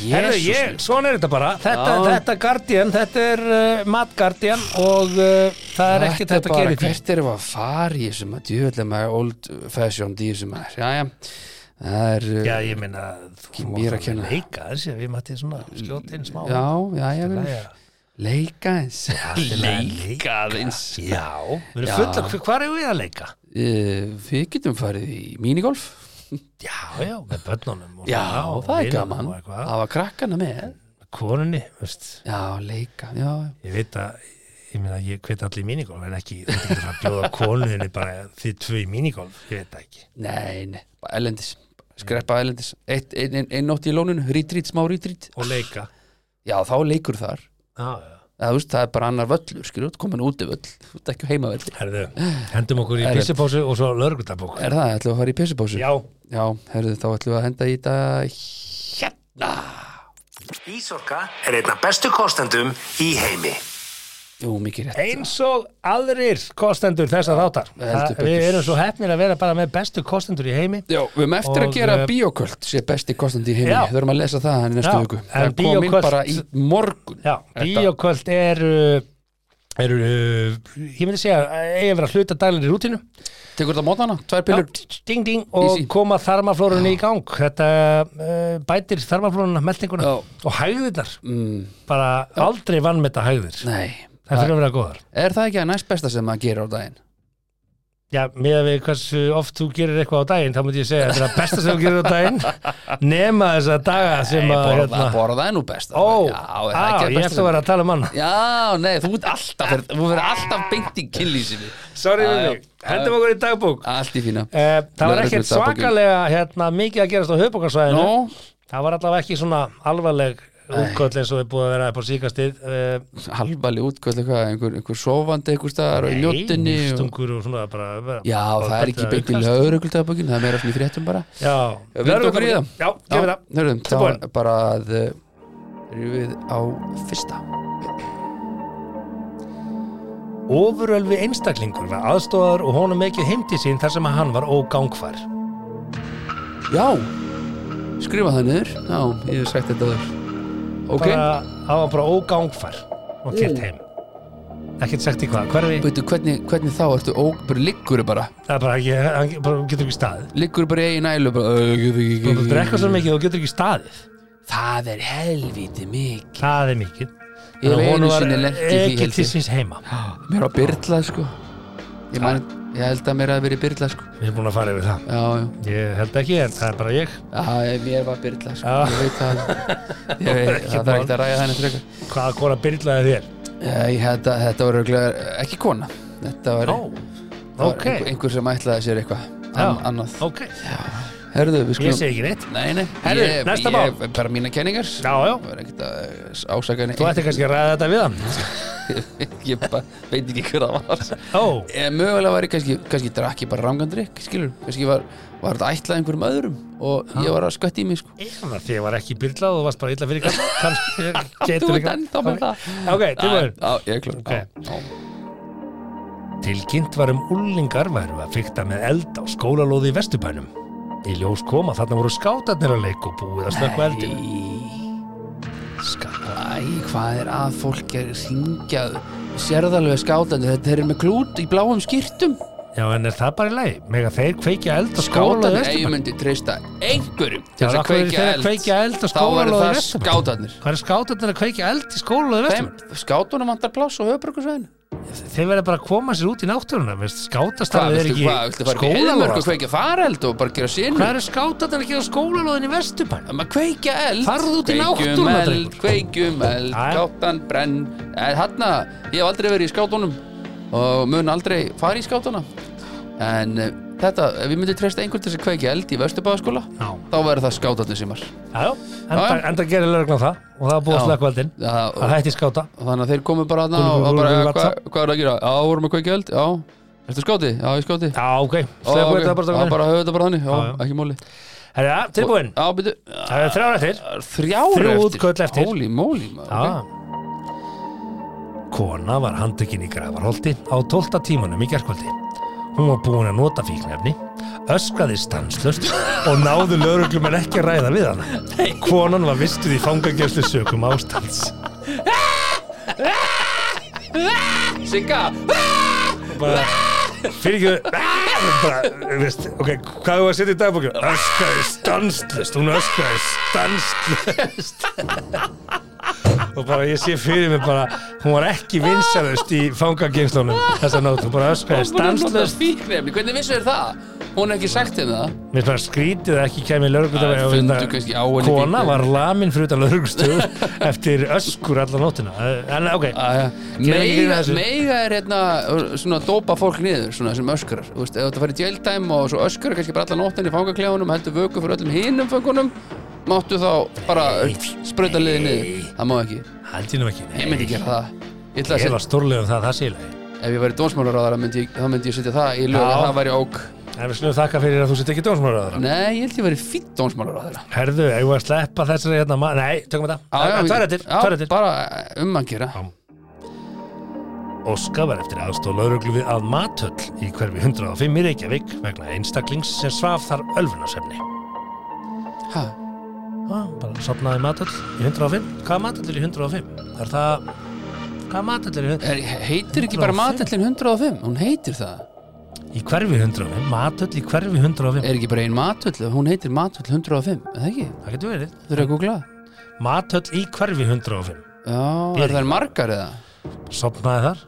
Speaker 4: Herru,
Speaker 3: Jesús
Speaker 4: ég, svona er þetta bara Þetta,
Speaker 3: Já.
Speaker 4: þetta Guardian, þetta er uh, Matt Guardian og uh, það er ekkert
Speaker 3: Þetta
Speaker 4: þetta að gera í
Speaker 3: bara,
Speaker 4: því
Speaker 3: hvert erum við að fara í þessum að djöfellum að old fashioned í þessum að, já, já, það er, uh,
Speaker 4: Já, ég meina, þú
Speaker 3: mér
Speaker 4: mátt
Speaker 3: að kenna.
Speaker 4: alveg leika þessi, við mætti svona skjóta inn smá.
Speaker 3: já, já, já,
Speaker 4: Nei,
Speaker 3: já,
Speaker 4: já.
Speaker 3: leika eins,
Speaker 4: til að
Speaker 3: leika eins,
Speaker 4: Já, við erum
Speaker 3: Já.
Speaker 4: fulla, hver- hvar erum við að leika?
Speaker 3: Uh, við getum farið í minigolf,
Speaker 4: Já, já, með börnunum. og
Speaker 3: já,
Speaker 4: svona, og
Speaker 3: það er
Speaker 4: vinunum
Speaker 3: gaman,
Speaker 4: og eitthvað.
Speaker 3: hafa krakkana með,
Speaker 4: Konunni, veist,
Speaker 3: já, leika, já,
Speaker 4: ég veit að, ég meina, ég hveit allir í minigolf, en ekki, þú veit ekki að bjóða konunni bara þið tvö í minigolf, ég veit það ekki.
Speaker 3: nei, nei, bara ellendis, skreppa ellendis, eitt, ein, ein, ein nótt í lóninu, rítrít, smá rítrít,
Speaker 4: Og leika.
Speaker 3: já, þá leikur þar,
Speaker 4: Já, já.
Speaker 3: það, veist, það er bara annar völlur, skilur, þú ert komin út í völl, þú ert ekki heima völl,
Speaker 4: Herðu, hendum okkur í
Speaker 3: Herðu.
Speaker 4: byssupósu og svo lörgutabók.
Speaker 3: er það, ætlum við að fara í pissupásu?
Speaker 4: Já,
Speaker 3: Já, herðu þá ætlum við að henda í þetta hérna
Speaker 1: Ísorka er einna bestu kostendum í heimi.
Speaker 3: Jú, mikið rétt
Speaker 4: eins og aðrir kostendur þessar þáttar Það-
Speaker 3: Heldur
Speaker 4: við
Speaker 3: betur.
Speaker 4: erum svo hefnir að vera bara með bestu kostendur í heimi
Speaker 3: Já, við höfum
Speaker 4: Og,
Speaker 3: eftir að gera
Speaker 4: eh,
Speaker 3: bíoköld sé besti kostandi í heimi,
Speaker 4: Já.
Speaker 3: við höfum að lesa það hann í næstu
Speaker 4: Já,
Speaker 3: viku
Speaker 4: en
Speaker 3: Það kom inn
Speaker 4: Bíóköld-
Speaker 3: bara í morgun
Speaker 4: Já, bíoköld er er, ég myndi segja eigi að vera hluta daglir í rútinu
Speaker 3: Tekur þetta á mótana, tvær pillur
Speaker 4: ding ding og
Speaker 3: Easy.
Speaker 4: koma þarmaflórunni í gang þetta uh, bætir þarmaflórunna meltinguna
Speaker 3: Já.
Speaker 4: og hægðirnar
Speaker 3: mm,
Speaker 4: bara aldrei vann með þetta hægðir
Speaker 3: Nei,
Speaker 4: það fyrir að vera góðar
Speaker 3: er það ekki að næst besta sem maður gerir á daginn?
Speaker 4: Já, með að við hversu oft þú gerir eitthvað á daginn þá myndi ég segja að þetta er að besta sem þú gerir á daginn nema þessa daga sem
Speaker 3: Nei,
Speaker 4: að
Speaker 3: borða,
Speaker 4: hérna-
Speaker 3: borða er nú besta
Speaker 4: Ó,
Speaker 3: Já,
Speaker 4: á,
Speaker 3: er það ekki að
Speaker 4: ég
Speaker 3: besta
Speaker 4: ætti að vera að tala um hann
Speaker 3: Já, nei, þú ert alltaf þú verður alltaf beint í kynlýsinni
Speaker 4: Sorry,
Speaker 3: Já,
Speaker 4: Vili,
Speaker 3: já.
Speaker 4: hendum okkur í dagbúk
Speaker 3: Allt í fína
Speaker 4: Eh, Það var
Speaker 3: Lögreglu
Speaker 4: ekkert
Speaker 3: dagbókin.
Speaker 4: svakalega hérna, mikið að gerast á höfbókarsvæðinu
Speaker 3: Nó,
Speaker 4: Það var allavega ekki svona alvarleg útköll eins og er búið að vera upp á síkastið eh,
Speaker 3: halvali útkvöld eitthvað, einhver, einhver sofandi einhver staðar og í ljóttinni
Speaker 4: nei,
Speaker 3: og...
Speaker 4: stungur og svona bara, bara
Speaker 3: Já,
Speaker 4: bara
Speaker 3: það er ekki
Speaker 4: að
Speaker 3: beint í
Speaker 4: aukast.
Speaker 3: lögreglutabökin það er meira svona í fréttum bara
Speaker 4: Já,
Speaker 3: Vindum okkur í það?
Speaker 4: Já, gefum það
Speaker 3: hörðum, þá
Speaker 4: Tilbúin.
Speaker 3: er bara að eh, erum við á fyrsta
Speaker 4: Ofurölvi einstaklingur var aðstóðar og honum ekki heimti sín þar sem að hann var ógangfær
Speaker 3: Já, skrifa það niður Já, ég hef sagt þetta þar Ok,
Speaker 4: bara, Hann var bara ógangfær og kert heim Ekkert sagt í hvað, hverfi
Speaker 3: veitu, hvernig, hvernig þá ertu ó, bara liggur bara,
Speaker 4: Það er bara ekki, hann ge- bara getur ekki staðið
Speaker 3: liggur bara í eigin ælu bara, ö, ö, ö,
Speaker 4: Þú
Speaker 3: ö,
Speaker 4: ert að
Speaker 3: ö,
Speaker 4: drekka svo mikið, þú getur ekki staðið
Speaker 3: Það er helvítið mikið
Speaker 4: Það er mikið
Speaker 3: Ég hef
Speaker 4: Þannig að honum
Speaker 3: einu
Speaker 4: var
Speaker 3: sinni lent í því,
Speaker 4: ekki
Speaker 3: held
Speaker 4: til
Speaker 3: ég.
Speaker 4: síns heima
Speaker 3: Mér á byrla, sko Ég, man, ég held að mér hafi verið byrla, sko
Speaker 4: Við erum búin að fara yfir það
Speaker 3: Já, já
Speaker 4: Ég held ekki, en það er bara ég
Speaker 3: Já, mér var byrla, sko
Speaker 4: Já.
Speaker 3: Ég veit það Ég veit,
Speaker 4: ekkert
Speaker 3: það er ekkert
Speaker 4: mál.
Speaker 3: að ræða þannig frekar
Speaker 4: Hvaða kona byrlaði þér?
Speaker 3: Eh, Ég held að þetta var örugglega ekki kona Þetta var,
Speaker 4: Ó,
Speaker 3: það var
Speaker 4: ok.
Speaker 3: einhver, einhver sem ætlaði sér eitthvað
Speaker 4: Já.
Speaker 3: An, Annað
Speaker 4: ok
Speaker 3: Herðu, við
Speaker 4: Ég
Speaker 3: skulum
Speaker 4: segi ekki neitt
Speaker 3: Nei, nei
Speaker 4: Herðu,
Speaker 3: ég,
Speaker 4: næsta
Speaker 3: ég,
Speaker 4: mál.
Speaker 3: Bara mína kenningar
Speaker 4: Já, já,
Speaker 3: Það var ekkert að eh, ásaka
Speaker 4: þú ætti kannski að ræða þetta við hann
Speaker 3: Ég, ég bara, veit ekki hver það var
Speaker 4: Ó,
Speaker 3: Eh, mögulega væri kannski, kannski drakk ég bara ramgandrykk skilur, kannski var, var þetta ætlað einhverjum öðrum og ég var að skvætti í mig sko.
Speaker 4: eða því ég var ekki byrlað og þú varst bara illa fyrir kalla Kannski
Speaker 3: þú
Speaker 4: getur
Speaker 3: veit
Speaker 4: ekki
Speaker 3: ennþá með það
Speaker 4: Ok, tilbúin
Speaker 3: Já, já, ég er klár
Speaker 4: Ok.
Speaker 3: Já, já.
Speaker 4: Tilkynnt var um úlingar væru að fykta með eld á skólalóði í Vesturbænum. Í ljós kom að þarna voru skátarnir að leik og búið að snöggva eldinu.
Speaker 3: Skala, æ, hvað er að fólk er hringjað sérðalveg skátandi, þetta þeir eru með klút í bláum skýrtum
Speaker 4: Já, en er það bara í lagi? Mega þeir kveikja eld á skólalóði í
Speaker 3: skátandi, ef ég
Speaker 4: Vesturbænum?
Speaker 3: myndi treysta einhverjum
Speaker 4: Já,
Speaker 3: til þess
Speaker 4: af
Speaker 3: að
Speaker 4: hverju eru
Speaker 3: kveikja
Speaker 4: þeir að
Speaker 3: eld,
Speaker 4: kveikja eld á
Speaker 3: þá eru
Speaker 4: skólalóði
Speaker 3: það
Speaker 4: Vesturbænum?
Speaker 3: skátarnir
Speaker 4: Hvað er skátarnir að kveikja eld í skólalóði í
Speaker 3: Þeim,
Speaker 4: Vesturbænum?
Speaker 3: skátunum vantar pláss á höfbrukusveginu
Speaker 4: Þeir verða bara að koma sér út í náttúruna, veist,
Speaker 3: Hvað,
Speaker 4: skátastarfið er
Speaker 3: viltu
Speaker 4: ekki
Speaker 3: hvað, viltu fara í heimörk og
Speaker 4: skólalóði.
Speaker 3: kveikja fareld og bara gera sinu?
Speaker 4: Hvað eru skátarnir að gera á skólalóðin í Vesturbænum?
Speaker 3: Um að kveikja eld
Speaker 4: Farðu út í
Speaker 3: Kveikjum
Speaker 4: náttúruna,
Speaker 3: eld,
Speaker 4: drengur.
Speaker 3: kveikjum eld,
Speaker 4: Jæja.
Speaker 3: kátan brenn En hann ég hef aldrei verið í skátunum Og mun aldrei fara í skátuna En eh, þetta, ef ég myndi treysta einhvern til þess að kveikja eld í Vesturbæðaskóla
Speaker 4: Já.
Speaker 3: Þá verður það skátatni símar
Speaker 4: Já, já, enda,
Speaker 3: já.
Speaker 4: enda gerir lögreglan það og það er búið
Speaker 3: Já.
Speaker 4: að slökkva eldinn.
Speaker 3: Já, og-
Speaker 4: Það hætti skáta.
Speaker 3: Og þannig að þeir komu bara aðna
Speaker 4: Gúlú,
Speaker 3: og og
Speaker 4: gúlú,
Speaker 3: bara,
Speaker 4: gúlú,
Speaker 3: eh,
Speaker 4: vatsa.
Speaker 3: hvað hva er að gera? Já, vorum að kveikja eld, já Ertu skáti? Já, ég er skáti
Speaker 4: Já, ok,
Speaker 3: Ó,
Speaker 4: slökkva
Speaker 3: ok,
Speaker 4: okay. eldið bara
Speaker 3: Já,
Speaker 4: stókunni.
Speaker 3: bara höfðu þetta bara þannig, já,
Speaker 4: Já, já.
Speaker 3: ekki móli
Speaker 4: Herra, tilbúin.
Speaker 3: Já, byrju,
Speaker 4: Það er þrjár eftir
Speaker 3: þrjáru
Speaker 4: Þrjú útköll eftir.
Speaker 3: Holy moly, maður, ok.
Speaker 4: okay. Kona var handtökin í gravarholti á 12. tímanum í gerkvöldi Hún var búin að nota fíknefni öskraði stanslust og náðu lögreglum en ekki að ræða við hana Konan var vistuð í fangagjæslu sökum ástands
Speaker 3: Sigga
Speaker 4: bara, fyrir ekki Ah! bara, veist, ok, hvað þú að setja í dagbókjum öskraði stanslust, hún öskraði stanslust og bara ég sé fyrir mig bara, hún var ekki vinsælust í fangagengslunum þessa nót, hún bara öskraði stanslust
Speaker 3: Fíknefni, hvernig vissu þér það? Hún er ekki sagt hérna. þeim það
Speaker 4: mér finnst bara skrítið að ekki kemur
Speaker 3: Það
Speaker 4: lögreglutöfari
Speaker 3: fundu kannski á henni
Speaker 4: hérna kona
Speaker 3: fíknefni.
Speaker 4: var lamin fyrir utan lögreglustöð eftir öskur alla nótina en ok,
Speaker 3: Aja.
Speaker 4: Gerðu ekki grín
Speaker 3: Meiga,
Speaker 4: að þessu.
Speaker 3: meiga er hérna uh, svona að dópa fólk niður svona sem öskrar, þú veist, ef þetta farið jailtime og svo öskrar kannski bara alla nóttin í fangaklefunum heldur vöku fyrir öllum hinum fangunum máttu þá bara sprauta liðið niður, það má ekki
Speaker 4: held ég nú ekki
Speaker 3: ég
Speaker 4: nei.
Speaker 3: myndi gera það, ég ætla
Speaker 4: ég
Speaker 3: að segja
Speaker 4: var stórlega um það, það sé ég leið
Speaker 3: ef ég væri dónsmálaráðara myndi, ég- þá myndi ég setja það í lög
Speaker 4: Já.
Speaker 3: að það væri ók
Speaker 4: En við slumum þakka fyrir að þú sett ekki dómsmálaráðara.
Speaker 3: Nei, ég held ég verið fýtt dómsmálar á þeirra
Speaker 4: Herðu, eigum við að sleppa þessari hérna ma- Nei, tökum við það Tvær eftir, tvær eftir
Speaker 3: Bara eh, um að gera
Speaker 4: Óska var eftir aðstóð lauruglu við að matöll í hverfi 105 í Reykjavík vegna einstaklings sem svaf þar ölfunarsefni
Speaker 3: Ha,
Speaker 4: Já, bara sopnaði matöll í 105 Hvað matöll er í 105? Er það... Hvað matöll er í 105?
Speaker 3: er, Heitir ekki bara
Speaker 4: 105?
Speaker 3: matellin 105? Hún heitir það
Speaker 4: Í hverfi 105? Matöll í hverfi 105?
Speaker 3: Er ekki bara ein matöll? Hún heitir matöll 105, er það ekki?
Speaker 4: Það getur verið
Speaker 3: Þú eru að googla?
Speaker 4: Matöll í hverfi 105
Speaker 3: Já,
Speaker 4: Ég-
Speaker 3: er það margar eða?
Speaker 4: Sopnaði þar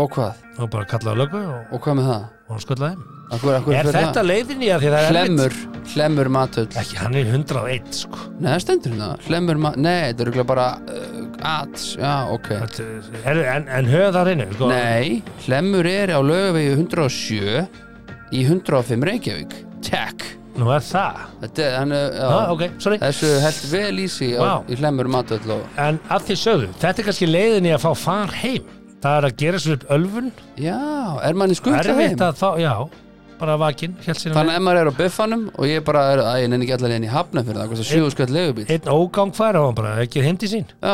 Speaker 3: Og hvað?
Speaker 4: og bara kallaði á löggu og,
Speaker 3: Og hvað með það?
Speaker 4: og hann skullaði
Speaker 3: Akkur, akkur
Speaker 4: Er þetta leiðin í að því það er erfitt?
Speaker 3: Hlemur, hlemur matöll
Speaker 4: Ekki, hann er í 101 sko
Speaker 3: Nei, það stendur hérna Hlemur matöll, nei, þetta eru örugglega bara uh, at, já, ok
Speaker 4: Þetta er- uh, En, en höfum það reynu sko.
Speaker 3: Nei, Hlemur er á laugavegi 107 í 105 Reykjavík Takk
Speaker 4: Nú er það
Speaker 3: Þetta er, hann, er- já,
Speaker 4: ah, ok, sorry.
Speaker 3: Þessu held vel í sig á,
Speaker 4: Vá.
Speaker 3: í Hlemur matöll og,
Speaker 4: En að því sögðu, þetta er kannski leiðin í að fá far heim Það er að gera svo upp ölfun
Speaker 3: Já, er manni skuldla heim
Speaker 4: Erfitt að þá, já Bara vakinn, hélt sína
Speaker 3: Þannig að ef maður er á buffanum og ég bara er, að ég nenni ekki allar leginn í hafna fyrir það, hvort það sjöðu skall leigubíl
Speaker 4: Einn ógang færa á hann bara, ekki heim til sín
Speaker 3: Já,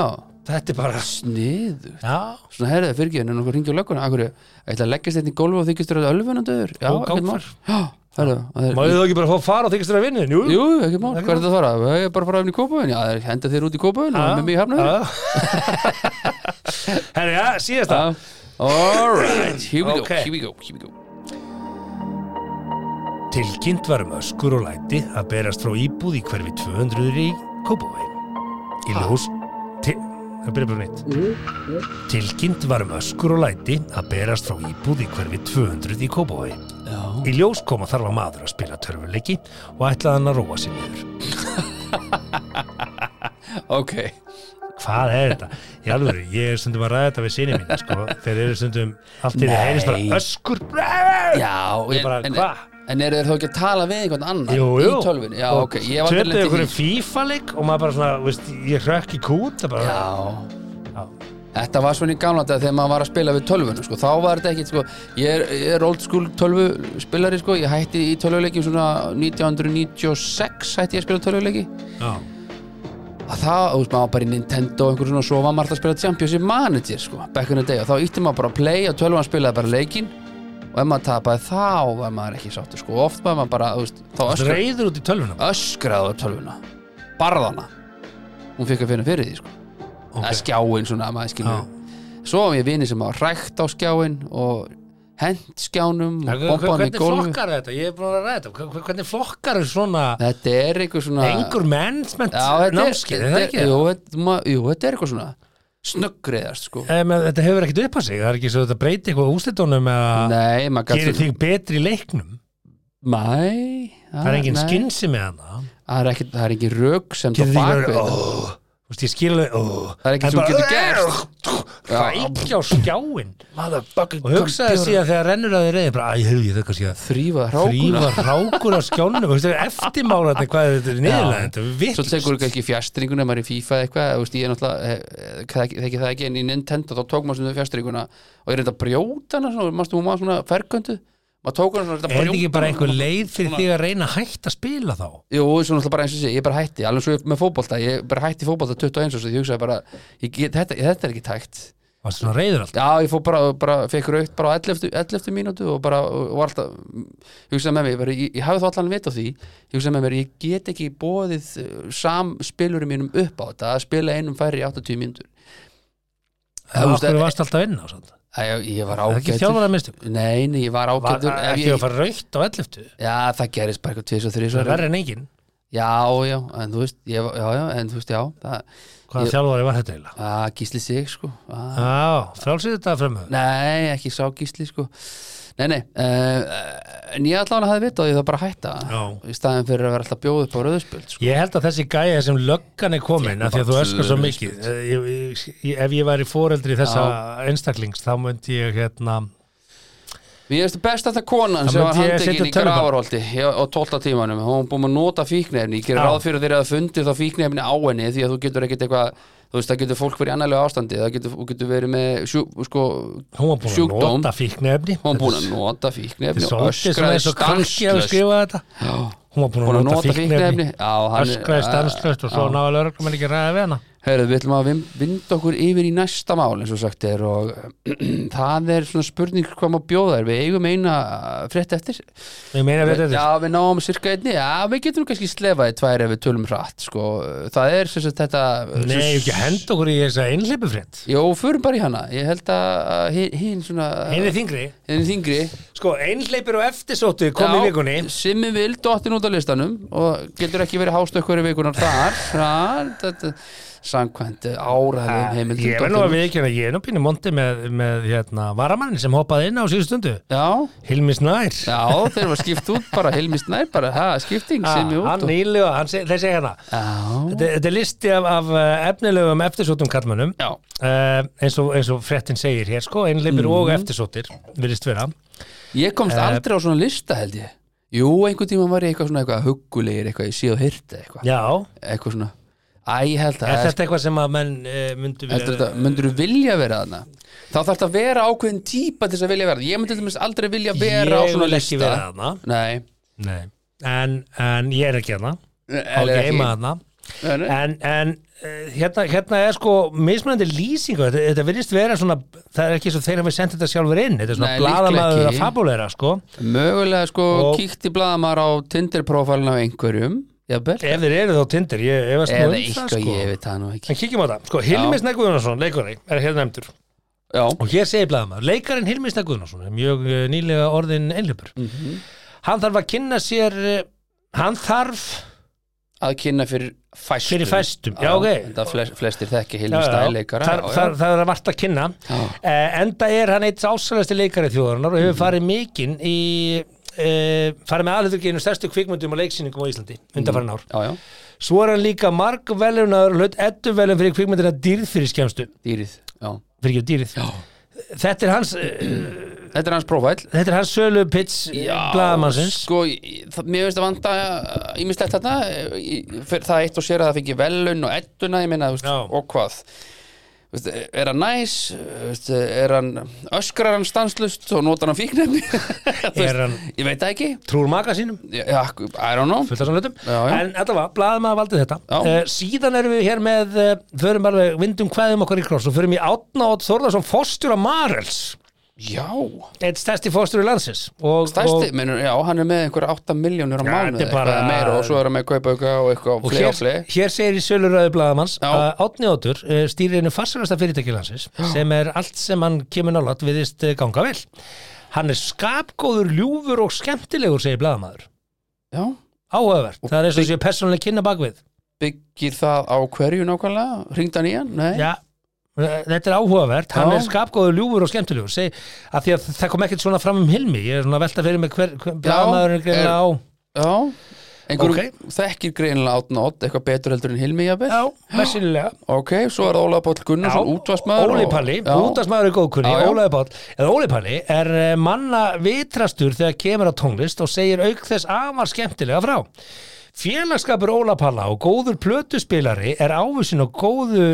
Speaker 4: Þetta er bara
Speaker 3: sniðu
Speaker 4: Já,
Speaker 3: Svona herðið fyrirgefinu, en okkur ringi á lögguna Akkur, ég ætla að leggja steytni í gólfi og þykistur að ölfunandur Já,
Speaker 4: Ó,
Speaker 3: ekkert mál
Speaker 4: gangfar.
Speaker 3: Já, herðu, það er
Speaker 4: maður þú ekki bara fá far og þykist þér að vinni Jú,
Speaker 3: Jú, ekki mál,
Speaker 4: Ekki
Speaker 3: hvað er þetta að fara? Ég er bara að fara öfni í kópaðin, já, þeir henda þér út í kópaðin og með mig í hafnaður
Speaker 4: Herri, Ah. já, síðast það
Speaker 3: Alright, here we go,
Speaker 4: Okay.
Speaker 3: here we go, here we go
Speaker 4: Tilkynnt var um öskur og læti að berast frá íbúð í hverfi 200 í Kópavei. Í ljós... Til, það byrja bara neitt. Tilkynnt var um öskur og læti að berast frá íbúð í hverfi 200 í Kópavei.
Speaker 3: Já,
Speaker 4: Í ljós kom að þar var maður að spila törfuleiki og ætlaði hann að róa sér niður.
Speaker 3: ok
Speaker 4: Hvað er þetta? Í alveg, ég er stundum að ræða þetta við sinni mín, sko. Þeir eru stundum allt í því heyrist
Speaker 3: Nei.
Speaker 4: bara öskur.
Speaker 3: Já,
Speaker 4: Ég bara,
Speaker 3: en,
Speaker 4: hva?
Speaker 3: en eru þeir þá ekki að tala við einhvern annan
Speaker 4: Jú, jú.
Speaker 3: í tölvunni? Já, ok, ég var
Speaker 4: Töpuðu
Speaker 3: aldrei
Speaker 4: ykkur
Speaker 3: lent í því.
Speaker 4: FIFA-leik og maður bara svona, veist, ég hrökk í kút. það Bara,
Speaker 3: Já,
Speaker 4: Já.
Speaker 3: þetta var svona í gamla þetta þegar maður var að spila við tölvunum, sko Þá var þetta ekkit, sko, ég er, ég er old school tölvuspilari, sko Ég hætti í tölvuleikjum svona 1996 hætti ég að spila tölvuleiki
Speaker 4: Já.
Speaker 3: að það, þú veist, maður var bara í Nintendo og einhver svona, svo var maður alltaf að spila Champions í Manager, sko, back in the day og þá ítti maður bara að play og tölvan spilaði bara leikinn og ef maður tapaði þá var maður ekki sáttur, sko, oft var maður bara, þú veist, þá öskra,
Speaker 4: Reyður út í tölvuna
Speaker 3: öskraði á tölvuna barðana hún fikk að finna fyrir því, sko okay. að skjáin svona, maður skilur svo var ég vini sem maður rækt á skjáin og hent skjánum og bombaði hann
Speaker 4: Hvernig
Speaker 3: í gólfi
Speaker 4: flokkar þetta? Ég er búin að ræða þetta Hver- Hvernig flokkar er svona
Speaker 3: þetta er einhver svona
Speaker 4: Engur management
Speaker 3: Hérna- Já, þetta er-
Speaker 4: námskeið, er það
Speaker 3: þetta
Speaker 4: ekki?
Speaker 3: er- jú, þetta ma- jú, þetta er eitthvað svona snöggriðast, sko
Speaker 4: Em, en Eh, Þetta hefur ekkert upp á sig Það er ekki svo þetta breyti eitthvað úslitunum eða
Speaker 3: Nei, maður gæti
Speaker 4: gerir þig betri í leiknum
Speaker 3: Nei,
Speaker 4: Það er engin
Speaker 3: Ah, nei.
Speaker 4: skinsi með hana
Speaker 3: Það er ekki, það er ekki rök sem það
Speaker 4: Gerir þig
Speaker 3: bak við
Speaker 4: verið
Speaker 3: þetta.
Speaker 4: Ó, Þú veist, ég skil alveg ó.
Speaker 3: Það er ekki
Speaker 4: En
Speaker 3: sem
Speaker 4: bara,
Speaker 3: getur gert.
Speaker 4: Rækja á skjáin Og hugsaði síðan þegar rennur að þið reyði bara, æ, hefur ég þau kannski að
Speaker 3: Þrýfa rákuna
Speaker 4: þrýfa rákur á skjánum eftirmálaði hvað er þetta er niðurlega
Speaker 3: Svo tekur ekki ekki fjastringuna, maður er í FIFA eða eitthvað þú veist, Ég er náttúrulega, eh, eh, þekki þekki það ekki En í Nintendo þá tók maður sem þau fjastringuna Og ég reynda að brjóta hana svona, Maður stúma svona ferköndu Maður tók hana svona reyndi að
Speaker 4: Er þetta ekki
Speaker 3: brjóta
Speaker 4: bara
Speaker 3: hana.
Speaker 4: einhver leið fyrir því að reyna að hætta að spila þá?
Speaker 3: Jú, svona alltaf bara eins og sé, ég bara hætti Alveg svo ég með fótbolta, ég bara hætti fótbolta 21 og svo ég hugsaði bara, ég get, þetta, þetta er ekki tækt
Speaker 4: Það er svona reyður alltaf.
Speaker 3: Já, ég fór bara, bara fekk raukt bara á 11, 11 mínútu og bara og var alltaf, ég hugsaði með mér bara, ég, ég hafði þá allan vit á því ég hugsaði með mér, ég get ekki bóðið samspilurum mínum upp á þetta að spila einum færri í 80 mínútur
Speaker 4: Það
Speaker 3: veist, e-
Speaker 4: okkur varst alltaf inn á svona.
Speaker 3: Æ, ég, ég var
Speaker 4: Það er ekki
Speaker 3: ágætur
Speaker 4: þjálfarað mistök.
Speaker 3: Nei, nei, ég var
Speaker 4: Var
Speaker 3: ágætur ef
Speaker 4: ekki að
Speaker 3: ég,
Speaker 4: fara raukt á 11.
Speaker 3: Já, það gerist bara eitthvað tvis og þrís
Speaker 4: Það er verri en engin.
Speaker 3: Já, já, en þú veist ég, var- Já, já, en þú veist, já það,
Speaker 4: Hvaða
Speaker 3: Ég-
Speaker 4: þjálfarið var þetta eiginlega?
Speaker 3: að, Gísli sig, sko að,
Speaker 4: Já, frálsið þetta fremmu.
Speaker 3: Nei, ekki sá gísli sko Nei, nei, uh, en ég allan að hafa vita og ég það bara að hætta
Speaker 4: Já.
Speaker 3: í staðin fyrir að vera alltaf bjóð upp á rauðspöld sko.
Speaker 4: Ég held að þessi gæja sem löggan er komin af því að þú öskar svo mikið eh, ég, ég, ef ég væri foreldri þessa einstaklings þá myndi ég hérna
Speaker 3: Mér finnst best að það konan
Speaker 4: Það
Speaker 3: sem var
Speaker 4: myndi ég
Speaker 3: handekinn
Speaker 4: setja
Speaker 3: í
Speaker 4: tölvu bara.
Speaker 3: gravarholti á 12 tímanum, hún var búin að nota fíknefni ég gerir
Speaker 4: Já.
Speaker 3: ráð fyrir þeirra að fundi þá fíknefni á henni því að þú getur ekkit eitthvað þú veist, það getur fólk verið í annarlega ástandi það getur, getur verið með sjú, sko,
Speaker 4: Hún var búin að
Speaker 3: sjúkdóm
Speaker 4: nota fíknefni
Speaker 3: hún var búin að nota fíknefni og
Speaker 4: Svolítið svona
Speaker 3: öskraði
Speaker 4: eins og krakki að
Speaker 3: stanslöst
Speaker 4: skrifa þetta Hún var búin að nota fíknefni
Speaker 3: Já, hann er-
Speaker 4: Öskraði stanslöst og svo
Speaker 3: Já.
Speaker 4: náða lögreglum ekki að ræða við hana
Speaker 3: Herðu, við ætlum að vin- vinda okkur yfir í næsta mál eins og sagt er og það er svona spurning hvað maður bjóða er við eigum eina frétt eftir
Speaker 4: Ég meina við þetta
Speaker 3: Já, við náum cirka einni Já, við getum nú kannski slefaði tvær ef við tölum hratt sko. Það er sem sagt þetta
Speaker 4: Nei, ekki að henda okkur í þess að einhleipufrétt
Speaker 3: Jó, förum bara í hana Ég held að hi- hin svona
Speaker 4: Einni þingri
Speaker 3: Hinn þingri
Speaker 4: Sko, einhleipur og eftirsóttu kom í
Speaker 3: Já,
Speaker 4: vikunni
Speaker 3: Simmi vil dottin út á listanum og getur ekki verið hástökkur í vikunar þar Það- þetta- Samkvæmt áraðum heimildum
Speaker 4: Ah, Ég verð nú að viðkjöna, ég er nú pínu mondi með, með hérna, varamannin sem hoppaði inn á síðustu stundu
Speaker 3: Já,
Speaker 4: Hilmi Snær
Speaker 3: já, þeir var skipt út bara Hilmist nær bara, ha, skipting
Speaker 4: Ah,
Speaker 3: Simmi út
Speaker 4: Hann
Speaker 3: og,
Speaker 4: nýlega, hann seg, þeir segja hana
Speaker 3: Já,
Speaker 4: Þetta þetta er listi af, af eh, efnilegum eftirsóttum kallmönnum
Speaker 3: já,
Speaker 4: uh, eins, og, eins og fréttin segir hér sko, einleipir
Speaker 3: Mhm.
Speaker 4: og eftirsóttir virðist vera
Speaker 3: Ég komst
Speaker 4: Eh.
Speaker 3: aldrei á svona lista held ég Jú, einhvern tíma var ég eitthvað svona eitthvað huggulegir eitthvað, ég sé og hyrta eitthvað
Speaker 4: Já,
Speaker 3: eitthvað svona, æ, ég held að
Speaker 4: er þetta eitthvað sem að menn uh, myndu
Speaker 3: heldur
Speaker 4: vera
Speaker 3: þetta, myndur þú vilja vera þarna þá þarf þetta að vera ákveðin típa til þess að vilja vera þarna. ég myndi til dæmis aldrei vilja vera á
Speaker 4: Ég
Speaker 3: svona
Speaker 4: vil
Speaker 3: lista
Speaker 4: ekki vera þarna
Speaker 3: Nei,
Speaker 4: Nei. en, en ég er ekki þarna á
Speaker 3: Eller ekki.
Speaker 4: geima þarna
Speaker 3: Nei, nei.
Speaker 4: en, en eh, hérna, hérna er sko mismunandi lýsingu, þetta, þetta virðist vera svona, það er ekki svo þeir hafi sendið þetta sjálfur inn, þetta er svona
Speaker 3: Nei,
Speaker 4: bladamaður
Speaker 3: líklega
Speaker 4: að
Speaker 3: ekki.
Speaker 4: fabuleira sko,
Speaker 3: Mögulega sko
Speaker 4: Og-
Speaker 3: kíkti blaðamar á Tinder-profælin af einhverjum Jafnvel
Speaker 4: ef þeir eru þá tindir ég efast nú um
Speaker 3: Eða
Speaker 4: það,
Speaker 3: eitthvað,
Speaker 4: sko.
Speaker 3: ég veit það nú ekki
Speaker 4: En kíkjum á það, sko, Hilmis Neguðunarsson, leikari, er hér nefndur
Speaker 3: Já,
Speaker 4: Og hér segir blaðamaður, leikarinn Hilmis Neguðunarsson er mjög eh, nýlega orðin einlöpur
Speaker 3: Mhm.
Speaker 4: Hann þarf að kynna sér, eh, hann þarf,
Speaker 3: að kynna fyrir fæstum
Speaker 4: Fyrir fæstum, já, ok.
Speaker 3: Þetta flest, Flestir þekki
Speaker 4: Já,
Speaker 3: hilmi
Speaker 4: já,
Speaker 3: stæleikara
Speaker 4: þar, þar, þar er vart að kynna
Speaker 3: Já.
Speaker 4: eh, Enda er hann eitt ásælæsti leikari þjóðarinnar og hefur
Speaker 3: Mhm.
Speaker 4: farið mikinn í, eh, farið með aðhaldurgeinu stærstu kvikmyndum og leiksýningum á Íslandi undanfærin ár
Speaker 3: Já, já,
Speaker 4: Svo er hann líka marg velunaður hlut eddu velun fyrir kvikmyndina dýrð fyrir skemstu,
Speaker 3: dýrið já.
Speaker 4: fyrir ekki dýrð
Speaker 3: Já.
Speaker 4: Þetta er hans, eh,
Speaker 3: Þetta er hans prófæl
Speaker 4: Þetta er hans sölu pitch blaðamannsins
Speaker 3: sko, í- það- mér finnst að vanda ímislegt þetta í- fyrir það eitt og sér að það fengi velun og ettuna, ég meina, þú veist,
Speaker 4: Já.
Speaker 3: og hvað Þú veist, er hann næs Þú veist, er hann öskrar hann stanslust og notar hann fíknefni
Speaker 4: Er
Speaker 3: Þú veist,
Speaker 4: hann-
Speaker 3: ég veit það ekki
Speaker 4: Trúr maka sínum
Speaker 3: ja, I don't know
Speaker 4: Fullt af svona hlutum
Speaker 3: Já, já.
Speaker 4: En þetta var, blaðamaður valdi þetta
Speaker 3: Já.
Speaker 4: uh, Síðan erum við hér með uh, Förum alveg, vindum hvaðum okkar í kross Og förum í Átna og Þórðarsson Fostjúra Marels
Speaker 3: já,
Speaker 4: Eitt stærsti fostjúri landsins og,
Speaker 3: stærsti,
Speaker 4: og,
Speaker 3: menur, já, hann er með einhverja 8 miljónur á
Speaker 4: Já,
Speaker 3: mánuði,
Speaker 4: þetta er bara-
Speaker 3: eitthvað meira og svo er hann með kaupauka og eitthvað
Speaker 4: og
Speaker 3: fle og fle
Speaker 4: hér, hér segir í söluröðu blaðamanns
Speaker 3: Já.
Speaker 4: að Átni Ótur uh, stýrir einu farsarasta fyrirtæki landsins Sem er allt sem hann kemur nálat Viðist eh, ganga vel Hann er skapgóður, ljúfur og skemmtilegur Segir blaðamaður
Speaker 3: já,
Speaker 4: Áhugavert, það er eins og séu persónuleg kynna bakvið
Speaker 3: byggir það á hverju nákvæmlega, ringd hann í hann nei,
Speaker 4: Já, þetta er áhugavert hann
Speaker 3: Já.
Speaker 4: er skapgóður, ljúfur og skemmtilegur seg, að því að það kom ekkert svona fram um Hilmi ég er svona að velta fyrir mig hver, hver blaðamaðurinn greina á
Speaker 3: Já, einhver
Speaker 4: Ókei.
Speaker 3: þekkir greinilega átna odd, eitthvað betur heldur en Hilmi jafnvel.
Speaker 4: Já, messinilega
Speaker 3: Ok, svo er það Ólaði Páll Gunnarsson, útvarsmaður.
Speaker 4: Óli Palli, útvarsmaður er góðkunni
Speaker 3: Já, já.
Speaker 4: Ólaði Páll, eða Óli Palli er eh, manna vitrastur þegar kemur á tónlist og segir auk þess afar skemmtilega frá Félagskapur Óla Palla og góður plötuspilari er ávísin og góðu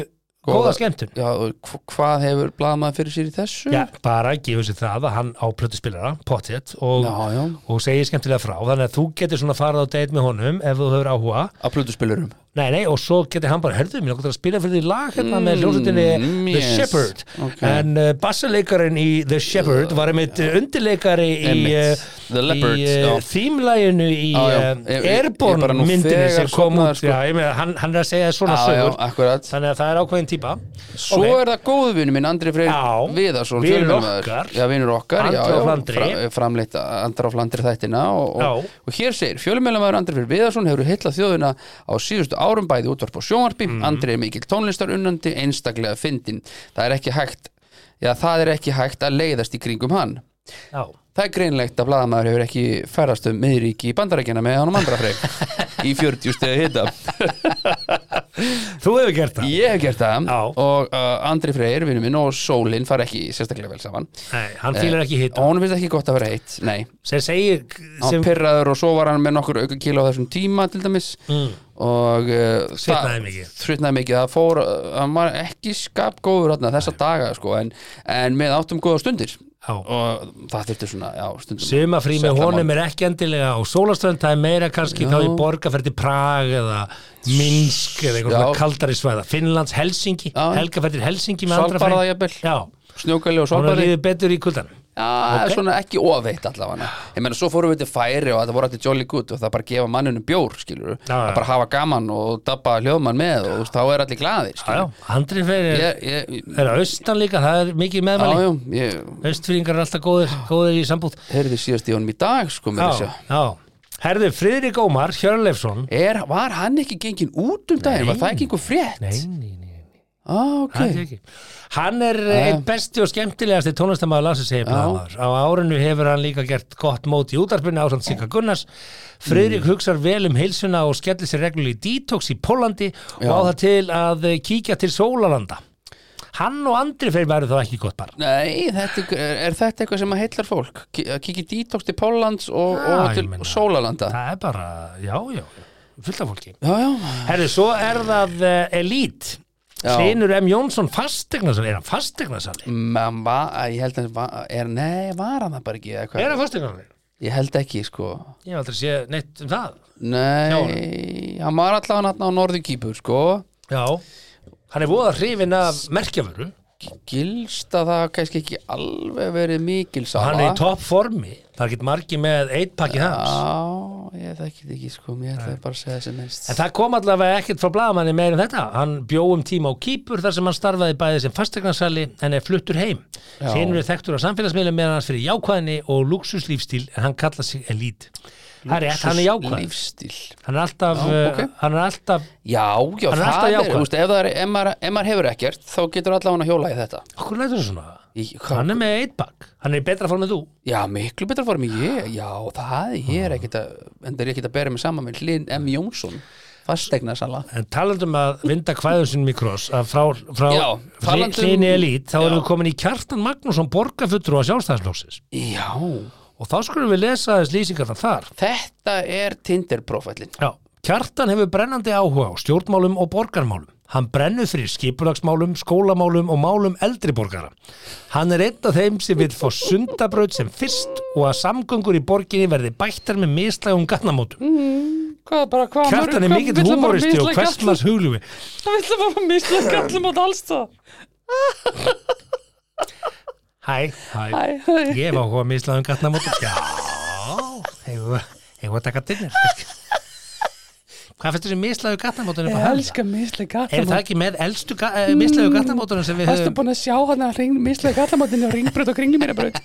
Speaker 4: góða skemmtun
Speaker 3: Já, og hv- hvað hefur blaðmaður fyrir sér í þessu?
Speaker 4: Já, bara gefur sér það að hann á plötuspilara, pottet og,
Speaker 3: Já, já.
Speaker 4: og segir skemmtilega frá þannig að þú getur svona farið á date með honum ef þú hefur áhuga,
Speaker 3: Að plötuspilurum.
Speaker 4: nei nei og svo getur hann bara, herðu, mér okkur að spila fyrir því lag hérna með hljósutinni
Speaker 3: mm,
Speaker 4: The
Speaker 3: yes.
Speaker 4: Shepherd
Speaker 3: Ok.
Speaker 4: en uh, bassaleikarinn í The Shepherd var einmitt uh, undirleikari í,
Speaker 3: Einmitt.
Speaker 4: uh,
Speaker 3: The Leopard,
Speaker 4: í uh,
Speaker 3: já.
Speaker 4: þýmlæginu í
Speaker 3: Já, já.
Speaker 4: uh,
Speaker 3: Ég- ég- ég er bara
Speaker 4: Airborne
Speaker 3: nú
Speaker 4: myndinni
Speaker 3: þegar
Speaker 4: sem kom
Speaker 3: sofnaður,
Speaker 4: út
Speaker 3: sko.
Speaker 4: já, ég með, hann, hann er að segja svona
Speaker 3: Já, já,
Speaker 4: sögur
Speaker 3: akkurat.
Speaker 4: þannig að það er ákveðin típa
Speaker 3: Svo
Speaker 4: Ok.
Speaker 3: er það góðvinu minn, Andri Freyr
Speaker 4: Já,
Speaker 3: Viðarsson,
Speaker 4: vinur
Speaker 3: fjölmiðlamaður.
Speaker 4: okkar.
Speaker 3: Já, vinur okkar, já,
Speaker 4: Andra á
Speaker 3: já,
Speaker 4: Flandri.
Speaker 3: framleitt Andra á Flandri þættina og, og,
Speaker 4: Já.
Speaker 3: og hér segir, fjölmjölamæður Andri Freyr Viðarsson hefur heitlað þjóðina á síðustu árum bæði útvarp og sjónvarpi,
Speaker 4: Mm.
Speaker 3: Andri er mikil tónlistar unnandi, einstaklega fyndin það er ekki hægt, já, það er ekki hægt að leiðast í kringum hann
Speaker 4: já,
Speaker 3: Það er greinlegt að blaðamaður hefur ekki ferðast um miðríki í bandarækjana með honum andra freyr í 40 stegi hita.
Speaker 4: þú hefur gert það
Speaker 3: Ég hef gert það
Speaker 4: Já.
Speaker 3: og uh, Andri Freyr, vinnu minn og Sólin fara ekki sérstaklega vel saman.
Speaker 4: nei, hann fýlar ekki hitt
Speaker 3: Hún finnst ekki gott að vera heitt, nei
Speaker 4: sem segir
Speaker 3: hann
Speaker 4: sem,
Speaker 3: pyrraður og svo var hann með nokkur auka kíla á þessum tíma til dæmis og uh,
Speaker 4: Mm. Svitnaði mikið.
Speaker 3: svitnaði mikið, það fór uh, hann var ekki skapgóður þarna þessa daga sko, en, en með áttum góða stundir
Speaker 4: Já.
Speaker 3: og það þurfti svona já, stundum
Speaker 4: Sumafrí með
Speaker 3: Sælla
Speaker 4: honum er ekki endilega á sólastönd, það er meira kannski þá í borga fyrir til Prag eða Minsk eða eitthvað
Speaker 3: Já.
Speaker 4: svona kaldari svæða Finnlands, Helsingi,
Speaker 3: Já.
Speaker 4: Helga fyrir til Helsingi með andra
Speaker 3: Svalbarða
Speaker 4: fræ-
Speaker 3: jafnvel.
Speaker 4: Já,
Speaker 3: snjókali
Speaker 4: hún
Speaker 3: og
Speaker 4: er
Speaker 3: sólbari
Speaker 4: lífið betur í kuldan
Speaker 3: Já,
Speaker 4: Ah, Ok.
Speaker 3: svona ekki ofeitt allavega Ég meina, svo fórum við til færi og þetta voru allir jolly good og það bara gefa mannunum bjór, skilur við
Speaker 4: Já, já.
Speaker 3: bara hafa gaman og dabba hljóðmann með og þú veist, þá er allir glaðir,
Speaker 4: Já,
Speaker 3: skilur
Speaker 4: andri fyrir
Speaker 3: Ég, ég,
Speaker 4: er að austan líka, það er mikið
Speaker 3: já,
Speaker 4: meðmæli
Speaker 3: já, ég
Speaker 4: Austfýringar er alltaf góðir, góðir í sambúð
Speaker 3: heyrði síðast í honum í dag, sko, með þessu
Speaker 4: Já, já Herðu, Friðrik Ómar, Hjörleifsson
Speaker 3: Er, var hann ekki gengin út um daginn? Var það ekki einhver frétt?
Speaker 4: Nei, nei, nei
Speaker 3: Á, ok.
Speaker 4: Hann er ekki. Hann er einn besti og skemmtilegasti tónlistamæður landsins segir blaðamaður. Á árinu hefur hann líka gert gott mót í útarpinu ásamt Sigga Gunnars. Friðrik hugsar vel um heilsuna og skellir sér reglulega í detox í Pólandi og á það til að eh, kíkja til Sólalanda. Hann og andri fyrir væru þá ekki gott bara.
Speaker 3: Nei, þetta, er, er þetta eitthvað sem að heillar fólk? Ki- að Kíkja í dítóks til Póllands og,
Speaker 4: Já,
Speaker 3: og
Speaker 4: ég
Speaker 3: til
Speaker 4: meina.
Speaker 3: Sólalanda?
Speaker 4: Það er bara, já, já, fullt af fólki.
Speaker 3: Já, já.
Speaker 4: Herri, svo er það uh, Elite.
Speaker 3: Já.
Speaker 4: Sinur M. Jónsson fastegnasali. Er hann fastegnasali?
Speaker 3: Man, Mm, va, ég held að, va, er, nei, var hann það bara ekki? eða hvað?
Speaker 4: Er hann fastegnasali?
Speaker 3: Ég held ekki, sko.
Speaker 4: Ég hef aldrei séð neitt um það. Hjá
Speaker 3: Nei, hann var allavega hann á norðu kýpur, sko.
Speaker 4: Já, hann er voða hrifin af merkjavöru
Speaker 3: Gilst að það hafi kannski ekki alveg verið mikil sá.
Speaker 4: Hann er í topp formi, það er ekki margi með eitt pakki hans
Speaker 3: Já, ég þekki þetta ekki, sko. Mér ætlaði bara að segja þessi minnst.
Speaker 4: En það kom allavega ekkert frá blaðamanni meir en þetta Hann bjó um tíma á Kýpur þar sem hann starfaði bæði sem fastegnarsali en er fluttur heim
Speaker 3: Já.
Speaker 4: Sýnur er þekktur á samfélagsmiðlum meðan hans fyrir jákvæðinni og luxuslífstíl en hann kallar sig elít Það er rétt, hann er jákvæð
Speaker 3: Lífstíl.
Speaker 4: Hann er alltaf,
Speaker 3: Já, ok.
Speaker 4: uh, hann er alltaf
Speaker 3: Já, já,
Speaker 4: Hann er alltaf
Speaker 3: það er,
Speaker 4: jákvæður.
Speaker 3: þú veist, ef, það er, ef, maður, ef maður hefur ekkert, þá getur allavega að hjóla í þetta.
Speaker 4: Hvað lætur þú svona?
Speaker 3: Í,
Speaker 4: Hann er með eitt pakk, hann er í betra formi en þú
Speaker 3: Já, miklu betra form en ég, já, það ég er ekkert að, en það er ekkert að bera mig saman með Linn M. Jónsson, fastegna sala.
Speaker 4: En talandum um að vinda kvæðum sinum í kross að frá, frá
Speaker 3: Já,
Speaker 4: hli-
Speaker 3: talandum-
Speaker 4: hlini elít þá erum
Speaker 3: Já.
Speaker 4: við komin í Kjartan Magnússon borgarfulltrú að sjálfstæðslóksins
Speaker 3: Já,
Speaker 4: og þá skulum við lesa þess lýsingarna þar
Speaker 3: þetta er Tinder-profælinn.
Speaker 4: Já, Kjartan hefur brennandi áhuga á stjórnmálum og borgarmálum. Hann brennur fyrir skipulagsmálum, skólamálum og málum eldri borgara. Hann er einn af þeim sem vil fá sundabraut sem fyrst og að samgöngur í borginni verði bættar með mislægum gatnamótum.
Speaker 6: Hvað bara, hvað
Speaker 4: Kjartan er mikill humoristi og hversmars hugljúi.
Speaker 6: Það vill bara mislega gallum át alls það
Speaker 4: Hæ, hæ,
Speaker 6: hæ.
Speaker 4: ég hef áhuga að mislaðum gatnamótum. Já, hefur hefur að taka dinnir. kannski. Hvað finnst þessi mislaðu gatnamótunum?
Speaker 6: Ég elska mislega
Speaker 4: Er það
Speaker 6: gallamót
Speaker 4: ekki með elstu ga mm. mislaðu gatnamótunum sem við
Speaker 6: Erstu
Speaker 4: höfum?
Speaker 6: búin að sjá hann að mislega gallamótinu og ringbröð og kringlumýrabröð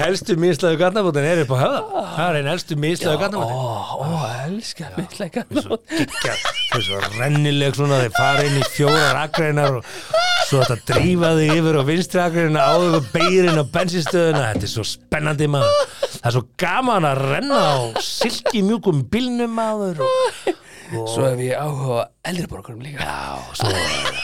Speaker 4: Elstu mislaðu gatnamótun er upp á höfða.
Speaker 6: Ah.
Speaker 4: Það er einn elstu mislaðu gatnamótun.
Speaker 6: Ó, elska mislega gallamót
Speaker 4: Gekka, þessu rennileg svona þeir fara inn í fjórar akreinar og svo þetta drífa þig yfir á vinstri akreina áður og beirinn á bensinstöðuna. Þetta er svo spennandi maður. Það er svo gaman að renna á silki mjúkum bílnum maður og
Speaker 3: Svo hef ég áhuga á eldri borgarum líka. Ah, Já, svo.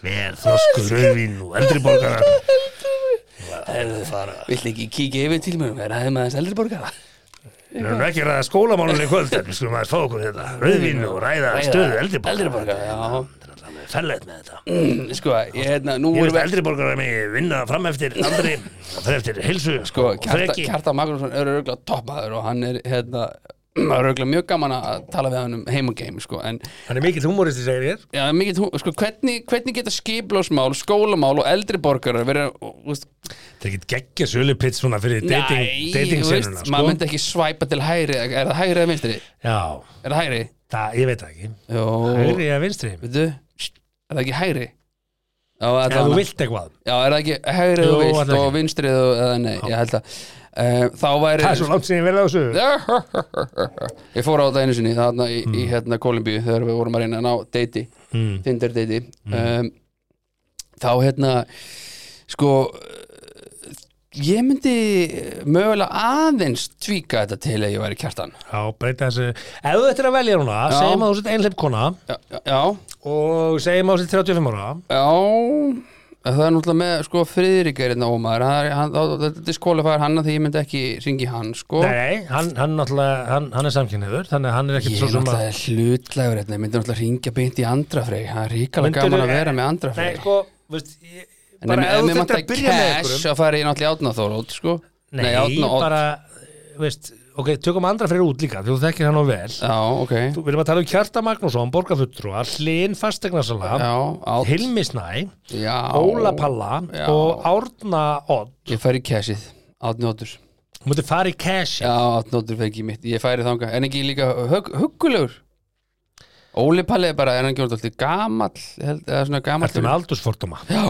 Speaker 4: Vel þroskuð rauðvín og eldri borgarar
Speaker 3: Erðu fara. Viltu ekki kíkja yfir til mér og vera aðeins með aðeins eldri borgara?
Speaker 4: Við erum ekki að ræða skólamálunni í kvöld en við skulum aðeins fá okkur þetta rauðvín og ræða stöðu eldri
Speaker 3: Eldri
Speaker 4: borgarar
Speaker 3: borgara, já.
Speaker 4: Fællet með þetta
Speaker 3: Mm, Sko, ég, hérna, nú
Speaker 4: Ég
Speaker 3: vorum
Speaker 4: veist
Speaker 3: við
Speaker 4: að eldri borgarar megi vinna fram eftir andri og það eftir heilsu
Speaker 3: sko,
Speaker 4: og
Speaker 3: Kjarta,
Speaker 4: freki
Speaker 3: Kjarta Magnússon er örugla toppmaður og hann er hérna það er örugla mjög gaman að tala við hann um heimageim sko, en
Speaker 4: Hann er mikill humoristi segir ég
Speaker 3: já, mikið, hú- sko, hvernig, hvernig geta skiplásmál, skólamál og eldri borgarar verið, og, þú veist,
Speaker 4: Það er ekki geggja sölupitt svona fyrir dating, dating
Speaker 3: þú veist,
Speaker 4: senuna
Speaker 3: maður
Speaker 4: sko.
Speaker 3: myndi ekki svæpa til hægri er það hægri eða vinstri?
Speaker 4: Já,
Speaker 3: Er það hægri?
Speaker 4: það, ég veit það ekki
Speaker 3: Jó,
Speaker 4: Hægri eða vinstri Ef
Speaker 3: veitu, er það ekki hægri? Já, er
Speaker 4: þú
Speaker 3: það,
Speaker 4: vilt eitthvað
Speaker 3: já, er það ekki hægri
Speaker 4: Jú,
Speaker 3: og vilt
Speaker 4: allan
Speaker 3: og
Speaker 4: ekki.
Speaker 3: vinstri og, eða nei, ég held að uh, þá væri
Speaker 4: Það er svo langt sem ég verði á þessu
Speaker 3: ég fór á þetta einu sinni þarna í, í
Speaker 4: Mm.
Speaker 3: hérna Kolumbíu þegar við vorum að reyna að ná deiti, Tinder deiti
Speaker 4: Mm.
Speaker 3: um, þá hérna sko eh, ég myndi mögulega aðeins tvíka þetta til að ég væri kjartan
Speaker 4: Já, breyta þessu Ef þú ættir að velja núna,
Speaker 3: Já.
Speaker 4: segjum að þú sett einhleip kona
Speaker 3: já, já,
Speaker 4: og segjum að þú sett 35 ára
Speaker 3: já að það er náttúrulega með sko friðrikar hérna ómaður, það er- hann- þá- þetta diskólifæðar hann að því ég myndi ekki ringi hann sko
Speaker 4: Nei, hann, hann náttúrulega, hann, hann er samkynniður þannig að hann er ekkert
Speaker 3: Ég
Speaker 4: svo
Speaker 3: er
Speaker 4: sem
Speaker 3: náttúrulega
Speaker 4: að
Speaker 3: hlutlægur hérna, ég myndi náttúrulega ringja beint í andrafrey, það er ríkalega
Speaker 4: Myndirðu-
Speaker 3: gaman að vera með
Speaker 4: Nei,
Speaker 3: andrafrey
Speaker 4: sko, veist ég,
Speaker 3: En ef,
Speaker 4: bara ef
Speaker 3: ef mér
Speaker 4: þetta
Speaker 3: vantar
Speaker 4: að byrja með
Speaker 3: cash
Speaker 4: einhverjum
Speaker 3: þá færi ég náttúrulega í átna þórótt sko
Speaker 4: Nei,
Speaker 3: Árna Odd.
Speaker 4: bara, veist, ok, tökum andra fyrir út líka því þú þekkir hann og vel
Speaker 3: Já, ok
Speaker 4: Þú viljum að tala um Kjarta Magnússon, borgarfulltrúa Hlinn
Speaker 3: Já,
Speaker 4: Fastegnasala,
Speaker 3: átt
Speaker 4: Hilmi Snæ
Speaker 3: Já,
Speaker 4: Óla Palla
Speaker 3: Já.
Speaker 4: og Árna Odd
Speaker 3: Ég færi í cashið, átni óttur
Speaker 4: Þú mútið fara í cash
Speaker 3: Já, átni óttur fengi mitt, ég færi þanga En ekki líka högg, huggulegur Óli Palli er bara, er hann ekki orðið gamall, held, eða svona gamall
Speaker 4: Ertu með aldursfordóma
Speaker 3: Já,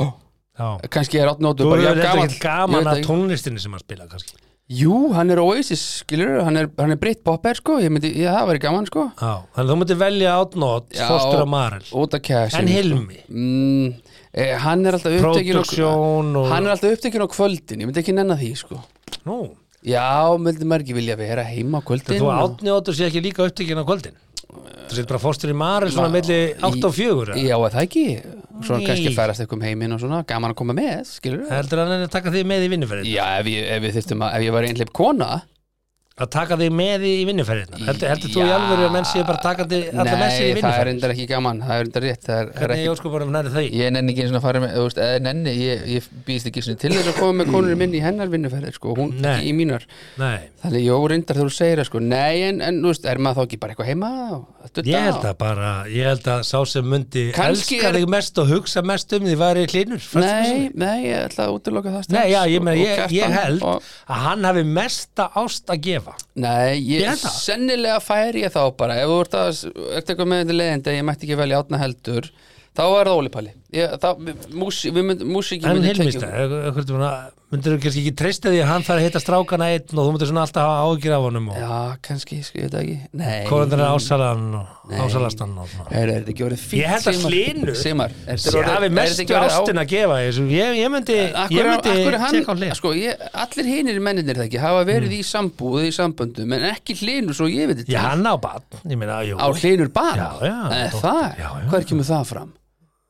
Speaker 4: Já
Speaker 3: kannski er átni
Speaker 4: Þú
Speaker 3: óttur bara
Speaker 4: hefur
Speaker 3: jafn
Speaker 4: þetta
Speaker 3: gamall
Speaker 4: ekki gaman
Speaker 3: Ég veit
Speaker 4: að
Speaker 3: það ekki.
Speaker 4: tónlistinni sem hann spila kannski
Speaker 3: Jú, hann er Oasis, skilur Hann er, hann er britt popper, sko, ég myndi, ég, það væri gaman, sko
Speaker 4: Já, þannig að þú mútið velja Árna Odd,
Speaker 3: Já.
Speaker 4: Fostur og Marel
Speaker 3: Út af cashið
Speaker 4: En Hilmi
Speaker 3: mm, eh, Hann er alltaf upptekinn
Speaker 4: Production og-
Speaker 3: Hann er alltaf upptekinn á kvöldin, ég myndi ekki nenna því, sko
Speaker 4: Nú,
Speaker 3: Já, myndi maður ekki vilja vera heima á kvöldin
Speaker 4: þú
Speaker 3: og-
Speaker 4: Árni Odd sé ekki líka upptekinn á kvöldin Þú setur bara Fostur og Marel svona milli 8 og 4
Speaker 3: Já, er það ekki Svona
Speaker 4: Nei.
Speaker 3: kannski færast eitthvað um heiminn og svona Gaman að koma með, skilur við
Speaker 4: Heldur hann er að taka þig með í vinnuferðin?
Speaker 3: Já, ef ég, ef ég þyrftum að, ef ég var einhleip kona
Speaker 4: Að taka þig með í vinnuferðin? Heldur, heldur þú í
Speaker 3: Já.
Speaker 4: alvöru að menn sé bara takandi alltaf með sér í
Speaker 3: Nei, það er
Speaker 4: vinnuferðin?
Speaker 3: endar ekki gaman, það er endar rétt það er, það er
Speaker 4: Hvernig
Speaker 3: ekki,
Speaker 4: í óskupunum nærðu þau?
Speaker 3: Ég nenni ekki eins og að fara með, þú veist, eða nenni Ég, ég býðst ekki svona til þess að koma með konur minn í hennar vinnuferðir, sko, hún
Speaker 4: Nei.
Speaker 3: ekki í mínar
Speaker 4: Nei,
Speaker 3: Þannig, jó, reyndar þegar þú segir það, sko Nei, en, en, þú veist, er maður þá ekki bara eitthvað heima og að dutta
Speaker 4: ég
Speaker 3: og-
Speaker 4: held að bara, ég held að sá sem mundi
Speaker 3: Kannski
Speaker 4: elska
Speaker 3: er-
Speaker 4: þig mest og hugsa mest um því væri hlinur.
Speaker 3: Nei, nei, ég ætla að útiloka það strax
Speaker 4: Nei, já, ég,
Speaker 3: og-
Speaker 4: meina,
Speaker 3: og
Speaker 4: ég, ég
Speaker 3: Kjartan
Speaker 4: held
Speaker 3: og-
Speaker 4: að hann hafi mesta ást að gefa.
Speaker 3: Nei, ég,
Speaker 4: Ég held það.
Speaker 3: sennilega færi ég þá bara ef þú ert að, ert eitthvað með þetta leiðindi að ég mætti ekki velja átna heldur þá er það Óli Palli ég, þá, mús, við mynd, músíki
Speaker 4: En
Speaker 3: myndi
Speaker 4: Hilmista,
Speaker 3: tekið-
Speaker 4: myndir þú kannski ekki treysta því að hann þarf að hitta strákana einn og þú myndir svona alltaf hafa ágjur af honum og
Speaker 3: Já, kannski, sko, ég veit það ekki
Speaker 4: hvoran
Speaker 3: Nei,
Speaker 4: er ásalaðan og ásalasthann og svona.
Speaker 3: er, er þetta ekki orðið fínt
Speaker 4: Ég held að
Speaker 3: Sigmar?
Speaker 4: Hlynur
Speaker 3: Sigmar, er þetta
Speaker 4: Ég
Speaker 3: orðið-
Speaker 4: hafi
Speaker 3: er þetta
Speaker 4: mestu
Speaker 3: ekki orðið á-
Speaker 4: ástin að gefa þessu Ég, ég myndi,
Speaker 3: Akkur,
Speaker 4: ég myndi
Speaker 3: akkur er
Speaker 4: tjekka á
Speaker 3: hann,
Speaker 4: hlið
Speaker 3: sko, ég, allir hinir mennirnir það ekki hafa verið í sambúð, í samböndum en ekki hlinur svo ég veit
Speaker 4: Já,
Speaker 3: þetta
Speaker 4: hann á bann, ég meina, jú
Speaker 3: á hlinur bara
Speaker 4: Já, já,
Speaker 3: Er
Speaker 4: dóttir,
Speaker 3: það,
Speaker 4: já, já.
Speaker 3: hver kemur það fram?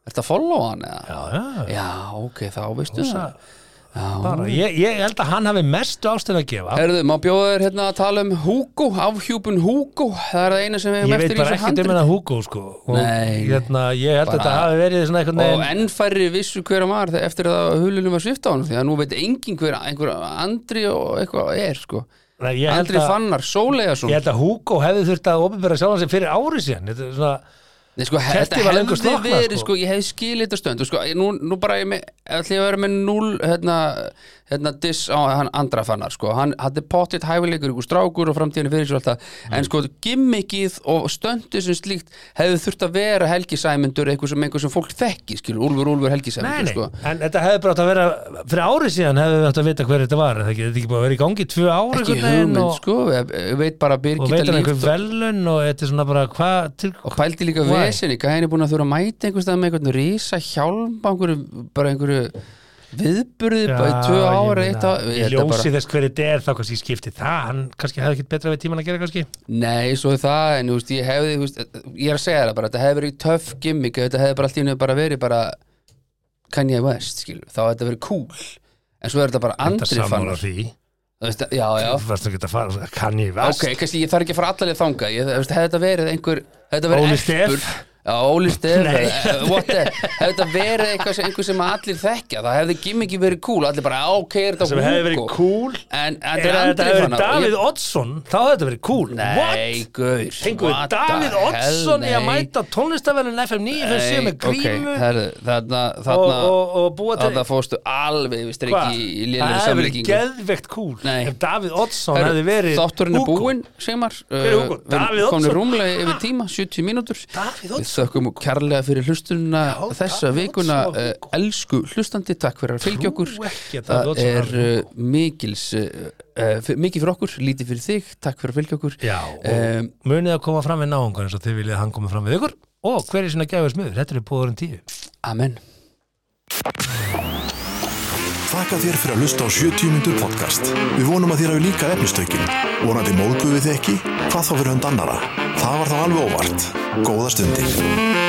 Speaker 3: Er þetta að follow hann eða?
Speaker 4: Já, já,
Speaker 3: Já, ok, þá veistu það
Speaker 4: bara ég, ég held að hann hafi mestu ástin að gefa
Speaker 3: Herðu, má bjóða þér hérna að tala um Hugo, afhjúpun Hugo Það er það eina sem við
Speaker 4: Ég
Speaker 3: hefum
Speaker 4: veit
Speaker 3: eftir í
Speaker 4: bara
Speaker 3: þessu
Speaker 4: ekkert um
Speaker 3: handrið
Speaker 4: hennar Hugo, sko og
Speaker 3: Nei.
Speaker 4: hérna, Ég held að
Speaker 3: Bara-
Speaker 4: þetta hafi verið svona einhvern
Speaker 3: Og
Speaker 4: veginn
Speaker 3: enn færri vissu hver hann var þegar- eftir að hulunum var svifta á hann Því að nú veit engin hver, einhver andri og eitthvað er sko
Speaker 4: Nei, Ég held
Speaker 3: Andri
Speaker 4: að-
Speaker 3: Fannar, Sólegason
Speaker 4: ég held að Hugo hefði þurft að opinbera sjálfan sig fyrir ári síðan Þetta er svona,
Speaker 3: Nei, sko, he-
Speaker 4: Kerti
Speaker 3: þetta
Speaker 4: var
Speaker 3: hefði
Speaker 4: löngu slokknað,
Speaker 3: verið,
Speaker 4: sko.
Speaker 3: sko, ég hefði skilið þetta stönd og sko, ég- nú, nú bara ég með, ætli ég að vera með núl hérna, hérna diss á hann andra fannar, sko, hann hattir pottitt hæfileikur ykkur strákur og framtíðinu fyrir sér og alltaf,
Speaker 4: Mm.
Speaker 3: en sko, gimmickið og stöndið sem slíkt hefði þurft að vera Helgi Sæmundur, eitthvað sem einhver sem fólk þekki, skilur, Úlfur, Úlfur, Helgi
Speaker 4: nei,
Speaker 3: Sæmundur,
Speaker 4: nei,
Speaker 3: sko
Speaker 4: en þetta hefði bara átt að vera fyrir ári síðan hefði við átt að vita hver þetta var er það ekki, þetta er ekki búið að vera í gangi í tvö ári
Speaker 3: ekki hugmynd, sko, ég, ég veit bara að
Speaker 4: og
Speaker 3: Birgitta
Speaker 4: veitir hann einhver
Speaker 3: líkt og,
Speaker 4: velun og þetta er svona bara hvað til
Speaker 3: og pældi líka
Speaker 4: Why?
Speaker 3: vesinni, gæðin er búin að þurfa að mæta einhvers stað með einhvern risa hjálm, á einhverju, bara einhverju viðburði bara í tvö ára eitt á,
Speaker 4: í
Speaker 3: þetta bara-
Speaker 4: ljósi þess hverju þetta er þá kannski skipti það hann kannski hefði ekkert betra við tíman að gera kannski
Speaker 3: Nei, svo er það, en þú veist, ég hefði, þú veist, ég er að segja það bara, þetta hefði verið töff gimmick, ef þetta hefði bara allt í henni bara verið bara Kanye West, skilur, þá hefði þetta verið cool, en svo er þetta bara
Speaker 4: þetta
Speaker 3: andri
Speaker 4: sammála
Speaker 3: fannar,
Speaker 4: því
Speaker 3: þú veist, já, já,
Speaker 4: þú varst ekki að fara kann ég
Speaker 3: ok, kannski ég þarf ekki að fara allalega þangað, ég, þú veist, hefði þetta verið einhver, hefði þetta verið
Speaker 4: Óli Stef?
Speaker 3: erpur, Já, Óli Stef,
Speaker 4: Nei.
Speaker 3: eh, what the, hefði þetta verið eitthvað sem, einhver sem allir þekkja, það hefði gimmicki verið cool, allir bara, "Ah, ok, er þetta
Speaker 4: sem hefði verið
Speaker 3: Hugo?"
Speaker 4: cool ef
Speaker 3: En þetta er
Speaker 4: þetta
Speaker 3: andri
Speaker 4: hefði verið
Speaker 3: fannar og ég-
Speaker 4: Davíð Oddsson þá hefði þetta verið cool
Speaker 3: Nei, gaur
Speaker 4: Tengur
Speaker 3: what
Speaker 4: Davíð
Speaker 3: the hell,
Speaker 4: Oddsson í að
Speaker 3: nei.
Speaker 4: mæta tónlistavelun FM 9 fyrir
Speaker 3: Nei,
Speaker 4: síðan með grímu
Speaker 3: ok, herðu, þarna,
Speaker 4: og,
Speaker 3: þarna,
Speaker 4: og, og búa til
Speaker 3: þarna fóstu alveg við
Speaker 4: Hva?
Speaker 3: strikki í
Speaker 4: Það
Speaker 3: lélir
Speaker 4: hefði verið
Speaker 3: samlíkingu
Speaker 4: geðvegt cool
Speaker 3: Nei.
Speaker 4: Ef Davíð Oddsson
Speaker 3: Herru,
Speaker 4: hefði verið
Speaker 3: Þátturinn er
Speaker 4: Hugo.
Speaker 3: búinn, Sigmar Eh,
Speaker 4: er Hugo?
Speaker 3: Við
Speaker 4: Davíð
Speaker 3: erum komin
Speaker 4: Oddsson?
Speaker 3: rúmlega yfir tíma, 70 mínútur
Speaker 4: Davíð
Speaker 3: Við
Speaker 4: Oddsson
Speaker 3: þökkum kærlega fyrir hlustununa
Speaker 4: Já,
Speaker 3: þessa
Speaker 4: Davíð
Speaker 3: vikuna
Speaker 4: Oddsson og
Speaker 3: uh,
Speaker 4: Hugo.
Speaker 3: Elsku hlustandi, takk fyrir að fylgja okkur
Speaker 4: ekki að Davíð
Speaker 3: Það
Speaker 4: Oddsson
Speaker 3: er
Speaker 4: hafi verið
Speaker 3: uh, mikils uh, uh, fyr- Mikið fyrir okkur, lítið fyrir þig Takk fyrir að fylgja okkur
Speaker 4: Já, og
Speaker 3: um,
Speaker 4: munið að koma fram við náungar eins og þið viljið að hann koma fram við ykkur og hver er svona gæfur smiður, þetta er búðurinn tíu
Speaker 3: Amen
Speaker 2: Þakka þér fyrir að hlusta á 70 myndur podcast. Við vonum að þér hafi líka efnistökin. Vonandi móðguðu þið ekki? Hvað þá fyrir hund annara? Það var þá alveg óvart. Góða stundir.